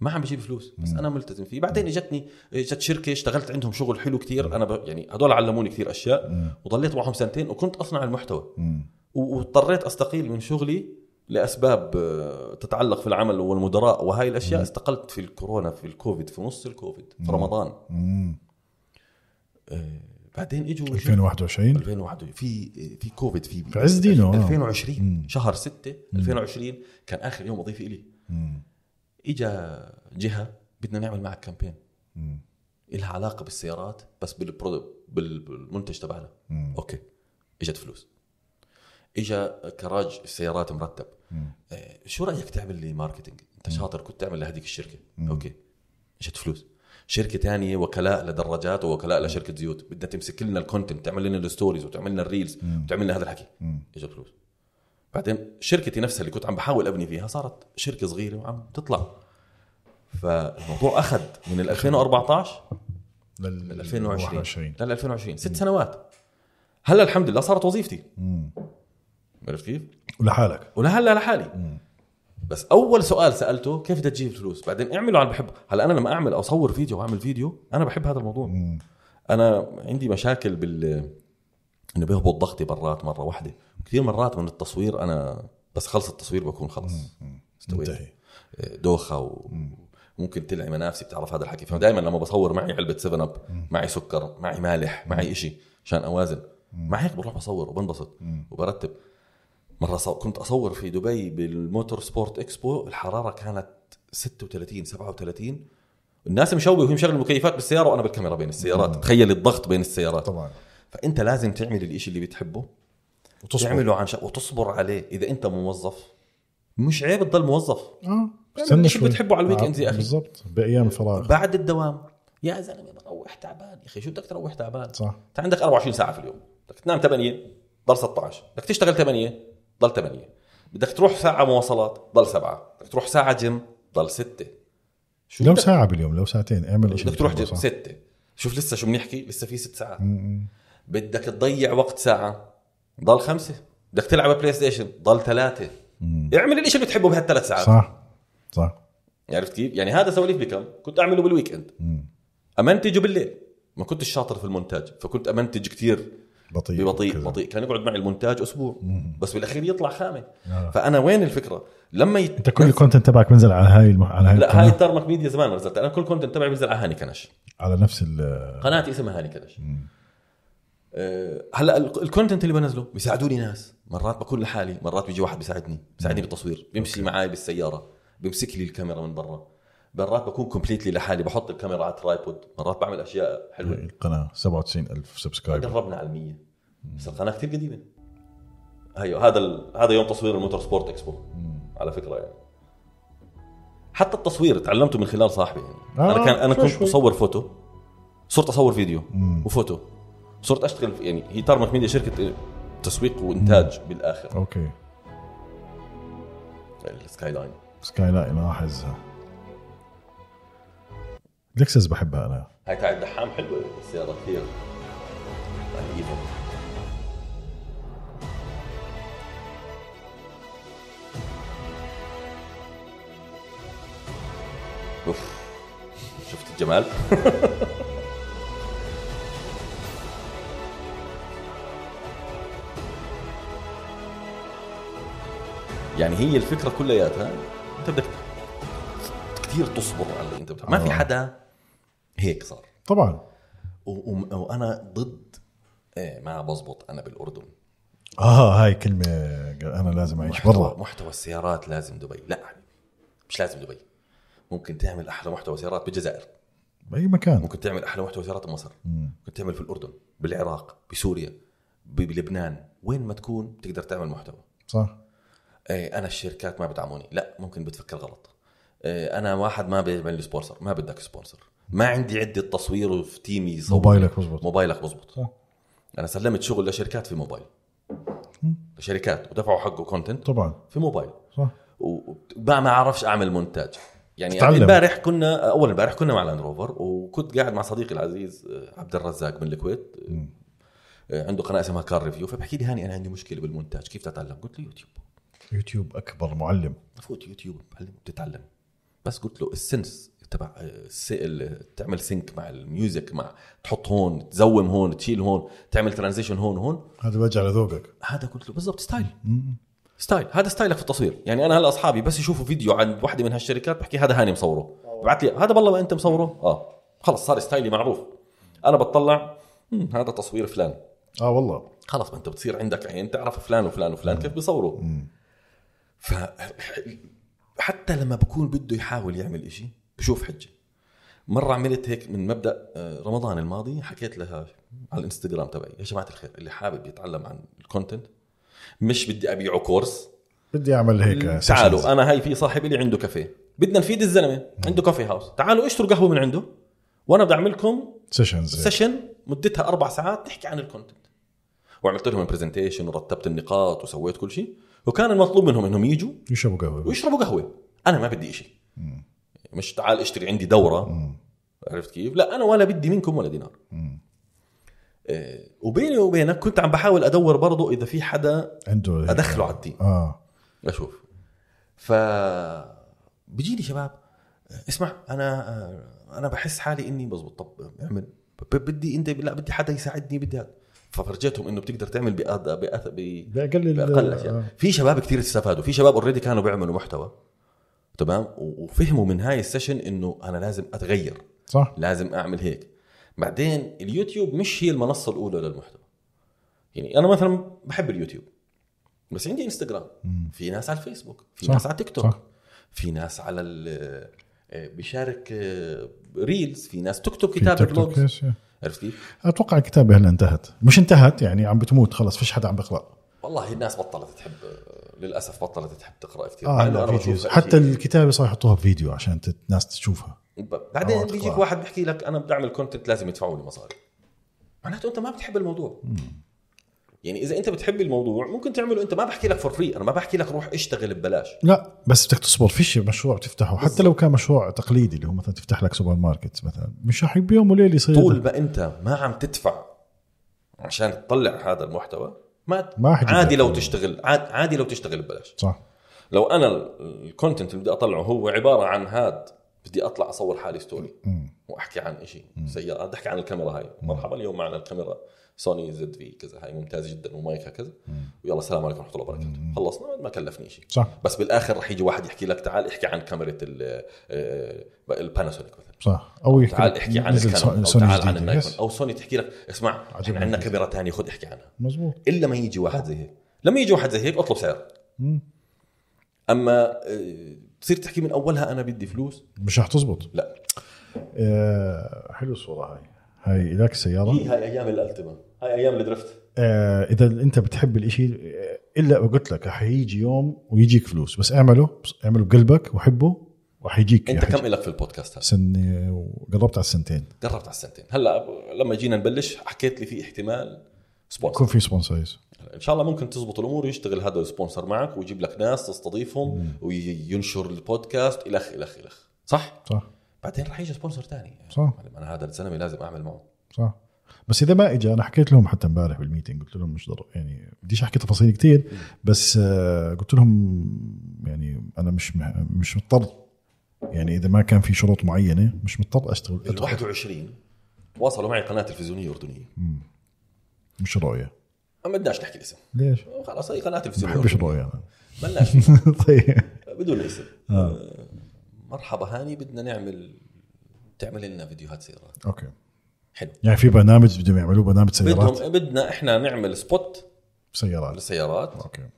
ما عم بجيب فلوس بس انا ملتزم فيه بعدين اجتني اجت شركه اشتغلت عندهم شغل حلو كتير انا ب... يعني هدول علموني كتير اشياء وضليت معهم سنتين وكنت اصنع المحتوى و- واضطريت استقيل من شغلي لاسباب آه، تتعلق في العمل والمدراء وهاي الاشياء استقلت في الكورونا في الكوفيد في نص الكوفيد في رمضان مم. آه، بعدين اجوا 2021 2021 في آه، في كوفيد في في عز دينه، آه. 2020 شهر 6 2020 كان اخر يوم وظيفي الي مم. اجا جهه بدنا نعمل معك كامبين مم. إلها علاقه بالسيارات بس بالبرو بال- بالمنتج تبعنا مم. اوكي اجت فلوس اجا كراج السيارات مرتب مم. آه، شو رايك تعمل لي ماركتينج انت شاطر كنت تعمل لهذيك الشركه اوكي اجت فلوس شركه تانية وكلاء لدراجات ووكلاء لشركه زيوت بدها تمسك لنا الكونتنت تعمل لنا الستوريز وتعمل لنا الريلز وتعمل لنا هذا الحكي مم. اجت فلوس بعدين شركتي نفسها اللي كنت عم بحاول ابني فيها صارت شركه صغيره وعم تطلع فالموضوع اخذ من ال 2014 لل 2020 21. لل 2020 ست سنوات هلا الحمد لله صارت وظيفتي مم. عرفت كيف؟ ولحالك ولهلا لحالي بس اول سؤال سالته كيف بدك تجيب فلوس بعدين اعمله عن بحب هلا انا لما اعمل اصور فيديو واعمل فيديو انا بحب هذا الموضوع مم. انا عندي مشاكل بال انه بيهبط ضغطي برات مره واحده كثير مرات من التصوير انا بس خلص التصوير بكون خلص استويت. منتهي دوخه و... ممكن تلعي منافسي بتعرف هذا الحكي فدائما لما بصور معي علبه 7 اب معي سكر معي مالح معي إشي عشان اوازن مع هيك بروح بصور وبنبسط وبرتب مره صو... كنت اصور في دبي بالموتور سبورت اكسبو الحراره كانت 36 37 الناس مشوي وهي مشغله المكيفات بالسياره وانا بالكاميرا بين السيارات تخيل الضغط بين السيارات طبعا فانت لازم تعمل الإشي اللي بتحبه وتصبر تعمله عن شغ... وتصبر عليه اذا انت موظف مش عيب تضل موظف اه اعمل إشي يعني بتحبه على الويك إندز يا أخي. آه، إيه. بالضبط بايام الفراغ بعد الدوام يا زلمه بروح تعبان يا اخي شو بدك تروح تعبان؟ صح انت عندك 24 ساعه في اليوم بدك تنام 8 ضل 16 بدك تشتغل 8 ضل 8 بدك تروح ساعه مواصلات ضل 7 بدك تروح ساعه جيم ضل 6 شو لو بدك- ساعة باليوم لو ساعتين اعمل شيء بدك تروح جيم 6 شوف لسه شو بنحكي لسه في 6 ساعات بدك تضيع وقت ساعه ضل 5 بدك تلعب بلاي ستيشن ضل 3 اعمل الشيء اللي بتحبه بهالثلاث ساعات صح صح عرفت كيف؟ يعني هذا سواليف بكم كنت اعمله بالويكند امنتجه بالليل ما كنتش شاطر في المونتاج فكنت امنتج كثير بطيء ببطيء أيوة، كذا. بطيء كان يقعد معي المونتاج اسبوع بس بالاخير يطلع خامه آه. فانا وين الفكره لما يت... انت كل الكونتنت تبعك بنزل على هاي الم... على هاي لا هاي القناة؟ التارمك ميديا زمان ما نزلت انا كل كونتنت تبعي بنزل على هاني كنش على نفس ال قناتي اسمها هاني كنش أه، هلا ال- الكونتنت اللي بنزله بيساعدوني ناس مرات بكون لحالي مرات بيجي واحد بيساعدني بيساعدني بالتصوير بيمشي معي بالسياره بيمسك لي الكاميرا من برا مرات بكون كومبليتلي لحالي بحط الكاميرا على ترايبود مرات بعمل اشياء حلوه القناة 77000 سبسكرايبر قربنا على المية بس القناه كثير قديمه هيو هذا ال... هذا يوم تصوير الموتور سبورت اكسبو على فكره يعني حتى التصوير تعلمته من خلال صاحبي يعني. آه، انا كان انا شوي كنت شوي. بصور فوتو صرت اصور فيديو وفوتو صرت اشتغل في- يعني هي تارمك ميديا شركه تسويق وانتاج بالاخر اوكي السكاي لاين سكاي لاين اه حزها لكسس بحبها انا هاي تاع الدحام حلوه السياره كثير يعني إيفن. اوف شفت الجمال [LAUGHS] يعني هي الفكره كلياتها انت بدك كثير تصبر على اللي انت بتعمله ما في آه. حدا هيك صار طبعا و- و- وانا ضد ايه ما بزبط انا بالاردن اه هاي كلمة قال انا لازم اعيش محتوى, برا محتوى السيارات لازم دبي لا حبيبي مش لازم دبي ممكن تعمل احلى محتوى سيارات بالجزائر باي مكان ممكن تعمل احلى محتوى سيارات بمصر ممكن تعمل في الاردن بالعراق بسوريا ب- بلبنان وين ما تكون بتقدر تعمل محتوى صح ايه انا الشركات ما بدعموني لا ممكن بتفكر غلط ايه انا واحد ما بيعمل لي سبونسر ما بدك سبونسر ما عندي عده تصوير وفي تيمي يصور موبايلك بزبط موبايلك بزبط صح. انا سلمت شغل لشركات في موبايل مم. لشركات ودفعوا حقه كونتنت طبعا في موبايل صح وما ما اعرفش اعمل مونتاج يعني تتعلم. امبارح كنا اول امبارح كنا مع لاند روفر وكنت قاعد مع صديقي العزيز آه، عبد الرزاق من الكويت آه، عنده قناه اسمها كار ريفيو فبحكي لي هاني انا عندي مشكله بالمونتاج كيف تتعلم؟ قلت له يوتيوب يوتيوب اكبر معلم فوت يوتيوب بعلم بتتعلم بس قلت له السنس تبع الس- ال- تعمل سينك مع الميوزك مع تحط هون تزوم هون تشيل هون تعمل ترانزيشن هون هون هذا بيرجع لذوقك هذا قلت له بالضبط ستايل ستايل هذا ستايلك في التصوير يعني انا هلا اصحابي بس يشوفوا فيديو عند وحده من هالشركات بحكي هذا هاني مصوره بعت لي هذا بالله ما انت مصوره اه خلص صار ستايلي معروف انا بطلع "مم، هذا تصوير فلان اه والله خلص ما انت بتصير عندك عين تعرف فلان وفلان وفلان كيف بيصوروا ف حتى لما بكون بده يحاول يعمل إشي بشوف حجه مره عملت هيك من مبدا آه، رمضان الماضي حكيت لها على الانستغرام تبعي يا جماعه الخير اللي حابب يتعلم عن الكونتنت مش بدي ابيعه كورس بدي اعمل هيك sessions. تعالوا انا هاي في صاحب لي عنده كافيه بدنا نفيد الزلمه عنده كافي هاوس تعالوا اشتروا قهوه من عنده وانا بدي اعمل لكم سيشنز سيشن مدتها اربع ساعات تحكي عن الكونتنت وعملت لهم برزنتيشن ورتبت النقاط وسويت كل شيء وكان المطلوب منهم انهم يجوا يشربوا قهوه ويشربوا قهوه انا ما بدي شيء مش تعال اشتري عندي دوره مم. عرفت كيف لا انا ولا بدي منكم ولا دينار مم. آه، وبيني وبينك كنت عم بحاول ادور برضو اذا في حدا عنده هيك- ادخله على التيم اه اشوف ف بيجيني شباب اسمع انا انا بحس حالي اني بزبط طب اعمل ب- بدي انت لا بدي حدا يساعدني بدي هذا فرجيتهم انه بتقدر تعمل بأد... بأث... ب... باقل ال- باقل آه. اشياء في شباب كثير استفادوا في شباب اوريدي كانوا بيعملوا محتوى تمام و- وفهموا من هاي السيشن انه انا لازم اتغير صح لازم اعمل هيك بعدين اليوتيوب مش هي المنصه الاولى للمحتوى يعني انا مثلا بحب اليوتيوب بس عندي انستغرام في ناس على الفيسبوك في صح. ناس على تيك توك صح. في ناس على ال- آه، بيشارك آه، ريلز في ناس تكتب في كتاب تيك توك، بلوجز يس، يس. عرفت كيف؟ اتوقع الكتابه هلا انتهت مش انتهت يعني عم بتموت خلص فيش حدا عم بيقرا والله الناس بطلت تحب آه، للاسف بطلت تحب تقرا كثير اه لا فيديوز حتى الكتابه صار يحطوها في فيديو عشان ت- الناس تشوفها ب- بعدين أو بيجيك أتقاء. واحد بيحكي لك انا بدي اعمل كونتنت لازم يدفعوا لي مصاري معناته انت ما بتحب الموضوع يعني اذا انت بتحب الموضوع ممكن تعمله انت ما بحكي لك فور فري انا ما بحكي لك روح اشتغل ببلاش لا بس بدك تصبر فيش مشروع بتفتحه حتى لو كان مشروع تقليدي اللي هو مثلا تفتح لك سوبر ماركت مثلا مش رح بيوم وليله يصير طول ما انت ما عم تدفع عشان تطلع هذا المحتوى ما, ما حد عادي يقدر. لو تشتغل عاد- عادي لو تشتغل ببلاش صح لو انا ال- الكونتنت اللي بدي اطلعه هو عباره عن هاد بدي اطلع اصور حالي ستوري مم. واحكي عن شيء سياره بدي احكي عن الكاميرا هاي مرحبا اليوم معنا الكاميرا سوني زد في كذا هاي ممتازه جدا ومايكها كذا ويلا السلام عليكم ورحمه الله وبركاته خلصنا ما كلفني شيء صح بس بالاخر رح يجي واحد يحكي لك تعال احكي عن كاميرا ال- آه، الباناسونيك مثلا صح او يحكي تعال لك احكي عن نزل الكانون او سوني تعال عن جديدة. النايكون يس. او سوني تحكي لك اسمع عجبني احنا عندنا جدا. كاميرا ثانيه خذ احكي عنها مزبوط الا ما يجي واحد زي هيك لما يجي واحد زي هيك اطلب سعر مم. اما آه، تصير تحكي من اولها انا بدي فلوس مش رح تزبط لا آه حلو الصوره هاي هاي لك سياره هي إيه، هاي ايام الالتما هاي ايام الدرفت آه اذا انت بتحب الاشي آه، الا قلت لك رح يجي يوم ويجيك فلوس بس اعمله بس اعمله بقلبك وحبه وحيجيك انت يا كم حاج. الك في البودكاست هذا؟ سنه وقربت على السنتين قربت على السنتين هلا أب- لما جينا نبلش حكيت لي في احتمال سبونسر يكون في سبونسرز ان شاء الله ممكن تزبط الامور ويشتغل هذا السبونسر معك ويجيب لك ناس تستضيفهم وينشر البودكاست الخ الخ الخ صح؟ صح بعدين رح يجي سبونسر ثاني صح. انا هذا الزلمه لازم اعمل معه صح بس اذا ما اجى انا حكيت لهم حتى امبارح بالميتنج قلت لهم مش ضر يعني بديش احكي تفاصيل كتير بس آه، قلت لهم يعني انا مش مه- مش مضطر يعني اذا ما كان في شروط معينه مش مضطر اشتغل ال أدخل. 21 واصلوا معي قناه تلفزيونيه اردنيه مش رؤيه ما بدناش نحكي الاسم ليش؟ خلاص هي قناه ما تلفزيونيه بحبش أردنية. الرؤيه انا بلناش [LAUGHS] طيب بدون اسم آه، مرحبا هاني بدنا نعمل تعمل لنا فيديوهات سيارات اوكي حلو يعني في برنامج بدهم يعملوه برنامج سيارات بدهم بدنا احنا نعمل سبوت سيارات للسيارات اوكي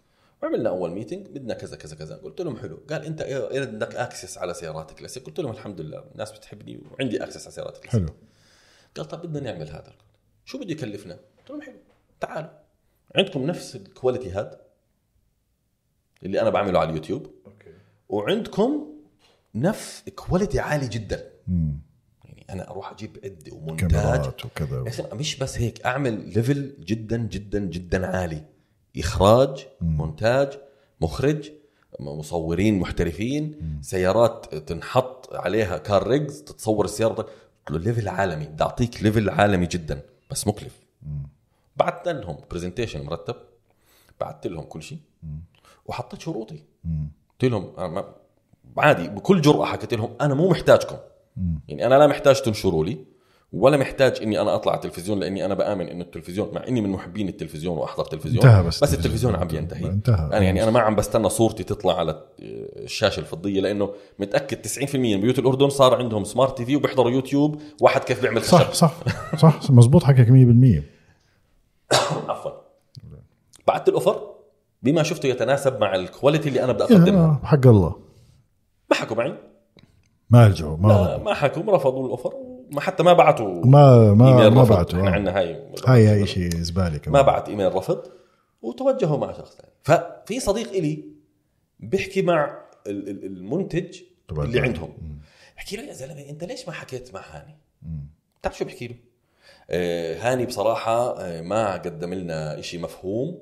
وعملنا اول ميتنج بدنا كذا كذا كذا قلت لهم حلو قال انت إيه- إيه عندك اكسس على سيارات كلاسيك قلت لهم الحمد لله الناس بتحبني وعندي اكسس على سيارات كلاسيك حلو قال طب بدنا نعمل هذا شو بده يكلفنا؟ قلت لهم حلو تعالوا عندكم نفس الكواليتي هاد اللي انا بعمله على اليوتيوب اوكي وعندكم نفس كواليتي عالي جدا مم. يعني انا اروح اجيب عده ومونتاج كاميرات وكذا يا أخي مش بس هيك اعمل ليفل جدا جدا جدا عالي اخراج مونتاج مخرج م- مصورين محترفين سيارات تنحط عليها كار ريجز تتصور السياره قلت له ليفل عالمي بدي اعطيك ليفل عالمي جدا بس مكلف بعثت لهم برزنتيشن مرتب بعثت لهم كل شيء وحطيت شروطي مم. قلت لهم أنا ما عادي بكل جرأة حكيت لهم أنا مو محتاجكم مم. يعني أنا لا محتاج تنشروا لي ولا محتاج إني أنا أطلع على التلفزيون لأني أنا بآمن إنه التلفزيون مع إني من محبين التلفزيون وأحضر تلفزيون انتهى بس بس التلفزيون عم ينتهي انتهى انا يعني انا ما عم بستنى صورتي تطلع على الشاشه الفضيه لانه متاكد 90% من بيوت الاردن صار عندهم سمارت تي في وبيحضروا يوتيوب واحد كيف بيعمل خشب صح صح صح مزبوط حكيك 100% عفوا بعت الاوفر بما شفته يتناسب مع الكواليتي اللي انا بدي اقدمها يا حق الله ما حكوا معي ما رجعوا ما ما, ردوا آه، ما حكوا رفضوا الاوفر ما حتى ما بعتوا آه. ما ما إيميل ما رفض. بعتوا احنا آه. عندنا هاي هاي هاي شيء زباله كمان ما بعت ايميل رفض وتوجهوا مع شخص ثاني ففي صديق الي بيحكي مع ال- ال- المنتج طبعاً. اللي عندهم مم. بحكي له يا زلمه انت ليش ما حكيت مع هاني؟ مم. بتعرف شو بحكي له؟ آه هاني بصراحه آه ما قدم لنا إشي مفهوم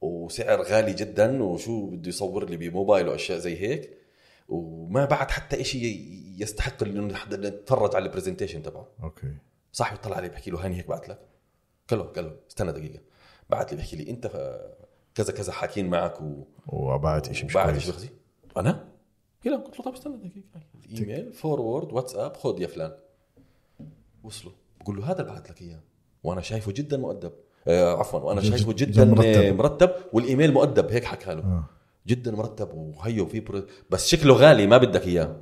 وسعر غالي جدا وشو بده يصور لي بموبايل واشياء زي هيك وما بعت حتى إشي ي- يستحق انه نحد- نتفرج على البرزنتيشن تبعه اوكي صاحبي طلع علي بحكي له هاني هيك بعت لك قال له قال له استنى دقيقه بعت لي بحكي لي انت ف- كذا كذا حاكين معك و وبعد شيء مش بعد كويس شيء بخزي انا كده قلت له طب استنى دقيقه ايميل فورورد واتساب خذ يا فلان وصله بقول له هذا اللي بعت لك اياه وانا شايفه جدا مؤدب آه عفوا وانا جد- شايفه جد جدا مرتب. مرتب. مرتب والايميل مؤدب هيك حكى له آه. جدا مرتب وهيو في بر... بس شكله غالي ما بدك اياه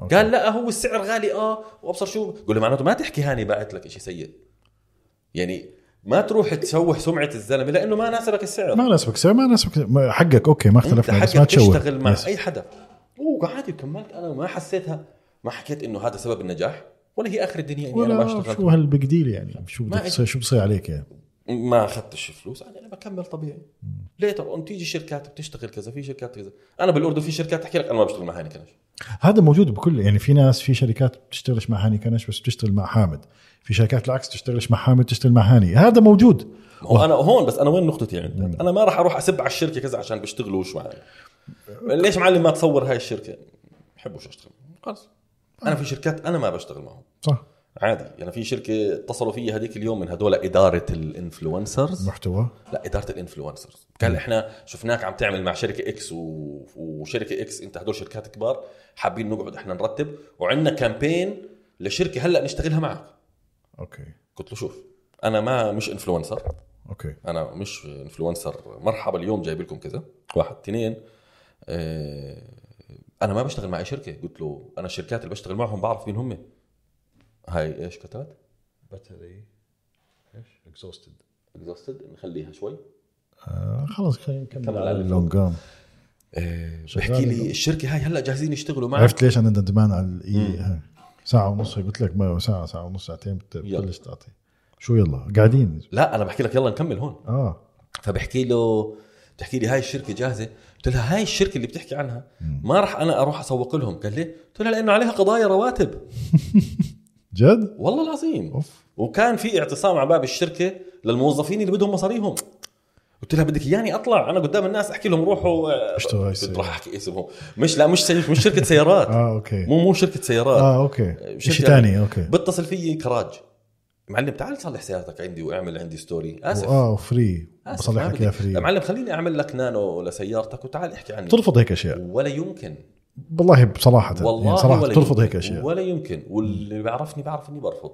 أوكي. قال لا آه، هو السعر غالي اه وابصر شو قول له معناته ما تحكي هاني باعت لك شيء سيء يعني ما تروح تسوح سمعه الزلمه لانه ما ناسبك السعر ما ناسبك سعر ما ناسبك سعر. ما- حقك اوكي ما اختلفنا انت بس ما حقك تشوه تشتغل مع بس. اي حدا وعادي كملت انا ما حسيتها ما حكيت انه هذا سبب النجاح ولا هي اخر الدنيا اني انا يعني ما ولا اشتغلت شو هالبيج ديل يعني شو ما بدك إجت. تصير- شو بصير عليك يعني ما اخذتش فلوس انا انا بكمل طبيعي ليتر اون تيجي شركات بتشتغل كذا في شركات كذا انا بالاردن في شركات تحكي لك انا ما بشتغل مع هاني كنش هذا موجود بكل يعني في ناس في شركات بتشتغلش مع هاني كنش بس بتشتغل مع حامد في شركات العكس تشتغلش مع حامد تشتغل مع هاني هذا موجود ما هو انا هون بس انا وين نقطتي عندك انا ما راح اروح اسب على الشركه كذا عشان بيشتغلوش معي ليش معلم ما تصور هاي الشركه بحبوش اشتغل خلص انا في شركات انا ما بشتغل معهم صح عادي يعني في شركه اتصلوا فيي هذيك اليوم من هدول اداره الانفلونسرز محتوى لا اداره الانفلونسرز قال احنا شفناك عم تعمل مع شركه اكس و... وشركه اكس انت هدول شركات كبار حابين نقعد احنا نرتب وعندنا كامبين لشركه هلا نشتغلها معك اوكي قلت له شوف انا ما مش انفلونسر اوكي انا مش انفلونسر مرحبا اليوم جايب لكم كذا واحد اثنين آه، انا ما بشتغل مع اي شركه قلت له انا الشركات اللي بشتغل معهم بعرف مين هم هاي ايش كتبت باتري ايش؟ اكزوستد اكزوستد نخليها شوي آه خلص خلينا نكمل كمل على على اللونج جام بحكي لي الشركه هاي هلا جاهزين يشتغلوا معك عرفت ليش انا ندمان على الإي ها. ساعة ونص قلت لك ما ساعة ساعة ونص ساعتين بت- يلا. بتبلش تعطي شو يلا قاعدين لا انا بحكي لك يلا نكمل هون اه فبحكي له بتحكي لي هاي الشركه جاهزه قلت لها هاي الشركه اللي بتحكي عنها ما راح انا اروح اسوق لهم قال لي قلت لها لانه عليها قضايا رواتب جد؟ والله العظيم اوف وكان في اعتصام على باب الشركه للموظفين اللي بدهم مصاريهم قلت لها بدك اياني اطلع انا قدام الناس احكي لهم روحوا آه، اشتغل هاي كنت السيارة. راح احكي اسمهم مش لا مش سي- مش شركه [LAUGHS] سيارات اه اوكي مو يعني؟ مو شركه سيارات اه اوكي شركة- شيء ثاني اوكي بتصل فيي كراج معلم تعال صلح سيارتك عندي واعمل عندي ستوري اسف اه فري آسف، بصلح ما لك بدي. اياها فري معلم خليني اعمل لك نانو لسيارتك وتعال احكي عني ترفض هيك اشياء ولا يمكن والله بصراحة والله يعني صراحة ولا ترفض يمكن. هيك اشياء ولا يمكن واللي بيعرفني بعرف اني برفض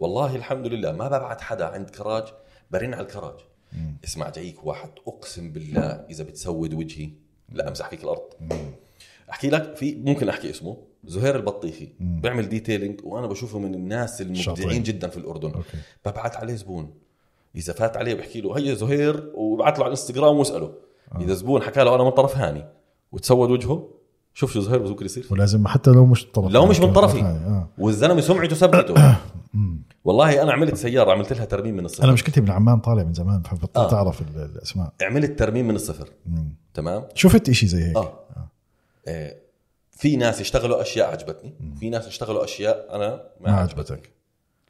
والله الحمد لله ما ببعت حدا عند كراج برن على الكراج اسمع جايك واحد اقسم بالله اذا بتسود وجهي لا امسح فيك الارض احكي لك في ممكن احكي اسمه زهير البطيخي بيعمل ديتيلينج وانا بشوفه من الناس شاطرين. المبدعين جدا في الاردن أوكي. ببعت عليه زبون اذا فات عليه بحكي له هيا زهير وبعت له على الانستغرام واساله آه. اذا زبون حكى له انا من طرف هاني وتسود وجهه شوف شو زهير ممكن يصير ولازم حتى لو مش طرف لو مش من طرفي. آه. والزلمه سمعته [COUGHS] سبته والله انا عملت سياره عملت لها ترميم من الصفر انا مشكلتي من عمان طالع من زمان فبطلت آه. اعرف ال- الاسماء عملت ترميم من الصفر مم. تمام شفت إشي زي هيك اه آه، في ناس اشتغلوا اشياء عجبتني في ناس اشتغلوا اشياء انا ما, ما عجبتني عجبتك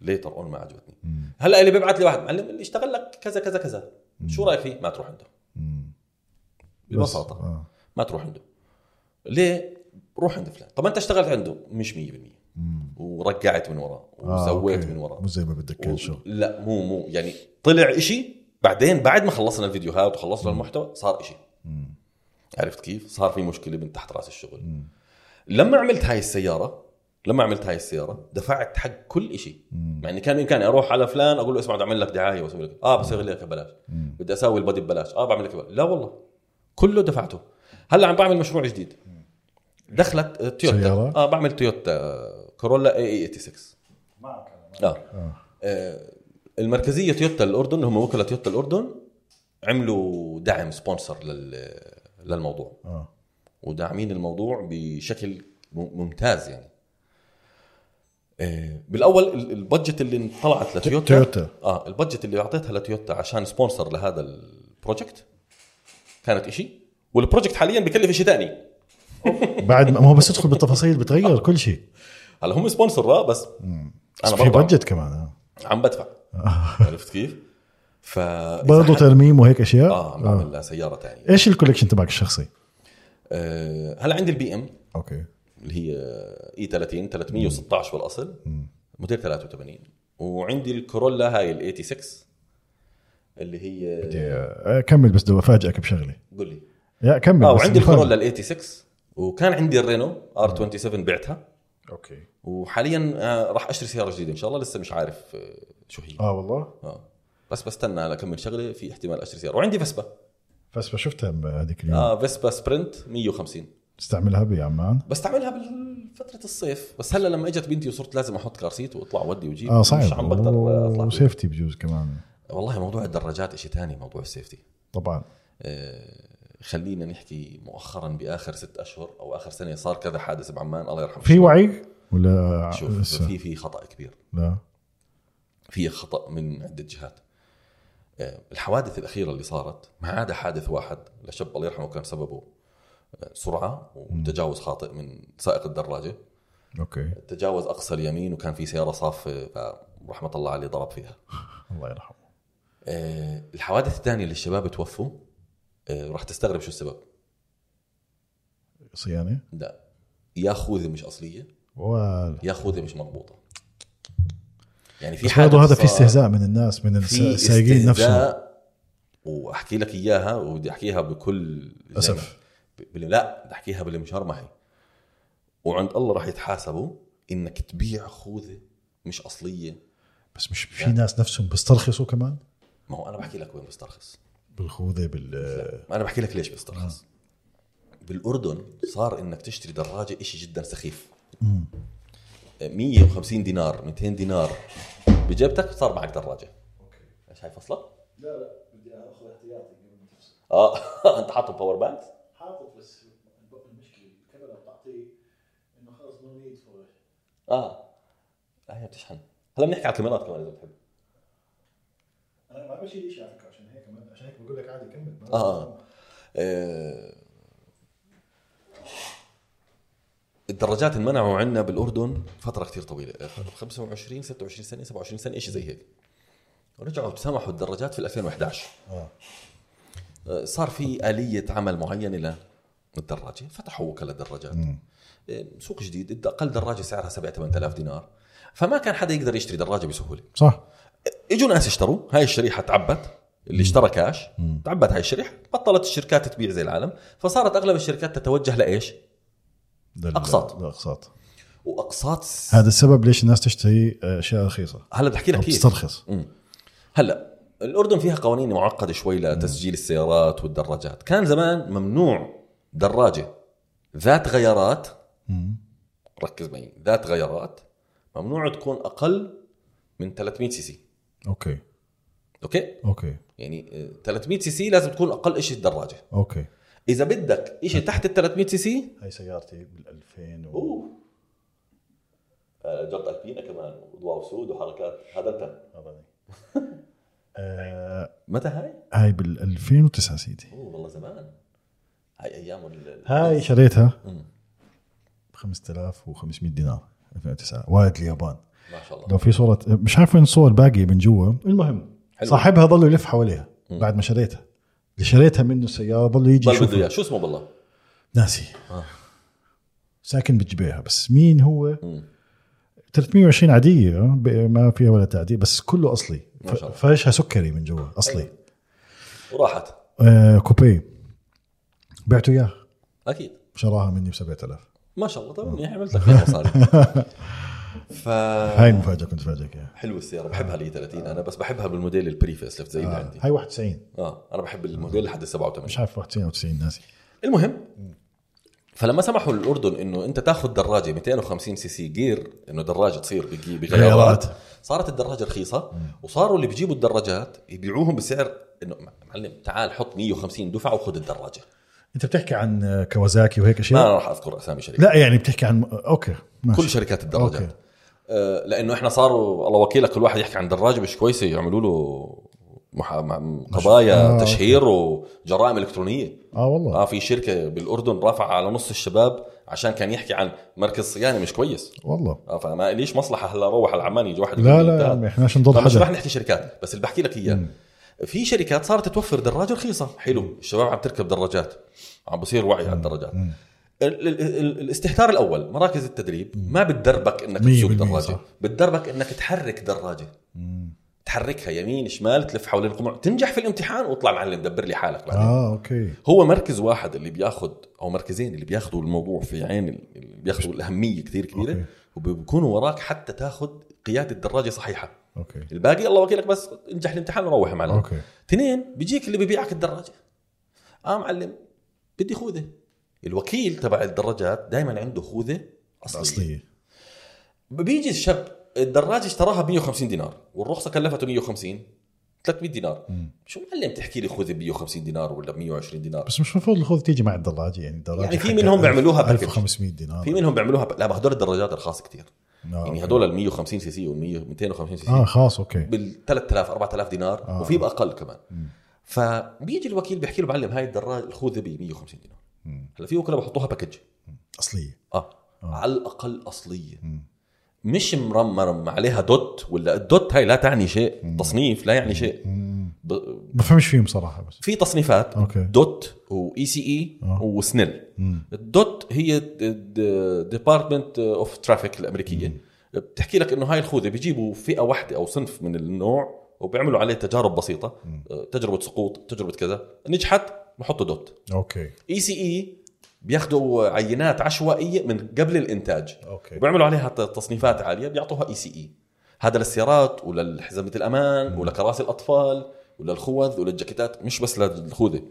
ليتر اون ما عجبتني هلا اللي بيبعت لي واحد معلم اللي اشتغل لك كذا كذا كذا شو رايك فيه ما تروح عنده مم. بس. ببساطه آه. ما تروح عنده ليه روح عند فلان طب انت اشتغلت عنده مش 100% ورقعت من وراه آه، وسويت أوكي. من وراه مو زي ما بدك كان شغل لا مو مو يعني طلع إشي بعدين بعد ما خلصنا الفيديوهات وخلصنا المحتوى صار إشي عرفت كيف؟ صار في مشكله من تحت راس الشغل لما عملت هاي السياره لما عملت هاي السياره دفعت حق كل شيء مع اني كان بامكاني اروح على فلان اقول له اسمع بدي اعمل لك دعايه واسوي لك اه بسوي لك ببلاش بدي اسوي البادي ببلاش اه بعمل لك ببلاش. لا والله كله دفعته هلا عم بعمل مشروع جديد دخلت آه، تويوتا سيارة؟ اه بعمل آه، تويوتا كورولا اي اي 86 معك آه. اه المركزيه تويوتا الاردن اللي هم وكلاء تويوتا الاردن عملوا دعم سبونسر لل للموضوع اه وداعمين الموضوع بشكل م- ممتاز يعني آه، بالاول ال- البادجت اللي طلعت لتويوتا تويوتا. اه البادجت اللي اعطيتها لتويوتا عشان سبونسر لهذا البروجكت كانت إشي والبروجكت حاليا بكلف إشي تاني بعد ما ما هو بس تدخل بالتفاصيل بتغير كل شيء هلا هم سبونسر اه بس بس انا في برضه عم- بادجت كمان آه. عم [LAUGHS] بدفع عرفت كيف؟ ف برضه آه. ترميم وهيك اشياء اه عم بعمل لها سياره ثانيه ايش الكوليكشن تبعك الشخصي؟ آه هلا عندي البي ام اوكي اللي هي E اي 30 316 بالاصل موديل 83 وعندي الكورولا هاي ال 86 اللي هي بدي آه، اكمل بس بدي افاجئك بشغله قول لي لا كمل اه بس وعندي مفاجأة. الكورولا ال 86 وكان عندي الرينو ار 27 بعتها اوكي وحاليا آه، راح اشتري سياره جديده ان شاء الله لسه مش عارف آه، شو هي اه والله اه بس بستنى اكمل شغله في احتمال اشتري سياره وعندي فيسبا بس شفتها هذيك اليوم اه فيسبا سبرنت 150 استعملها بعمان بستعملها بفترة الصيف بس هلا لما اجت بنتي وصرت لازم احط كارسيت واطلع ودي وجيب اه مش صعب عم بقدر اطلع فيه. وسيفتي بجوز كمان والله موضوع الدراجات شيء ثاني موضوع السيفتي آه، طبعا خلينا نحكي مؤخرا باخر ست اشهر او اخر سنه صار كذا حادث بعمان الله يرحمه في وعي آه، ولا شوف لسه؟ في في خطا كبير لا في خطا من عده جهات آه، الحوادث الاخيره اللي صارت ما عدا حادث واحد لشاب الله يرحمه كان سببه آه، سرعه وتجاوز خاطئ من سائق الدراجه اوكي تجاوز اقصى اليمين وكان في سياره صافه فرحمه الله عليه ضرب فيها الله يرحمه آه، الحوادث الثانيه اللي الشباب توفوا آه، راح تستغرب شو السبب صيانه لا يا خوذه مش اصليه ولا يا خوذه مش مربوطه يعني في بس برضه هذا في صار، استهزاء من الناس من الس- في السايقين نفسهم استهزاء واحكي لك اياها وبدي احكيها بكل زي أسف. ما- ب- بال- لا بدي احكيها باللي مشرمحي وعند الله راح يتحاسبوا انك تبيع خوذه مش اصليه بس مش في ناس نفسهم بيسترخصوا كمان ما هو انا بحكي لك وين بسترخص بالخوذه بال ما انا بحكي لك ليش بسترخص بالاردن صار انك تشتري دراجه إشي جدا سخيف 150 دينار 200 دينار بجيبتك صار معك دراجه آه. ايش هاي فصله؟ لا [LAUGHS] لا بدي اخذ احتياطي اه انت حاطه باور بانك؟ حاطه بس المشكله الكاميرا بتعطيه انه خلص نو نيد فور اه هي آه. بتشحن هلا بنحكي على الكاميرات كمان اذا بتحب انا ما بشيل شيء على فكره عشان هيك عشان هيك بقول لك عادي كمل آه. آه. الدراجات انمنعوا عندنا بالاردن فتره كثير طويله 25 26 سنه 27 سنه شيء زي هيك ورجعوا سمحوا الدراجات في 2011 آه. آه، صار في اليه عمل معينه للدراجه فتحوا وكلاء الدراجات آه، سوق جديد اقل دراجه سعرها 7 8000 دينار فما كان حدا يقدر يشتري دراجه بسهوله صح اجوا ناس اشتروا هاي الشريحه تعبت اللي اشترى كاش تعبت هاي الشريحه بطلت الشركات تبيع زي العالم فصارت اغلب الشركات تتوجه لايش لل- أقساط. للاقساط واقساط هذا السبب ليش الناس تشتري آه، اشياء رخيصه هلا بحكي لك او كيف تسترخص هلا الاردن فيها قوانين معقده شوي لتسجيل السيارات والدراجات كان زمان ممنوع دراجه ذات غيارات ركز معي ذات غيارات ممنوع تكون اقل من 300 سي سي اوكي اوكي اوكي يعني آه، 300 سي سي لازم تكون اقل شيء الدراجه اوكي اذا بدك شيء تحت ال 300 سي سي هاي سيارتي بال 2000 اوه آه، جرد البينا كمان واضواء سود وحركات هذا انت آه. [LAUGHS] متى هاي؟ آه، هاي بال 2009 سيدي اوه والله زمان هاي ايام ال- ال- هاي شريتها ب 5500 دينار 2009 واد اليابان ما شاء الله لو في صورة مش عارف وين الصور باقية من جوا المهم حلو. صاحبها ضل يلف حواليها بعد ما شريتها اللي شريتها منه السيارة ضل يجي ضل بده يشوفها اياه شو اسمه بالله؟ ناسي آه. ساكن بجبيها بس مين هو 320 عادية آه، ب- ما فيها ولا تعديل بس كله أصلي ف- ما شاء الله. أيوة. فرشها سكري من جوا أصلي وراحت آه كوبي بعته اياه اكيد شراها مني ب 7000 ما شاء الله طبعا [LAUGHS] عملت لك فيها مصاري ف هاي المفاجاه كنت فاجئك اياها حلوه السياره بحبها الاي 30 انا بس بحبها بالموديل البري فيس ليفت زي اللي إيه، عندي آه، هاي 91 اه انا بحب الموديل لحد ال مش 87 عارف 91 او 90 ناسي المهم فلما سمحوا للاردن انه انت تاخذ دراجه 250 سي سي جير انه دراجه تصير بجي- بغيارات غيارات. صارت الدراجه رخيصه وصاروا اللي بيجيبوا الدراجات يبيعوهم بسعر انه معلم تعال حط 150 دفعه وخذ الدراجه انت بتحكي عن آه، كوازاكي وهيك ما اشياء راح اذكر اسامي شركات لا يعني بتحكي عن اوكي ماشي كل شركات الدراجات أوكي. آه، لانه احنا صاروا الله وكيلك كل واحد يحكي عن دراجه مش كويسه يعملوا له محا... مع- قضايا آه، تشهير وجرائم الكترونيه اه والله اه في شركه بالاردن رافعه على نص الشباب عشان كان يحكي عن مركز صيانه مش كويس والله اه فما ليش مصلحه هلا روح على العمان يجي واحد لا يعني لا يا عمي احنا عشان نضل مش رح حدا نحكي شركات بس اللي بحكي لك اياه في شركات صارت توفر دراجه رخيصه حلو الشباب عم تركب دراجات عم بصير وعي على الدراجات ال- ال- ال- الاستهتار الاول مراكز التدريب ما بتدربك انك مية تسوق بالمية دراجه صح. بتدربك انك تحرك دراجه تحركها يمين شمال تلف حول القمع تنجح في الامتحان واطلع معلم دبر لي حالك بعدين اه اوكي هو مركز واحد اللي بياخذ او مركزين اللي بياخذوا الموضوع في عين ال- اللي بياخذوا الاهميه كثير كبيره أوكي. وبيكونوا وراك حتى تاخذ قياده الدراجه صحيحه اوكي الباقي الله وكيلك بس انجح الامتحان وروح يا معلم اوكي اثنين بيجيك اللي ببيعك الدراجه اه معلم بدي خوذه الوكيل تبع الدراجات دائما عنده خوذه اصليه, أصلية. اصليه بيجي الشاب الدراجه اشتراها ب 150 دينار والرخصه كلفته 150 300 دينار شو معلم تحكي لي خوذه ب 150 دينار ولا ب 120 دينار بس مش المفروض الخوذ تيجي مع الدراجه يعني الدراجه يعني في حقها منهم 1000 بيعملوها باكج. 1500 دينار في منهم بيعملوها ب... لا ما هدول الدراجات الخاص كتير آه، يعني أوكي. هدول ال 150 سي سي وال 100 250 سي سي اه خلاص اوكي بال 3000 4000 دينار آه. وفي باقل كمان فبيجي الوكيل بيحكي له معلم هاي الدراجه الخوذه ب 150 دينار مم. هلا في وكلاء بحطوها باكج اصليه آه. اه على الاقل اصليه مش مرمرم عليها دوت ولا الدوت هاي لا تعني شيء تصنيف لا يعني شيء ب... ما بفهمش فيهم صراحه بس في تصنيفات أوكي. دوت واي سي اي آه. وسنيل مم. الدوت هي ديبارتمنت اوف ترافيك الامريكيه بتحكي لك انه هاي الخوذه بيجيبوا فئه واحده او صنف من النوع وبيعملوا عليه تجارب بسيطه آه، تجربه سقوط تجربه كذا نجحت بحطوا دوت اوكي اي سي اي بياخذوا E عينات عشوائيه من قبل الانتاج أوكي. وبيعملوا عليها ت- تصنيفات عاليه بيعطوها اي سي اي هذا للسيارات ولحزمه الامان ولكراسي الاطفال وللخوذ وللجاكيتات مش بس للخوذه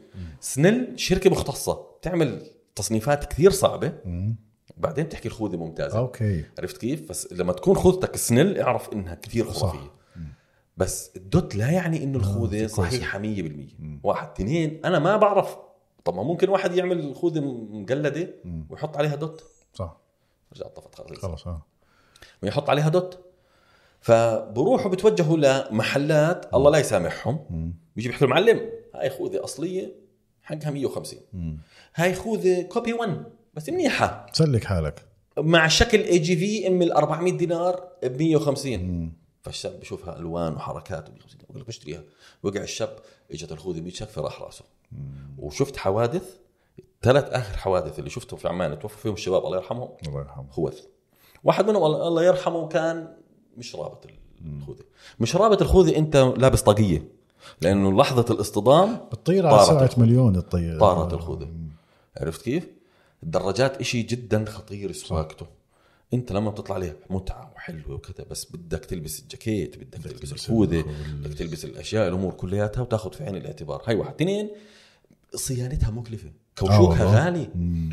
سنيل شركه مختصه تعمل تصنيفات كثير صعبه بعدين تحكي الخوذه ممتازه اوكي عرفت كيف بس لما تكون خوذتك سنيل اعرف انها كثير خرافيه بس الدوت لا يعني انه الخوذه صحيحه 100% واحد اثنين انا ما بعرف طب ما ممكن واحد يعمل خوذه مقلده ويحط عليها دوت صح رجع طفت خلاص خلاص اه ويحط عليها دوت فبروحوا بتوجهوا لمحلات الله لا يسامحهم بيجي بيحكوا معلم هاي خوذه اصليه حقها 150 هاي خوذه كوبي 1 بس منيحه تسلك حالك مع شكل اي جي في ام ال 400 دينار ب 150 فالشاب بشوفها الوان وحركات ب 150 بقول لك بشتريها وقع الشاب اجت الخوذه 100 شك فراح راسه وشفت حوادث ثلاث اخر حوادث اللي شفتهم في عمان توفوا فيهم الشباب الله يرحمهم الله يرحمه خوذ واحد منهم الله الله يرحمه كان مش رابط الخوذه مش رابط الخوذه انت لابس طاقيه لانه لحظه الاصطدام بتطير على طارت سرعه الخوذة. مليون الطير طارت الخوذه عرفت كيف؟ الدراجات إشي جدا خطير سواقته انت لما بتطلع عليها متعه وحلوه وكذا بس بدك تلبس الجاكيت بدك تلبس الخوذه بدك تلبس الاشياء الامور كلياتها وتاخذ في عين الاعتبار هاي واحد اثنين صيانتها مكلفه كوشوكها والله. غالي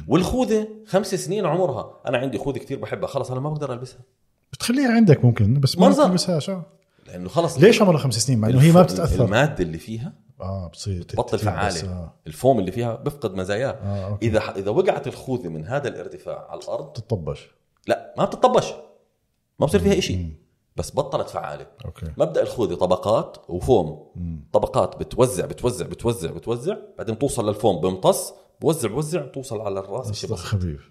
والخوذه خمس سنين عمرها انا عندي خوذه كثير بحبها خلص انا ما بقدر البسها بتخليها عندك ممكن بس ما منظر. بتلبسها شو لانه خلص ليش عمرها خمس سنين مع انه هي ما بتتاثر الماده اللي فيها اه بتصير بطل تتلبس، فعاله آه. الفوم اللي فيها بفقد مزاياه آه، أوكي. اذا اذا وقعت الخوذه من هذا الارتفاع على الارض بتطبش لا ما بتطبش ما بصير فيها إشي بس بطلت فعاله اوكي مبدا الخوذه طبقات وفوم طبقات بتوزع بتوزع بتوزع بتوزع بعدين توصل للفوم بيمتص بوزع بوزع توصل على الراس بس شبخ خفيف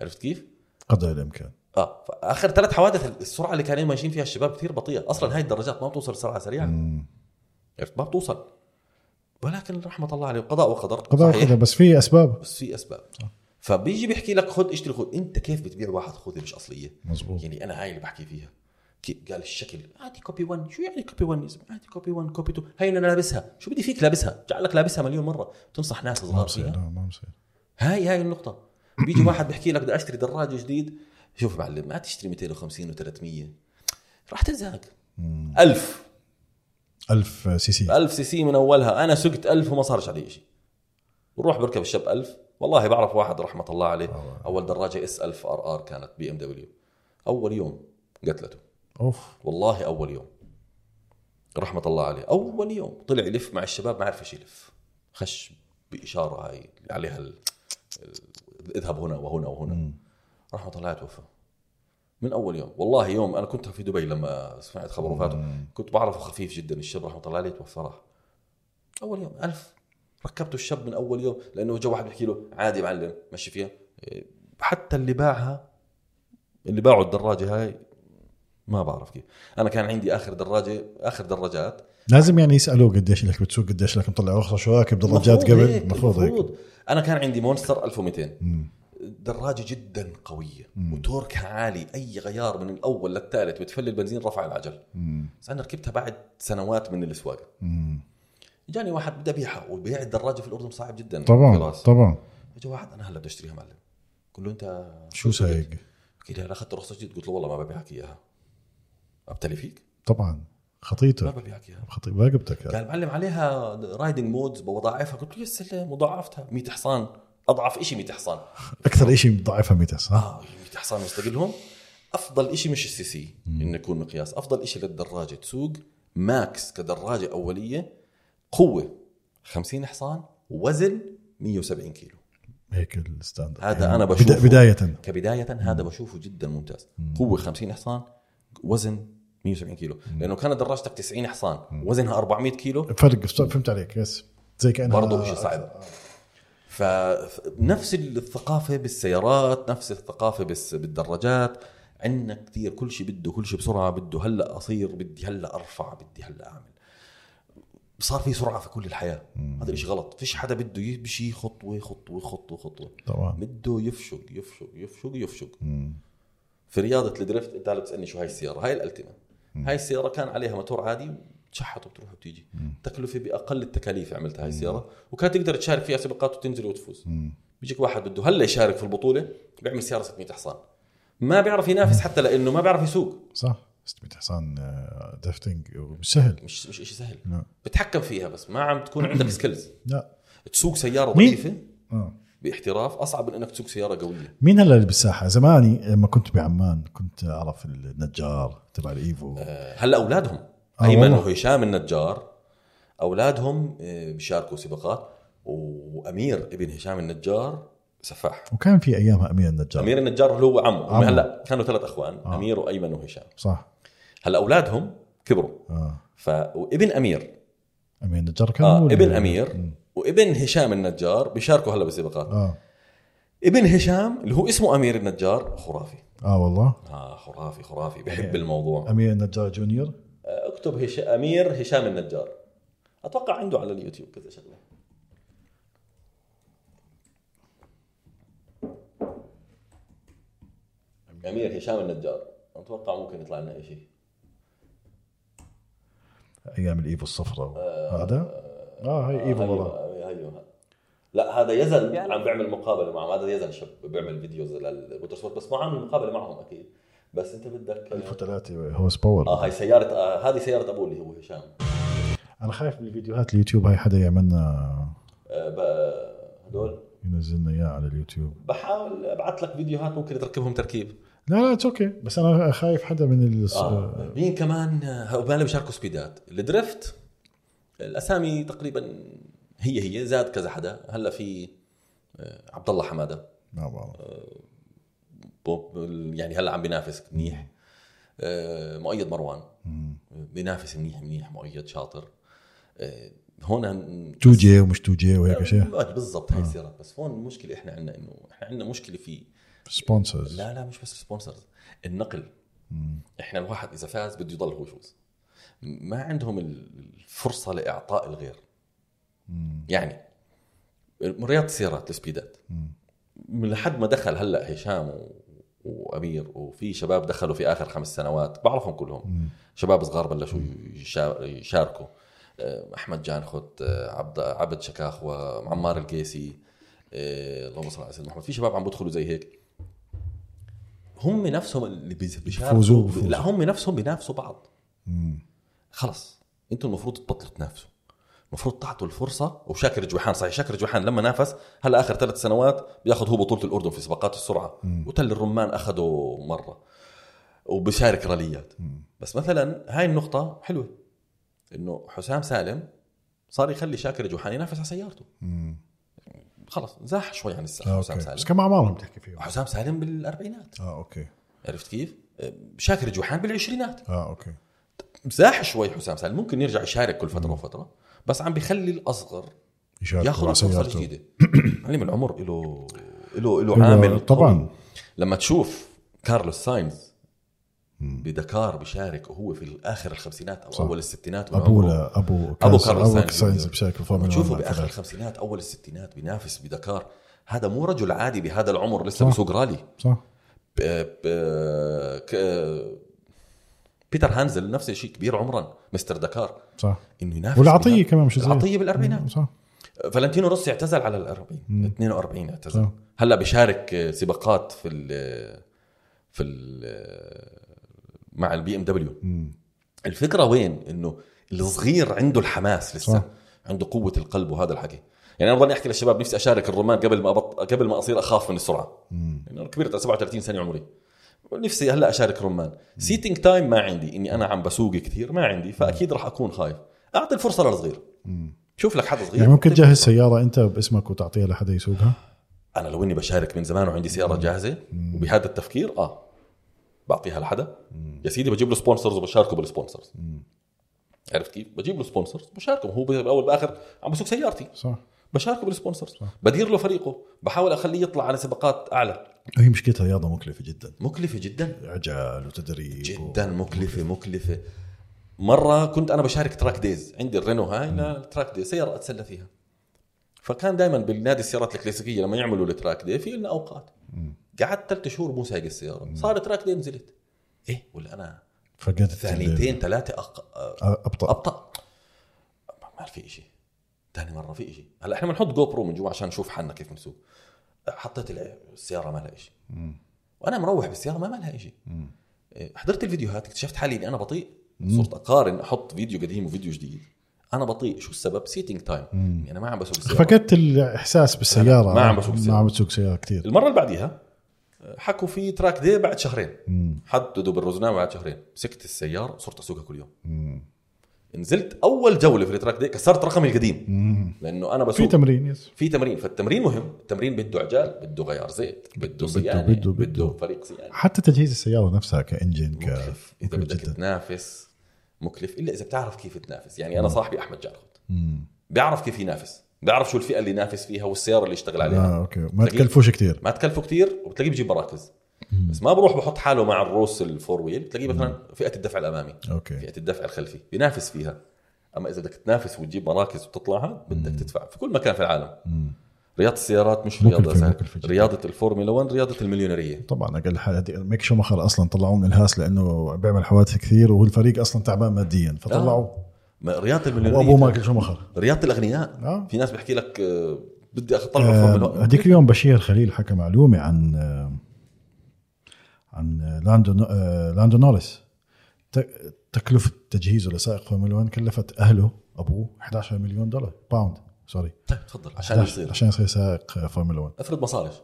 عرفت كيف؟ قدر الامكان اه فاخر ثلاث حوادث السرعه اللي كانوا ماشيين فيها الشباب كثير بطيئه آه. اصلا هاي الدرجات ما بتوصل سرعه سريعه عرفت ما بتوصل ولكن رحمه الله عليه قضاء وقدر قدر صحيح. قدر بس في اسباب بس في اسباب فبيجي بيحكي لك خذ اشتري خذ انت كيف بتبيع واحد خوذه مش اصليه مزبوط. يعني انا هاي اللي بحكي فيها كي- قال الشكل عادي كوبي 1 شو يعني كوبي 1 يا زلمه عادي كوبي 1 كوبي 2 هاي انا لابسها شو بدي فيك لابسها جعلك لابسها مليون مره تنصح ناس ما صغار بصير فيها لا ما بصير هاي هاي النقطه بيجي واحد بيحكي لك بدي اشتري دراج جديد شوف يا معلم ما تشتري 250 و300 راح تزهق 1000 1000 سي سي 1000 سي سي من اولها انا سقت 1000 وما صارش علي شيء بروح بركب الشاب 1000 والله بعرف واحد رحمه الله عليه اول دراجه اس 1000 ار ار كانت بي ام دبليو اول يوم قتلته اوف والله اول يوم رحمه الله عليه اول يوم طلع يلف مع الشباب ما عرف ايش يلف خش باشاره هاي اللي عليها ال... ال- اذهب هنا وهنا وهنا رحمه الله عليه توفى من اول يوم والله يوم انا كنت في دبي لما سمعت خبر وفاته كنت بعرفه خفيف جدا الشاب رحمه الله عليه توفى راح اول يوم ألف ركبته الشاب من اول يوم لانه جا واحد بيحكي له عادي يا معلم مشي فيها إيه، حتى اللي باعها اللي باعوا الدراجه هاي ما بعرف كيف انا كان عندي اخر دراجه اخر دراجات لازم يعني يسالوه قديش لك بتسوق قديش لك مطلع رخصه شو راكب دراجات قبل المفروض هيك انا إيه، كان عندي مونستر 1200 دراجه جدا قويه وتوركها عالي اي غيار من الاول للثالث بتفلي البنزين رفع العجل بس انا ركبتها بعد سنوات من السواقه مم. جاني واحد بده يبيعها وبيع الدراجه في الاردن صعب جدا طبعا فراس. طبعا اجى واحد انا هلا بدي اشتريها معلم قلت له انت شو سايق قال لي انا اخذت رخصه جديد قلت له والله ما ببيعك اياها ابتلي فيك طبعا ما خطيتك ببيعك اياها خطي راقبتك قال معلم عليها رايدنج مودز بضاعفها قلت له يا سلام وضاعفتها 100 حصان اضعف شيء 100 حصان اكثر شيء مضاعفها 200 صح؟ اه 100 حصان مستقلهم افضل شيء مش السي سي انه يكون مقياس افضل شيء للدراجه تسوق ماكس كدراجه اوليه قوه 50 حصان وزن 170 كيلو هيك الستاندرد هذا يعني أنا بدا- بشوفه. بدايه كبدايه هذا بشوفه جدا ممتاز قوه 50 حصان وزن 170 كيلو لانه كانت دراجتك 90 حصان وزنها 400 كيلو فرق فهمت عليك يس زي كانها برضه شيء صعب فنفس الثقافه بالسيارات نفس الثقافه بس بالدراجات عندنا كثير كل شيء بده كل شيء بسرعه بده هلا اصير بدي هلا ارفع بدي هلا اعمل صار في سرعه في كل الحياه هذا الشيء غلط فيش حدا بده يمشي خطوه خطوه خطوه خطوه طبعا بده يفشق يفشق يفشق يفشق في رياضه الدريفت انت هلا بتسالني شو هاي السياره هاي الالتيما هاي السياره كان عليها موتور عادي تشحط وبتروح وبتيجي تكلفه باقل التكاليف عملتها هاي السياره وكانت تقدر تشارك فيها سباقات وتنزل وتفوز بيجيك واحد بده هلا يشارك في البطوله بيعمل سياره 600 حصان ما بيعرف ينافس حتى لانه ما بيعرف يسوق صح 600 حصان آه، دفتنج مش سهل مش مش شيء سهل لا. بتحكم فيها بس ما عم تكون عندك سكيلز لا تسوق سياره مين؟ ضعيفه آه. باحتراف اصعب من انك تسوق سياره قويه مين هلا اللي بالساحه زماني لما كنت بعمان كنت اعرف النجار تبع الايفو آه، هلا اولادهم آه، ايمن والله. وهشام النجار اولادهم آه، بيشاركوا سباقات وامير ابن هشام النجار سفاح وكان في ايامها امير النجار امير النجار اللي هو عمه هم عمه. هلا كانوا ثلاث اخوان آه. امير وايمن وهشام صح هلا اولادهم كبروا اه ف وابن امير امير النجار كان آه. هو اللي- ابن امير وابن هشام النجار بيشاركوا هلا بالسباقات آه. اه ابن هشام اللي هو اسمه امير النجار خرافي اه والله اه خرافي خرافي بحب الموضوع امير النجار جونيور اكتب هش... امير هشام النجار اتوقع عنده على اليوتيوب كذا شغله امير هشام النجار اتوقع ممكن يطلع لنا شيء ايام الايفو آه، الصفراء هذا اه هي ايفو والله ايوه أيوه. لا هذا يزن عم بيعمل مقابله معهم هذا يزن شب بيعمل فيديوز للموتورسبورت بس ما عامل مقابله معهم اكيد بس انت بدك 1003 هورس باور اه هاي سياره آه هذه سياره ابوه اللي هو هشام انا خايف بالفيديوهات اليوتيوب هاي حدا يعملنا آه ب- هدول ينزل لنا اياه على اليوتيوب بحاول ابعث لك فيديوهات ممكن تركبهم تركيب لا لا اتس اوكي بس انا خايف حدا من ال آه. مين كمان هؤلاء بيشاركوا سبيدات الدريفت الاسامي تقريبا هي هي زاد كذا حدا هلا في آه، عبد الله حماده ما بعرف بوب يعني هلا عم بينافس منيح آه، مؤيد مروان بينافس منيح منيح مؤيد شاطر آه، هون 2 جي ومش 2 جي وهيك شيء آه، بالضبط هاي السيارات بس هون المشكله احنا عندنا انه احنا عندنا مشكله في سبونسرز لا لا مش بس سبونسرز النقل احنا الواحد اذا فاز بده يضل هو يفوز ما عندهم الفرصه لاعطاء الغير يعني رياضه السيارات السبيدات من لحد ما دخل هلا هشام و... وامير وفي شباب دخلوا في اخر خمس سنوات بعرفهم كلهم شباب صغار بلشوا يشا- يشاركوا آه، احمد جانخوت آه، عبد عبد شكاخوة معمار القيسي إيه اللهم صل على سيدنا محمد في شباب عم بدخلوا زي هيك هم نفسهم اللي بيز- بيشاركوا بفوزوا- بفوزوا. لا هم نفسهم بينافسوا بعض خلص انتم المفروض تبطلوا تنافسوا المفروض تعطوا الفرصه وشاكر جوحان صحيح شاكر جوحان لما نافس هلا اخر ثلاث سنوات بياخذ هو بطوله الاردن في سباقات السرعه وتل الرمان اخذه مره وبشارك راليات بس مثلا هاي النقطه حلوه انه حسام سالم صار يخلي شاكر جوحان ينافس على سيارته خلص زاح شوي عن الساحه حسام اوكي آه، بس سالم كم اعمارهم بتحكي فيهم حسام سالم بالاربعينات اه اوكي عرفت كيف؟ شاكر جوحان بالعشرينات اه اوكي زاح شوي حسام سالم ممكن يرجع يشارك كل فتره وفتره بس عم بيخلي الاصغر يشاركوا ياخذ مع الفرصه سيارته. [CLEARS THROAT] الجديده علم العمر له له له إله- عامل طبعاً. قوي. لما تشوف كارلوس ساينز بدكار بشارك وهو في اخر الخمسينات او صح. اول الستينات من ابو عمره. لا ابو ابو كارلوس كارلس- ابو ساينز, ساينز بشكل فورمولا تشوفه 1 باخر ثلاثة. الخمسينات اول الستينات بينافس بدكار هذا مو رجل عادي بهذا العمر لسه صح. بيسوق رالي صح ب- ب- ك- بيتر هانزل نفس الشيء كبير عمرا مستر دكار صح انه ينافس والعطيه بهذا- كمان مش زي العطيه بالاربعينات صح فالنتينو روسي اعتزل على ال 40 42 اعتزل صح. هلا بيشارك آه، سباقات في ال في ال مع البي ام دبليو الفكره وين انه الصغير عنده الحماس لسه صح. صح. عنده قوه القلب وهذا الحكي يعني انا بضلني احكي للشباب نفسي اشارك الرومان قبل ما أبط... قبل ما اصير اخاف من السرعه يعني انا كبرت على 37 سنه عمري نفسي هلا اشارك رمان سيتنج تايم ما عندي اني انا عم بسوق كثير ما عندي فاكيد راح اكون خايف اعطي الفرصه للصغير شوف لك حدا صغير يعني ممكن أعطيه تجهز سياره انت باسمك وتعطيها لحدا يسوقها انا لو اني بشارك من زمان وعندي سياره جاهزه وبهذا التفكير اه بعطيها لحدا يا سيدي بجيب له سبونسرز وبشاركه بالسبونسرز عرفت كيف؟ بجيب له سبونسرز بشاركه هو بالاول باخر عم بسوق سيارتي صح بشاركه بالسبونسرز بدير له فريقه بحاول اخليه يطلع على سباقات اعلى هي مشكلتها رياضه مكلفه جدا مكلفه جدا عجل وتدريب جدا مكلفه مكلفه مره كنت انا بشارك تراك دايز عندي الرينو هاي للتراك دايز سياره اتسلى فيها فكان دائما بالنادي السيارات الكلاسيكيه لما يعملوا التراك داي في لنا اوقات قعدت ثلاث شهور مو سايق السياره صار تراك داي نزلت ايه ولا انا فقدت ثانيتين ثلاثه أق... أ- ابطا ابطا ما في شيء ثاني مره في شيء هلا احنا بنحط جو برو من جوا عشان نشوف حالنا كيف بنسوق حطيت الع- السياره ما لها شيء وانا مروح بالسياره ما ما لها شيء حضرت الفيديوهات اكتشفت حالي اني انا بطيء صرت اقارن احط فيديو قديم وفيديو جديد انا بطيء شو السبب سيتنج تايم اني انا ما عم بسوق السياره فقدت الاحساس بالسياره ما عم بسوق سيارة. ما عم بسوق سياره كثير المره اللي بعديها حكوا في تراك دي بعد شهرين حددوا بالرزنامه بعد شهرين مسكت السياره صرت اسوقها كل يوم نزلت اول جوله في التراك دي كسرت رقمي القديم لانه انا في بسوق تمرين يس في تمرين فالتمرين مهم التمرين بده عجال بده غيار زيت بده صيانه بده- بده, بده. بده فريق صيانه حتى تجهيز السياره نفسها كانجن ك مكلف اذا مكلف بدك جداً. تنافس مكلف الا اذا بتعرف كيف تنافس يعني انا صاحبي احمد جعلخوت بيعرف كيف ينافس بيعرف شو الفئه اللي ينافس فيها والسياره اللي يشتغل عليها اه اوكي ما بتلاقيه- تكلفوش كثير ما تكلفه كتير وبتلاقيه بجيب مراكز بس ما بروح بحط حاله مع الروس الفور ويل بتلاقيه مثلا فئه الدفع الامامي اوكي فئه الدفع الخلفي بينافس فيها اما اذا بدك تنافس وتجيب مراكز وتطلعها بدك تدفع في كل مكان في العالم رياضه السيارات مش مكلفة- رياضه زي مكلفة جداً. رياضه الفورمولا 1 رياضه المليونيريه طبعا اقل حاجه دي- ميك شومخر اصلا طلعوه من الهاس لانه بيعمل حوادث كثير وهو الفريق اصلا تعبان ماديا آه. فطلعوه ما- رياضه المليونيريه وابوه مايكل شومخر رياضه الاغنياء آه. في ناس بيحكي لك آه، بدي اطلع آه، الفورمولا هذيك اليوم بشير خليل حكى معلومه عن آه، عن آه، لاندو نو- آه، لاندو نورس ت- تكلفه تجهيزه لسائق فورمولا 1 كلفت اهله ابوه 11 مليون دولار باوند سوري طيب تفضل عشان يصير عشان يصير سائق آه، فورمولا 1 افرض ما صارش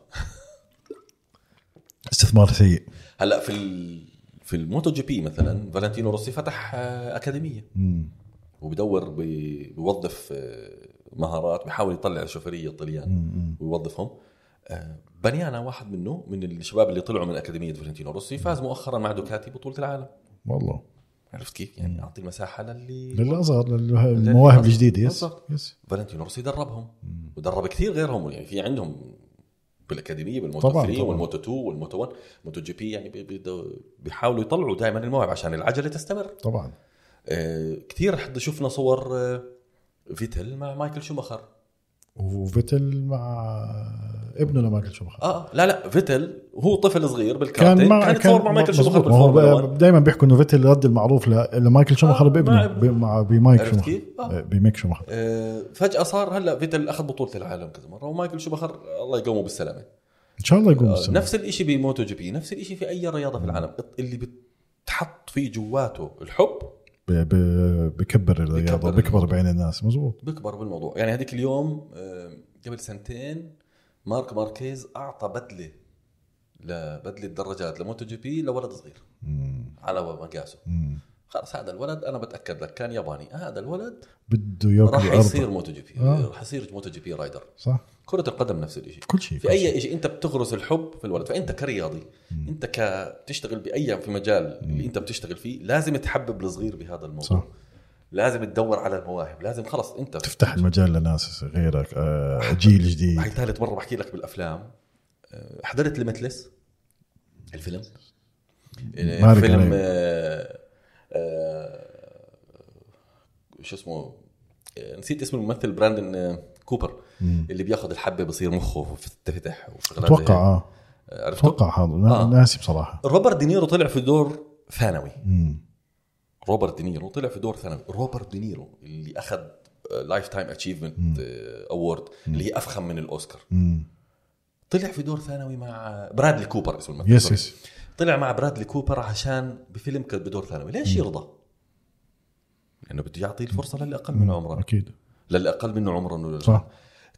استثمار سيء هلا في ال... في الموتو جي بي مثلا فالنتينو روسي فتح آه، اكاديميه وبدور بي... بيوظف آه، مهارات بحاول يطلع شوفيريه طليان ويوظفهم آه، بنيانا واحد منه من الشباب اللي طلعوا من اكاديميه فالنتينو روسي فاز مؤخرا مع دوكاتي بطوله العالم والله عرفت كيف؟ يعني اعطي المساحه للي للاصغر للمواهب الجديده يس بالضبط. يس فالنتينو روسي دربهم ودرب كثير غيرهم يعني في عندهم بالاكاديميه بالموتو طبعاً، 3 طبعاً. والموتو 2 والموتو 1 موتو جي بي يعني بي- بي- بيحاولوا يطلعوا دائما المواهب عشان العجله تستمر طبعا آه كثير حد شفنا صور آه فيتل مع مايكل شوماخر وفيتل مع ابنه لما اكل شوبخر اه لا لا فيتل هو طفل صغير بالكارتين كان, كان مع كان يتصور مع مايكل شوماخر بالفورمولا 1 دائما بيحكوا انه فيتل رد المعروف ل- لمايكل شوماخر آه، بابنه مع ب- مع بمايك عرفت شوماخر كيف؟ آه. آه، بميك شوماخر آه، فجاه صار هلا فيتل اخذ بطوله العالم كذا مره ومايكل شوماخر الله يقومه بالسلامه ان شاء الله يقوم آه، بالسنة. نفس الشيء بموتو جي بي نفس الشيء في اي رياضه في العالم اللي بتحط فيه جواته الحب ب- ب- بكبر الرياضه بكبر. بكبر بعين الناس مزبوط بكبر بالموضوع يعني هذيك اليوم آه، قبل سنتين مارك ماركيز اعطى بدله لبدله دراجات لموتو جي بي لولد صغير على مقاسه خلص هذا الولد انا بتاكد لك كان ياباني هذا الولد بده ياكل راح يصير الارض موتو جي بي آه. راح يصير موتو جي بي رايدر صح كره القدم نفس الشيء كل شيء في اي شيء انت بتغرس الحب في الولد فانت كرياضي انت ك بتشتغل باي في مجال اللي انت بتشتغل فيه لازم تحبب الصغير بهذا الموضوع صح. صح. لازم تدور على المواهب لازم خلص انت تفتح المجال لناس غيرك آه، جيل جديد [LAUGHS] هاي ثالث مره بحكي لك بالافلام أه، حضرت ليمتلس الفيلم يعني مارك فيلم عليه. آه، آه، شو اسمه آه، نسيت اسم الممثل براندن آه، كوبر اللي بياخذ الحبه بصير مخه بتفتح وشغلات زي اتوقع هيك. اه آه، عرفته؟ اتوقع هذا نا- آه. ناسي بصراحه روبرت دينيرو طلع في دور ثانوي مم. روبرت دينيرو طلع في دور ثانوي روبرت دينيرو اللي أه، اخذ لايف تايم اتشيفمنت اوورد أه، اللي هي افخم من الاوسكار مم. طلع في دور ثانوي مع برادلي كوبر اسمه الممثل يس سوري. يس طلع مع برادلي كوبر عشان بفيلم كان بدور ثانوي ليش يرضى؟ لانه بده يعطيه الفرصه للي اقل من عمره اكيد للي اقل منه عمرا ولا صح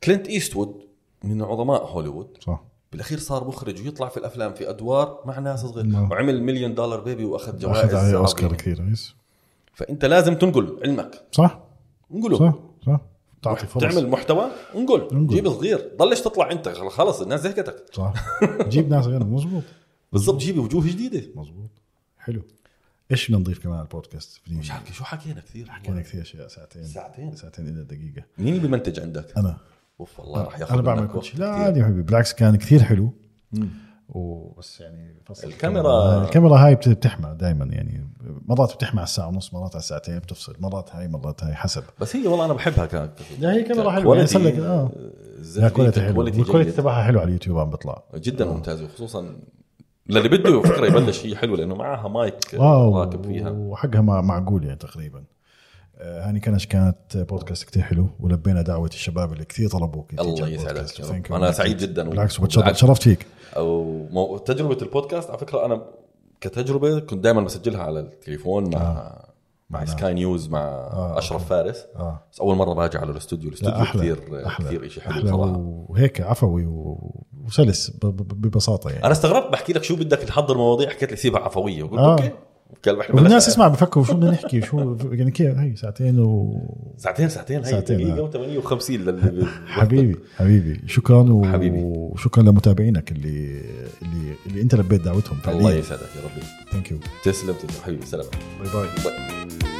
كلينت ايستوود من عظماء هوليوود صح بالاخير صار مخرج ويطلع في الافلام في ادوار مع ناس صغير نعم. وعمل مليون دولار بيبي واخذ جوائز اخذ عليه اوسكار عظيمة. كثير يس فانت لازم تنقل علمك صح انقله صح صح تعطي فرص تعمل محتوى انقل انقل. جيب صغير ضلش تطلع انت خلص الناس زهقتك صح جيب ناس غيرهم مزبوط بالضبط جيب وجوه جديده مزبوط حلو ايش بدنا نضيف كمان على البودكاست مش عارف شو حكينا كثير حكينا كثير اشياء ساعتين ساعتين. ساعتين الى دقيقه مين اللي بمنتج عندك؟ انا اوف والله راح ياخذ انا بعمل كل شيء لا عادي يا حبيبي بالعكس كان كثير حلو وبس يعني فصل الكاميرا- الكاميرا هاي بت- بتحمى دائما يعني مرات بتحمى على الساعه ونص مرات على الساعتين بتفصل مرات هاي مرات هاي حسب بس هي والله انا بحبها كانت لا، هي كاميرا حلوة، يعني سلك- آه. لا كواليتي حلو والكواليتي جيد تبعها حلو على اليوتيوب عم بيطلع جدا ممتازه وخصوصا للي بده فكره يبلش هي حلوه لانه معها مايك واو راكب فيها وحقها مع- معقول يعني تقريبا آه، هاني كنش كانت بودكاست كتير حلو ولبينا دعوة الشباب اللي كثير طلبوك أنت الله تجي على يسعدك البودكاست. يا Thank رب. you. انا سعيد جدا بالعكس وتشرف- وبالعكس شرفت فيك او مو- تجربه البودكاست على فكره انا كتجربه كنت دائما بسجلها على التليفون مع مع سكاي نيوز مع اشرف فارس آه. بس اول مره باجي على الاستوديو لا الاستوديو أحلى كثير أحلى كثير شيء حلو أحلى صراحه وهيك عفوي و- وسلس ب- ب- ببساطة يعني انا استغربت بحكي لك شو بدك نحضر مواضيع حكيت لي سيبها عفويه قلت آه. اوكي كان بحكي والناس بلاش- اسمع بفكروا شو بدنا نحكي شو يعني كيف هي ساعتين و ساعتين ساعتين هي ساعتين، آه. دقيقه و58 للي [LAUGHS] حبيبي حبيبي شكرا و... حبيبي. وشكرا لمتابعينك اللي اللي اللي انت لبيت دعوتهم الله يسعدك يا ربي ثانك يو تسلم تسلم حبيبي سلام باي باي باي.